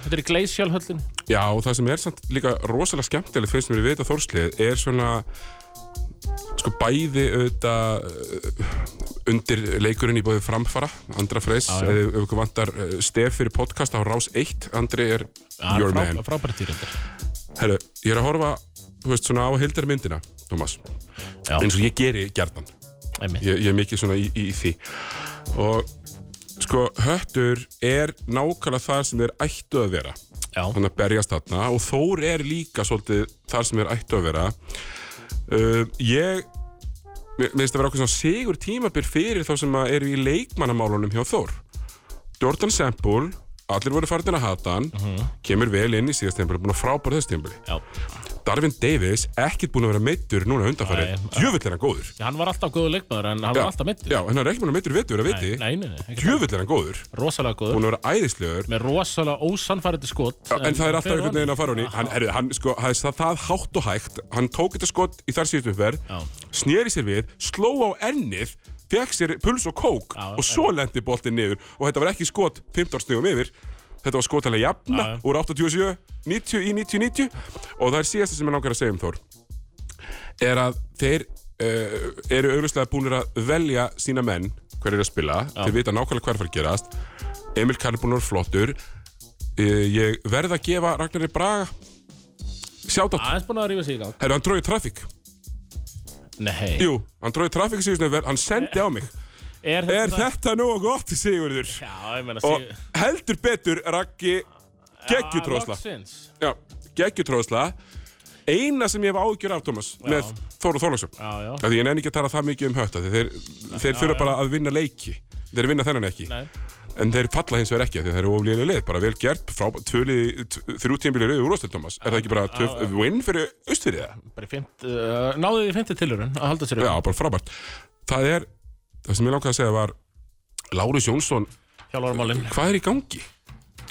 Speaker 3: þetta er í Gleisjálfhöllin
Speaker 2: já, og það sem er samt líka rosalega skemmtilegt finnst mér við þetta þórslið er svona sko bæði auðvitað uh, undir leikurinn í bóði framfara Andra Freys,
Speaker 3: Já, já.
Speaker 2: ef ef ykkur vantar uh, stef fyrir podcast á Rás 1 Andri er your man
Speaker 3: frábært dýrindar
Speaker 2: Herru, ég er að horfa þú veist, svona á heildarmyndina, Thomas
Speaker 3: Já.
Speaker 2: eins og ég geri gjarnan
Speaker 3: einmitt,
Speaker 2: ég, ég er mikið svona í, í, í því og sko, höttur er nákvæmlega þar sem þeir ættu að vera
Speaker 3: já,
Speaker 2: hann að berjast þarna og Þór er líka svolítið þar sem þeir ættu að vera uh, ég mér mér finnst að vera okkur svona sigur tímabyr fyrir þá sem að eru í leikmannamálunum hjá Þór Jordan Semple allir voru farin að hata hann kemur vel inn í síðast tímabili, búin að frábæra þess tímabili
Speaker 3: já
Speaker 2: Darvin Davis, ekkert búin að vera meittur núna undanfæri,
Speaker 3: Nei,
Speaker 2: djöfull er hann góður
Speaker 3: Já, hann var alltaf góður leikmaður en hann
Speaker 2: Já,
Speaker 3: var alltaf mittur
Speaker 2: Já, en hann er ekki búin að meittur vettur að viti
Speaker 3: nei, nei, nei, ekki
Speaker 2: Djöfull er hann góður,
Speaker 3: rosalega góður
Speaker 2: búin að vera æðislegur
Speaker 3: með rosalega ósannfærandi skot
Speaker 2: Já, en það er alltaf
Speaker 3: fyrir
Speaker 2: einhvern veginn að fara hún í hann, er, hann, sko, það, er það, það hátt og hægt hann tók þetta skot í þar síðustu umferð
Speaker 3: Já.
Speaker 2: sneri sér við, sló á ennið fekk sér puls og kók
Speaker 3: Já,
Speaker 2: og svo lendi boltinn niður og þetta var ekki skot 15 snugum yfir þetta var skot alveg jafna
Speaker 3: Já, já.
Speaker 2: úr 87, 90 í 90, 90 og það er síðasta sem ég langar að segja um Þór er að þeir uh, eru auðvitað búinir að velja sína menn hver er að spila, þeir vita nákvæmlega hvað er að fara að gerast Emil Karl er búinn að vera flottur uh, ég verð að gefa Ragnari Braga sjátt
Speaker 3: aðeins búin að rífa sig í gang
Speaker 2: Herru, hann dróði trafík.
Speaker 3: nei,
Speaker 2: Jú, hann dróði trafík síðustu, hann sendi á mig.
Speaker 3: er þetta,
Speaker 2: Er þetta nú gott, Sigurður?
Speaker 3: já, ég meina
Speaker 2: Og
Speaker 3: sig-
Speaker 2: heldur betur, Raggi, geggjutróðsla.
Speaker 3: Ah, loksins.
Speaker 2: Já, geggjutróðsla. Eina sem ég hef ágjör af, Thomas, með Þóru Þórlagsson.
Speaker 3: Já, já.
Speaker 2: Því ég nefn ekki að tala það mikið um hötta, því þeir, þeir þurfa bara að vinna leiki. Þeir vinna þennan ekki.
Speaker 3: Nei.
Speaker 2: En þeir falla hins vegar ekki, af því þeir eru oflíðinu lið. Bara vel gert, frá, tvölið, þrjú tímbilir auðvitað úrvastil, Thomas. Er það ekki bara töf, win fyrir austfyrir það?
Speaker 3: Bara í fimmt, uh, náðu því fymti tilurinn að halda sér upp
Speaker 2: Já, bara frábært. Það er, það sem ég langaði að segja var, Lárus Jónsson,
Speaker 3: hjálparmálinn.
Speaker 2: hvað er í gangi?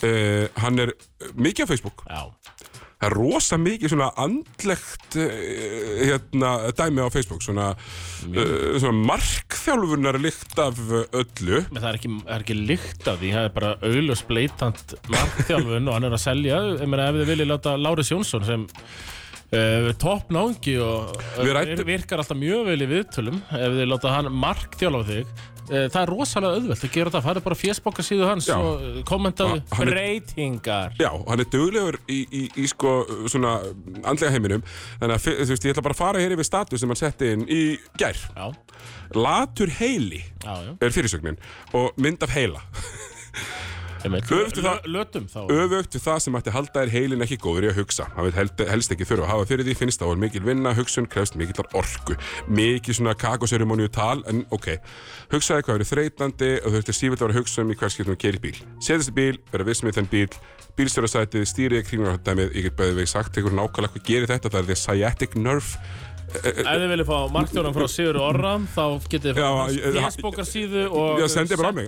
Speaker 2: Uh, hann er eh, mikið á Facebook.
Speaker 3: Já,
Speaker 2: Það er rosa mikið svona andlegt uh, hérna, dæmi á Facebook, svona, uh, svona markþjálfunar líkt af eh, öllu.
Speaker 3: menn það er ekki, það er ekki lykt af því, það er bara auðljós bleitant markþjálfun og hann er að selja, ég meina ef þið viljið láta Lárus Jónsson sem uh, topp náungi og
Speaker 2: Við
Speaker 3: eh,
Speaker 2: ræddum-
Speaker 3: virkar alltaf mjög vel í viðtölum, ef þið láta hann markþjálfa þig, uh, það er rosalega auðvelt að gera það, farið bara fjesbóka síðu hans
Speaker 2: Já.
Speaker 3: og eh, kommentaðu
Speaker 2: Ha- hann er-
Speaker 3: breytingar.
Speaker 2: Já, og hann er duglegur í, í, í sko, svona andlega heiminum þannig að fi- þú veist, ég ætla bara að fara hér yfir status sem hann setti inn í gær
Speaker 3: Já,
Speaker 2: Latur heili
Speaker 3: já, já,
Speaker 2: er fyrirsögnin og mynd af heila
Speaker 3: ég meina,
Speaker 2: Öfugt við það-
Speaker 3: lötum þá.
Speaker 2: öfugt við það sem ætti að halda er heilin ekki góður í að hugsa. Hann vil held, helst ekki þurfa að hafa fyrir því, finnst það og mikil vinna, hugsun krefst mikillar orku. Mikið svona kakoseremonju tal, en ok. Hugsaði hvað verið þreytandi og þurfti sífitt að vera að hugsa um í hvers getum að keira í bíl. Setjast í bíl, vera viss með þann bíl, bílstjórasætið, stýrið, kringlunarhættæmið, ég get bæðið vegi sagt ykkur nákvæmlega hvað gerir þetta, það er því sciatic nerve
Speaker 3: Ef þið viljið fá marktjónan frá Sigur Orra þá getið þið
Speaker 2: Já,
Speaker 3: fá
Speaker 2: ég-
Speaker 3: fésbókarsíðu og
Speaker 2: Já, sendi bara á mig,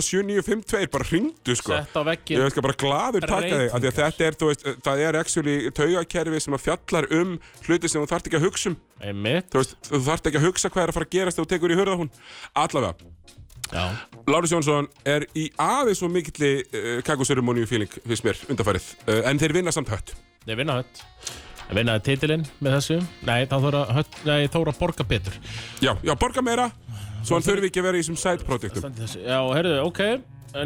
Speaker 2: 4487952, bara hringdu sko
Speaker 3: Sett á vegginn.
Speaker 2: Ég skal bara glaður taka þig, af því að þetta er, þú veist, það er actually taugakerfi sem að fjallar um hluti sem þú þarft ekki að hugsa um
Speaker 3: Einmitt
Speaker 2: Þú veist, þú þarft ekki að hugsa hvað er að fara að gerast þegar þú tekur í hurða hún Allavega,
Speaker 3: Já.
Speaker 2: Lárus Jónsson er í aðeins svo mikilli uh, kakuseremoníu fíling, finnst mér, undarfærið. Uh, en þeir vinna samt hött.
Speaker 3: Þeir vinna hött. Þeir vinna titilinn með þessu. Nei, þá þóra, hött, nei, þóra borga betur.
Speaker 2: Já, já, borga meira, svo hann þurfi ekki að vera í þessum side-projektum.
Speaker 3: Standi þessu. Já, herðu, ok.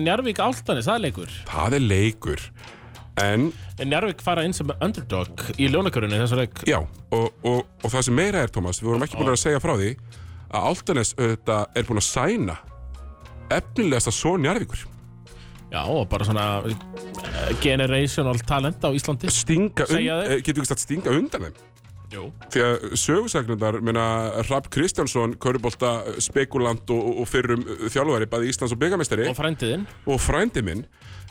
Speaker 3: Njarvík Altanis, það er leikur.
Speaker 2: Það er leikur. En,
Speaker 3: En Njarvík fara inn sem underdog í ljónakörunni þessu leik.
Speaker 2: já, og, og, og það sem meira er, Thomas, við vorum ekki búin að segja frá því að Altanes auðvitað er búin að sæna efnilegasta svo Njarvíkur.
Speaker 3: Já, og bara svona eh, generational talent á Íslandi.
Speaker 2: Stinga, und,
Speaker 3: Segja þeir?
Speaker 2: eh, getur við ekki að stinga undan þeim?
Speaker 3: Jú.
Speaker 2: Því að sögursagnundar, minna, Rapp Kristjánsson, Körubolta, spekulant og, og- og fyrrum eh, þjálfari, bæði Íslands og byggamestari
Speaker 3: Og frændiðinn,
Speaker 2: og frændi minn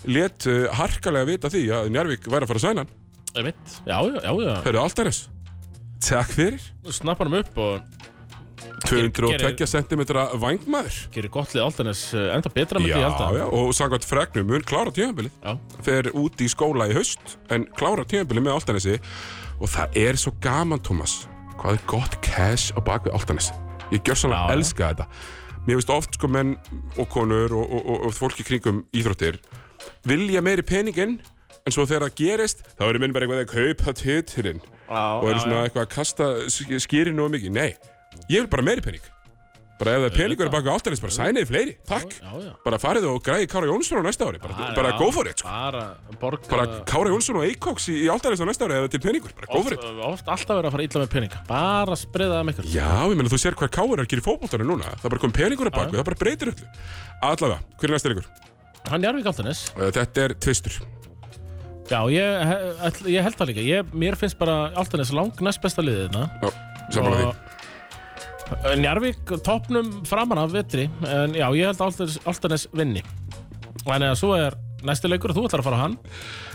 Speaker 2: let uh, harkalega vita því að Njarvík væri að fara að sæna hann.
Speaker 3: einmitt. Já, já, já, já.
Speaker 2: Hörru, Altares, takk fyrir.
Speaker 3: Snappa hann upp og
Speaker 2: 202 cm vangmaður.
Speaker 3: gerir gott lið Altanis eh, enda betra með
Speaker 2: Já,
Speaker 3: því alltaf.
Speaker 2: já, og samkvæmt fregnum mun klára tímabilið.
Speaker 3: já.
Speaker 2: Fer út í skóla í haust, en klára tímabilið með Altanesi. Og það er svo gaman, Thomas, hvað er gott cash á bakvið Altanesi. Ég gjör svona
Speaker 3: Já, já.
Speaker 2: að elska þetta. Mér finnst oft sko menn og konur og, og, og, og fólk í kringum íþróttir vilja meiri peninginn, en svo þegar það gerist, þá eru menn bara eitthvað að kaupa titilinn.
Speaker 3: Já,
Speaker 2: og eru svona eitthvað að kasta sk- skýrinu og mikið. Nei, ég vil bara meiri pening. Bara ef það er peningur baka áltanis, bara sæniði fleiri. Takk.
Speaker 3: Já, já.
Speaker 2: Bara farið og græði Kára Jónsson á næsta ári. Bara, bara go for it, sko.
Speaker 3: Bara borga...
Speaker 2: Bara Kára Jónsson og Eikoks í, í áltanis á næsta ári eða til peningur. Bara go for it.
Speaker 3: Oft alltaf verið að fara illa með peninga. Bara spriða það með ykkur.
Speaker 2: Já, ég meina þú sér hvað Kára er að gera í fótboltanum núna. Það er bara kom peningur að baka, það bara breytir öllu. Allavega, hver er næsta leikur?
Speaker 3: Hann Njarvík Altanis.
Speaker 2: Eh, Þetta er tvistur.
Speaker 3: Já, ég, he- ætl- ég held það líka. Ég, mér finnst bara Altanis langnæst besta liðið hérna. þarna.
Speaker 2: Já, samanlega því.
Speaker 3: Njarvík topnum framan af vetri en já, ég held Altanes, Altanes vinni Þannig að svo er næsti leikur og þú ætlar að fara á hann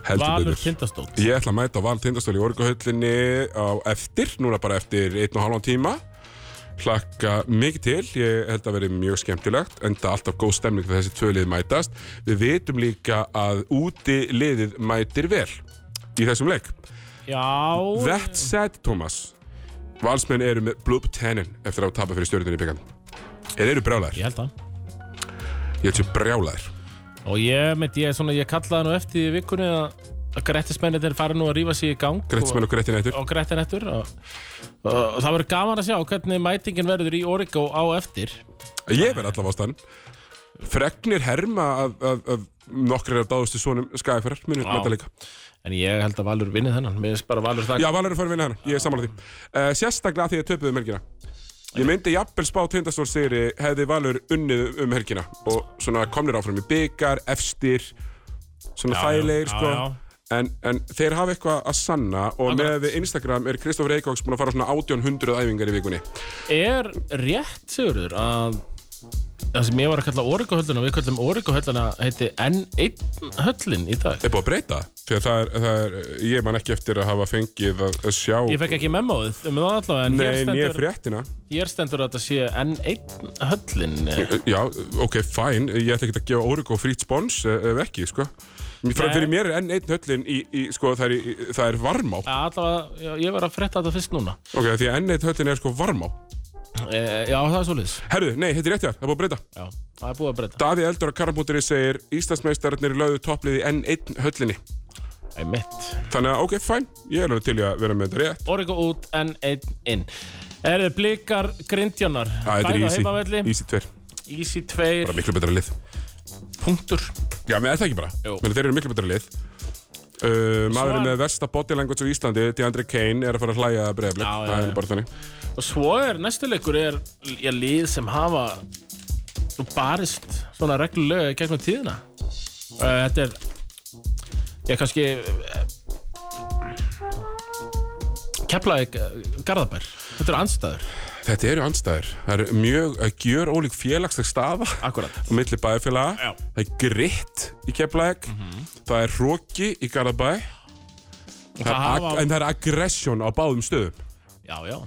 Speaker 2: Heldur
Speaker 3: Valur
Speaker 2: betur.
Speaker 3: Tindastótt
Speaker 2: Ég ætla að mæta á val tindastóli í orguhöllinni á eftir, núna bara eftir einn og halvan tíma. Hlakka mikið til, ég held að verið mjög skemmtilegt, enda alltaf góð stemning þegar þessi tvö lið mætast. Við vitum líka að úti liðið mætir vel í þessum leik.
Speaker 3: Já,
Speaker 2: That said, Thomas, valsmenn eru með blub tennin eftir að tapa fyrir stjórnunni í byggandum. Þeir eru brjálæðir,
Speaker 3: ég held það
Speaker 2: ég held sér brjálæðir.
Speaker 3: Og ég, mynd, ég, svona, ég kallaði nú eftir í vikunni að að grettismennir fara nú að rífa sig í gang
Speaker 2: Grettismenn og Grettin eittur.
Speaker 3: og grettin eftir og, og, og það verður gaman að sjá hvernig mætingin verður í Origo á eftir
Speaker 2: Ég verð allavega á staðan Fregnir herma að, að, að nokkrir af dáðustu sonum skæðferðar munum
Speaker 3: Vá.
Speaker 2: mæta líka
Speaker 3: En ég held að Valur vinni þennan Mér finnst bara Valur það
Speaker 2: Já, Valur er farin vinna hennar, ég er sammála því uh, Sérstaklega því að töpuðu um helgina Ég myndi jafnvel spá tindastól sigri hefði Valur unnið um helgina og svona komnir áfram í byggar, efstir svona
Speaker 3: Já,
Speaker 2: þægilegir
Speaker 3: já,
Speaker 2: sko
Speaker 3: já, já.
Speaker 2: En, en þeir hafa eitthvað að sanna og með
Speaker 3: Akkurat.
Speaker 2: við Instagram er Kristoffer Eikóks búin að fara á svona 1800 æfingar í vikunni
Speaker 3: Er rétt, Sigurður, að það sem ég var að kalla Origo-hölluna, við kallum Origo-hölluna heiti N1-höllin í dag.
Speaker 2: Er búið að breyta? Því að það er, það er, ég man ekki eftir að hafa fengið að, að sjá
Speaker 3: Ég fekk ekki memóið um það allavega, en
Speaker 2: Nei, en
Speaker 3: hér
Speaker 2: ég er
Speaker 3: stendur,
Speaker 2: fréttina
Speaker 3: hér stendur að þetta sé N1-höllin.
Speaker 2: Já, ok, fæn, ég ætla ekki að gefa Origo frýtt spons eh, ef ekki, sko Mér- Fyrir,
Speaker 3: Nei.
Speaker 2: fyrir mér er enn einn höllin í, í sko, það er, í- í- það er varmá
Speaker 3: Allavega, já, ég var að fretta þetta fyrst núna.
Speaker 2: Ok, því að enn einn höllin er sko varmá
Speaker 3: E, já, það er svolítið.
Speaker 2: Herðu, nei, þetta er rétt hjá, það er búið að breyta
Speaker 3: Já, það er búið að breyta.
Speaker 2: Davíð Eldur á Karabúteri segir Íslandsmeistararnir lögðu topplið í enn einn höllinni
Speaker 3: Æ, mitt.
Speaker 2: Þannig að, ok, fæn, ég er alveg til í að vera með þetta rétt
Speaker 3: Origo út, N1 inn. Eru blikar grindjónar?
Speaker 2: Já, þetta er
Speaker 3: Bæði á
Speaker 2: easy,
Speaker 3: heimavelli,
Speaker 2: easy tver
Speaker 3: Easy 2,
Speaker 2: Bara miklu betra lið
Speaker 3: punktur.
Speaker 2: Já, menn er það ekki bara,
Speaker 3: Jú.
Speaker 2: menn þeir eru miklu betra lið Uh, maðurinn með versta body language á Íslandi, DeAndre Kane, er að fara að hlæja að breyðablik.
Speaker 3: Já, já,
Speaker 2: Það
Speaker 3: já.
Speaker 2: er bara þannig.
Speaker 3: Og svo er næstu leikur er ég lið sem hafa nú barist svona reglulega í gegnum tíðina. Uh, Þetta er ég kannski eh, Keflavík eh, Garðabær. Þetta eru andstæður.
Speaker 2: Þetta eru andstæður. Það eru mjög að gjör ólík félagsleg staða á
Speaker 3: Akkurat.
Speaker 2: milli bæjarfélaga.
Speaker 3: Já.
Speaker 2: Það er gritt í Keflæk. Það er hróki í Garðabæ. Það
Speaker 3: það
Speaker 2: það
Speaker 3: hafa-
Speaker 2: En það er aggression á báðum stöðum.
Speaker 3: Já, já.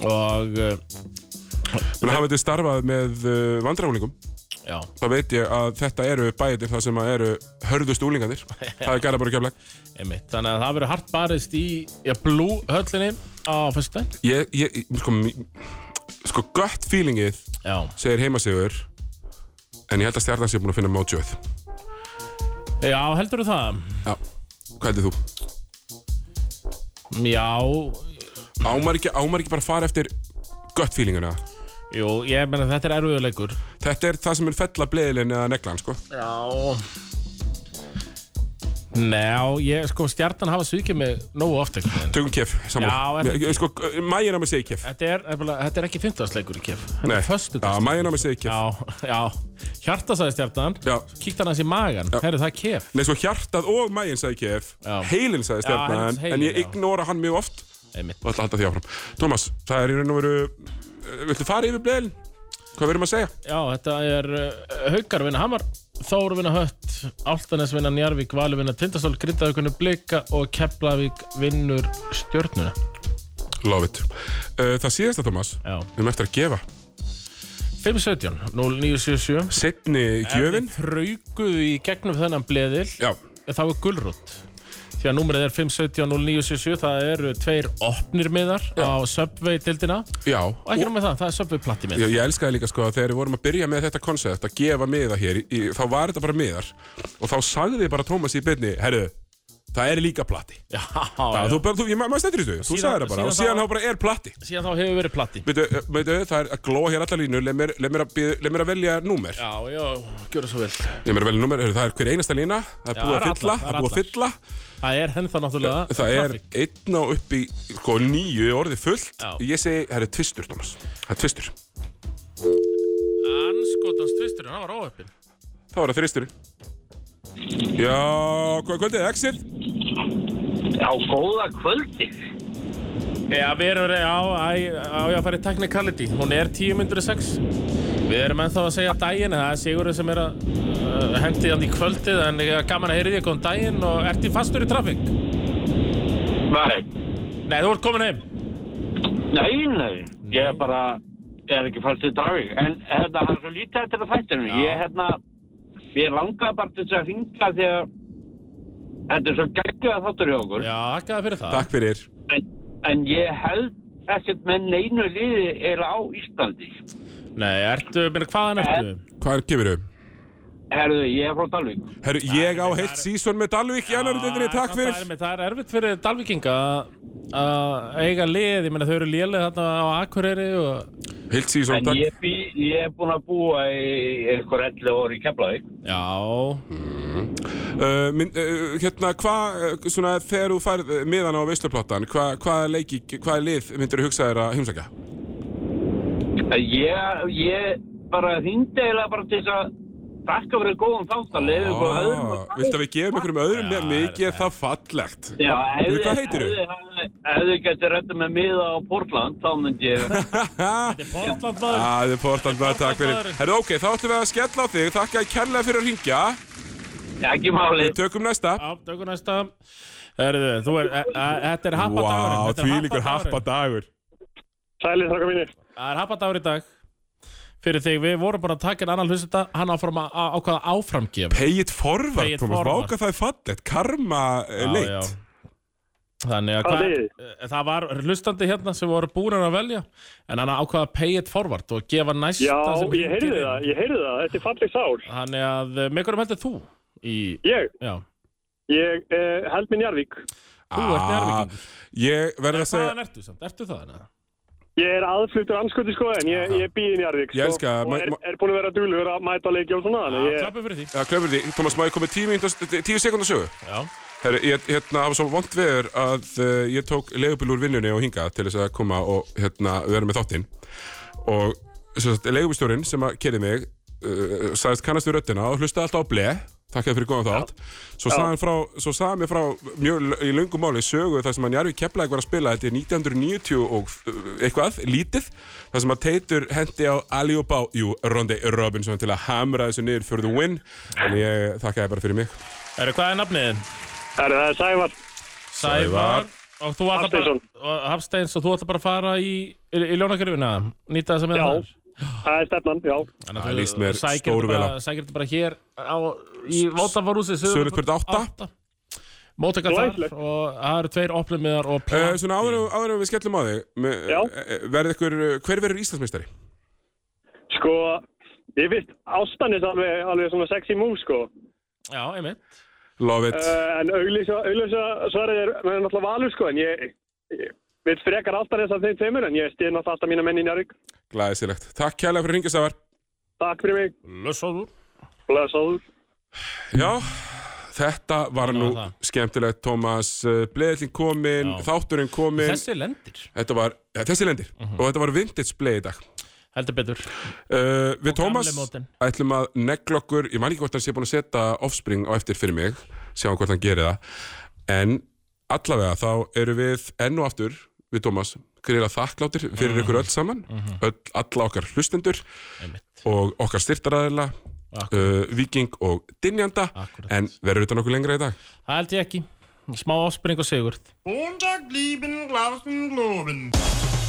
Speaker 3: Og eh,
Speaker 2: Menn hafa þetta starfað með uh, vandrarúlingum.
Speaker 3: já,
Speaker 2: Það veit ég að þetta eru bæjarnir þar sem að eru hörðust úlingarnir. það er Garðabæ og Keflæk.
Speaker 3: einmitt. Þannig að það verður hart barist í já, blú höllinni á fyrstudaginn.
Speaker 2: Ég, ég, sko, mi- sko gött feelingið
Speaker 3: Já.
Speaker 2: segir heimasigur En ég held að stjarnan sé búin að finna mótjóð
Speaker 3: Já, heldur þú það?
Speaker 2: Já, hvað heldur þú?
Speaker 3: Já,
Speaker 2: Ámar ekki, ámar ekki bara að fara eftir gött feelinguna
Speaker 3: jú, ég meina þetta er erfiðuleikur
Speaker 2: Þetta er það sem er fella bleðilinn eða neglan, sko
Speaker 3: Já Njá, ég, sko, stjarnan hafa svikið mig nógu oft ekki
Speaker 2: Tökum kef,
Speaker 3: Já,
Speaker 2: saman
Speaker 3: er það ekki?
Speaker 2: Sko, mægin á mig segi kef
Speaker 3: Þetta er, nefnilega- þetta er ekki fimmtudagsleikur í kef Þetta
Speaker 2: Nei,
Speaker 3: er
Speaker 2: já,
Speaker 3: föstudagsleikur
Speaker 2: mægin á mig segi kef
Speaker 3: Já, já, hjarta sagði stjarnan
Speaker 2: Já.
Speaker 3: Kíkti hann aðeins í magan, herri það er kef
Speaker 2: Nei, sko hjartað og mægin sagði KF
Speaker 3: Já.
Speaker 2: Heilin sagði
Speaker 3: Já,
Speaker 2: stjarnan
Speaker 3: heilin-
Speaker 2: En ég
Speaker 3: heilin, já.
Speaker 2: ignora hann mjög oft
Speaker 3: Einmitt.
Speaker 2: Og ætla að halda því áfram Thomas, það er í raun og veru eh, Viltu fara yfir bleðin? Hvað verðum að segja?
Speaker 3: Já, þetta er uh, Haukar vinna Hamar Þór vinna Hött, Áltanes vinna Njarvík Valur vinna Tindastól, Grindavíkunni Blika og Keflavík vinnur stjörnuna
Speaker 2: Love it Eh, Það síðasta, Thomas
Speaker 3: Já.
Speaker 2: Við erum eftir að gefa
Speaker 3: 517, 0977
Speaker 2: Setni gjöfin
Speaker 3: Þraukuðu í gegnum þennan bleðil
Speaker 2: Já,
Speaker 3: þá er gulrútt því að númerið er 517-0977 það eru tveir opnir miðar á Subway-dildina og
Speaker 2: já
Speaker 3: ekki námið það, það er Subway-platti mið
Speaker 2: Ég, ég elskaði líka sko að þegar við vorum að byrja með þetta koncept að gefa miða hér, í, í, þá var þetta bara miðar og þá sagði bara Tómas í byrni herru, það er líka plati
Speaker 3: já,
Speaker 2: Já,
Speaker 3: já,
Speaker 2: þú, bara- þú, ég, maður stendur í þessu, þú
Speaker 3: Síðan-
Speaker 2: sagði það bara
Speaker 3: síðan
Speaker 2: og síðan
Speaker 3: þá-
Speaker 2: þá bara er plati
Speaker 3: síðan þá hefur verið platti
Speaker 2: Veitu, uh, veitu, það er að glóa hér allar línur, leið mér, leið mér, að, bíð, leið mér að velja númer.
Speaker 3: já, já, gjöra svo vel
Speaker 2: Leið mér að velja númer, heyrðu, það er hver einasta lína, það er
Speaker 3: Já,
Speaker 2: búið
Speaker 3: það
Speaker 2: að
Speaker 3: er
Speaker 2: fylla,
Speaker 3: allar,
Speaker 2: það
Speaker 3: það
Speaker 2: er
Speaker 3: er
Speaker 2: búið að fylla.
Speaker 3: það er henn þá náttúrulega
Speaker 2: Það er
Speaker 3: traffic.
Speaker 2: einn á upp í sko, nýju orðið fullt.
Speaker 3: Já.
Speaker 2: Ég segi, það er tvistur, Thomas. Það er tvistur.
Speaker 3: anskotans tvisturinn, hann var óöppin
Speaker 2: Þá er það þristurinn. Já, hvað kvöldið, exit?
Speaker 5: Já, góða kvöldi.
Speaker 3: já, við erum já, æ, á, já, farið technicality hún er 10.06 við erum ennþá að segja daginn en það er Sigurður sem er að uh, hendi hann í kvöldið en ég er gaman að heyri því að koma daginn og ert í fastur í trafík
Speaker 5: Nei,
Speaker 3: Nei, þú ert komin heim
Speaker 5: nei, nei. Ég er bara, er ekki fyrst í dag. En hérna, það er svo lítið eftir að þættinu. Ég, hérna, ég langaði bara til þess að hringa því að þetta er svo geggjöða þáttur hjá okkur.
Speaker 3: Já, þakkaði fyrir það
Speaker 2: Takk fyrir.
Speaker 5: En, en ég held ekkert með neinu liði er á Íslandi.
Speaker 3: Nei, ertu, minna, hvaðan ertu?
Speaker 2: Hvað gefur þau?
Speaker 5: Herðu, ég er frá Dalvík.
Speaker 2: Herru, ég á heilt sísón með Dalvík í annar dildinni, Eh, takk
Speaker 3: Það er,
Speaker 2: fyrir.
Speaker 3: einmitt- það er erfitt fyrir Dalvíkinga að- að eiga lið, ég meina þau eru lélega þarna á Akureyri og...
Speaker 2: Heilt sísón,
Speaker 5: En
Speaker 2: takk.
Speaker 5: ég, bý, ég er búin að búa í eitthvað 11 orði í Keflavík.
Speaker 3: Já,
Speaker 2: Uh, minn, uh, hérna, hvað, uh, svona, þegar þú færð uh, miðan á veisluplattan, hvað hva leiki, hvað lið myndir þú hugsa þér að heimsækja?
Speaker 5: En Ég, ég bara hringdi eiginlega bara til þess að takka fyrir góðan þátt að leiða ykkur öðrum að
Speaker 2: Ah, Viltu að við gefum einhverjum öðrum með mikið er það fallegt?
Speaker 5: Já, ef
Speaker 2: Við
Speaker 5: þið-
Speaker 2: hvað heitir þú?
Speaker 5: ef þið- Ef þið getur rétt með miða á Portland, þá myndi ég...
Speaker 3: Portland maður
Speaker 2: Það er portant maður, takk fyrir. Herru, ok, þá ætlum við að skella á þig, þakka þér kærlega fyrir að ringja.
Speaker 5: Ekki máli.
Speaker 2: Við tökum næsta.
Speaker 3: Já, dögur næsta Herðu, þú er, e- e- þetta er happa
Speaker 2: Vá,
Speaker 3: dagurinn
Speaker 2: því líkur happa dagur.
Speaker 4: Sælir þakka mínir.
Speaker 3: Það er happa dagur í dag Fyrir þig, við vorum búin að taka en annan hlusta Hann áfram að á- ákvaða áframgef
Speaker 2: Pay it forward,
Speaker 3: Pay it
Speaker 2: Thomas,
Speaker 3: forward.
Speaker 2: váka það er fallegt, karma eh, leit.
Speaker 3: Þannig að
Speaker 4: Hvað
Speaker 3: hvað, Eh,
Speaker 4: þýðir?
Speaker 3: það var hlustandi hérna sem voru búin að velja en hann ákvaða að pay it forward og gefa næsta
Speaker 4: Já,
Speaker 3: sem
Speaker 4: ég heyrði
Speaker 3: hringir inn.
Speaker 4: það, ég heyrði það. Þetta er falleg sál.
Speaker 3: Þannig að, eh, með hverjum heldur þú í,
Speaker 4: Ég,
Speaker 3: já,
Speaker 4: ég eh, held minn Jarvík.
Speaker 3: Þú ert Njarðvíkingur.
Speaker 2: Ah, Ég verð að segja,
Speaker 3: hvaðan ertu samt, ertu það hana?
Speaker 4: Ég er aðfluttur anskuti sko, en ég, ég býð inn í Jarvík.
Speaker 2: Ég elska það.
Speaker 4: það. Og
Speaker 2: Ma- Ah,
Speaker 4: er,
Speaker 2: ma-
Speaker 4: er búin að vera dúlur að mæta á leiki og svona.
Speaker 3: Já,
Speaker 4: þannig að Ég,
Speaker 3: klappa Ah, fyrir því,
Speaker 2: Já, glemur því, Thomas, má ég koma með tíu, mínútur- tíu sekundar sögu?
Speaker 3: já,
Speaker 2: Herri, ég, hérna, það var svo vond veður að uh, ég tók leigubíl úr vinnunni og hinga til þess að koma og hérna, vera með þáttinn og leigubílstjórin sem að kerði mig uh, sagðist kannast við röddina og hlusta alltaf á ble takkaði fyrir góðan þátt svo sagði hann frá, svo sagði hann mér frá mjög l- í löngum máli sögu þar sem hann Jarvi Keflæk var að spila þetta er 1990 og uh, eitthvað, lítið þar sem að Teitur hendi á Aliobá jú, Rondi Robinson til að hamra þessu niður fyrir the win en ég þakkaði bara fyrir mig
Speaker 3: eru hvað er nafniðin?
Speaker 4: Herru, það er Sævar.
Speaker 2: Sævar.
Speaker 3: og þú ætla bara,
Speaker 4: Hafsteinsson.
Speaker 3: og Hafsteins og þú ætla bara að fara í, í, í ljónakerfina, nýta það sem er
Speaker 4: Já.
Speaker 2: Ah.
Speaker 3: þar.
Speaker 4: Það er stefnan, já.
Speaker 3: Þannig
Speaker 2: Það
Speaker 3: að þú
Speaker 2: líst mér
Speaker 3: sækir þetta
Speaker 2: stóru vel
Speaker 3: bara- Sækir þetta bara hér á, í Vótafarúsi,
Speaker 2: Suðurlandsbraut átta.
Speaker 3: Mótökar þar
Speaker 4: Glæsilegt.
Speaker 3: og það eru tveir opnumiðar og
Speaker 2: Uh,
Speaker 3: plan.
Speaker 2: svona áður en- áður en við skellum á þig eh,
Speaker 4: Já.
Speaker 2: uh, verður ykkur, hver verður Íslandsmeistari?
Speaker 4: Sko, Ég finnst ástanis alveg, alveg svona sexy move, sko.
Speaker 3: Já, einmitt
Speaker 2: Love it.
Speaker 4: Uh, en auglýsa auglýsa svarið er, er náttúrulega valur, sko, en ég, ég vil frekar ástanis af þeim tveimur, en ég stið náttúrulega alltaf mína menn í Njárvík.
Speaker 2: Glæðisilegt. Takk kærlega fyrir ringisafar.
Speaker 4: Takk fyrir mig.
Speaker 3: Lössáður
Speaker 4: Blessaður.
Speaker 2: Já, þetta var nú
Speaker 3: það.
Speaker 2: skemmtilegt, Tómas. Bleðillin komin,
Speaker 3: Já.
Speaker 2: þátturinn komin.
Speaker 3: Þessi Mhm. lendir
Speaker 2: Þetta var, ja, þessi lendir. Og þetta var vintage bleið í dag.
Speaker 3: Heldur betur
Speaker 2: Uh, við Tómas
Speaker 3: gamli mótinn.
Speaker 2: ætlum að negla okkur, ég man ekki hvort hann sé búin að setja offspring á eftir fyrir mig, sjáum hvort hann gerir það en allavega þá eru við enn og aftur við Tómas, greiða þakkláttir fyrir
Speaker 3: Mhm.
Speaker 2: ykkur öll saman, öll, alla okkar hlustendur
Speaker 3: Einmitt
Speaker 2: og okkar styrtaræðila uh, Viking og Dinjanda
Speaker 3: Akkúrat.
Speaker 2: en verður utan okkur lengra í dag
Speaker 3: Það held ég ekki Smá áspring og sigurð
Speaker 6: Montag blieben, Glauben, Globen.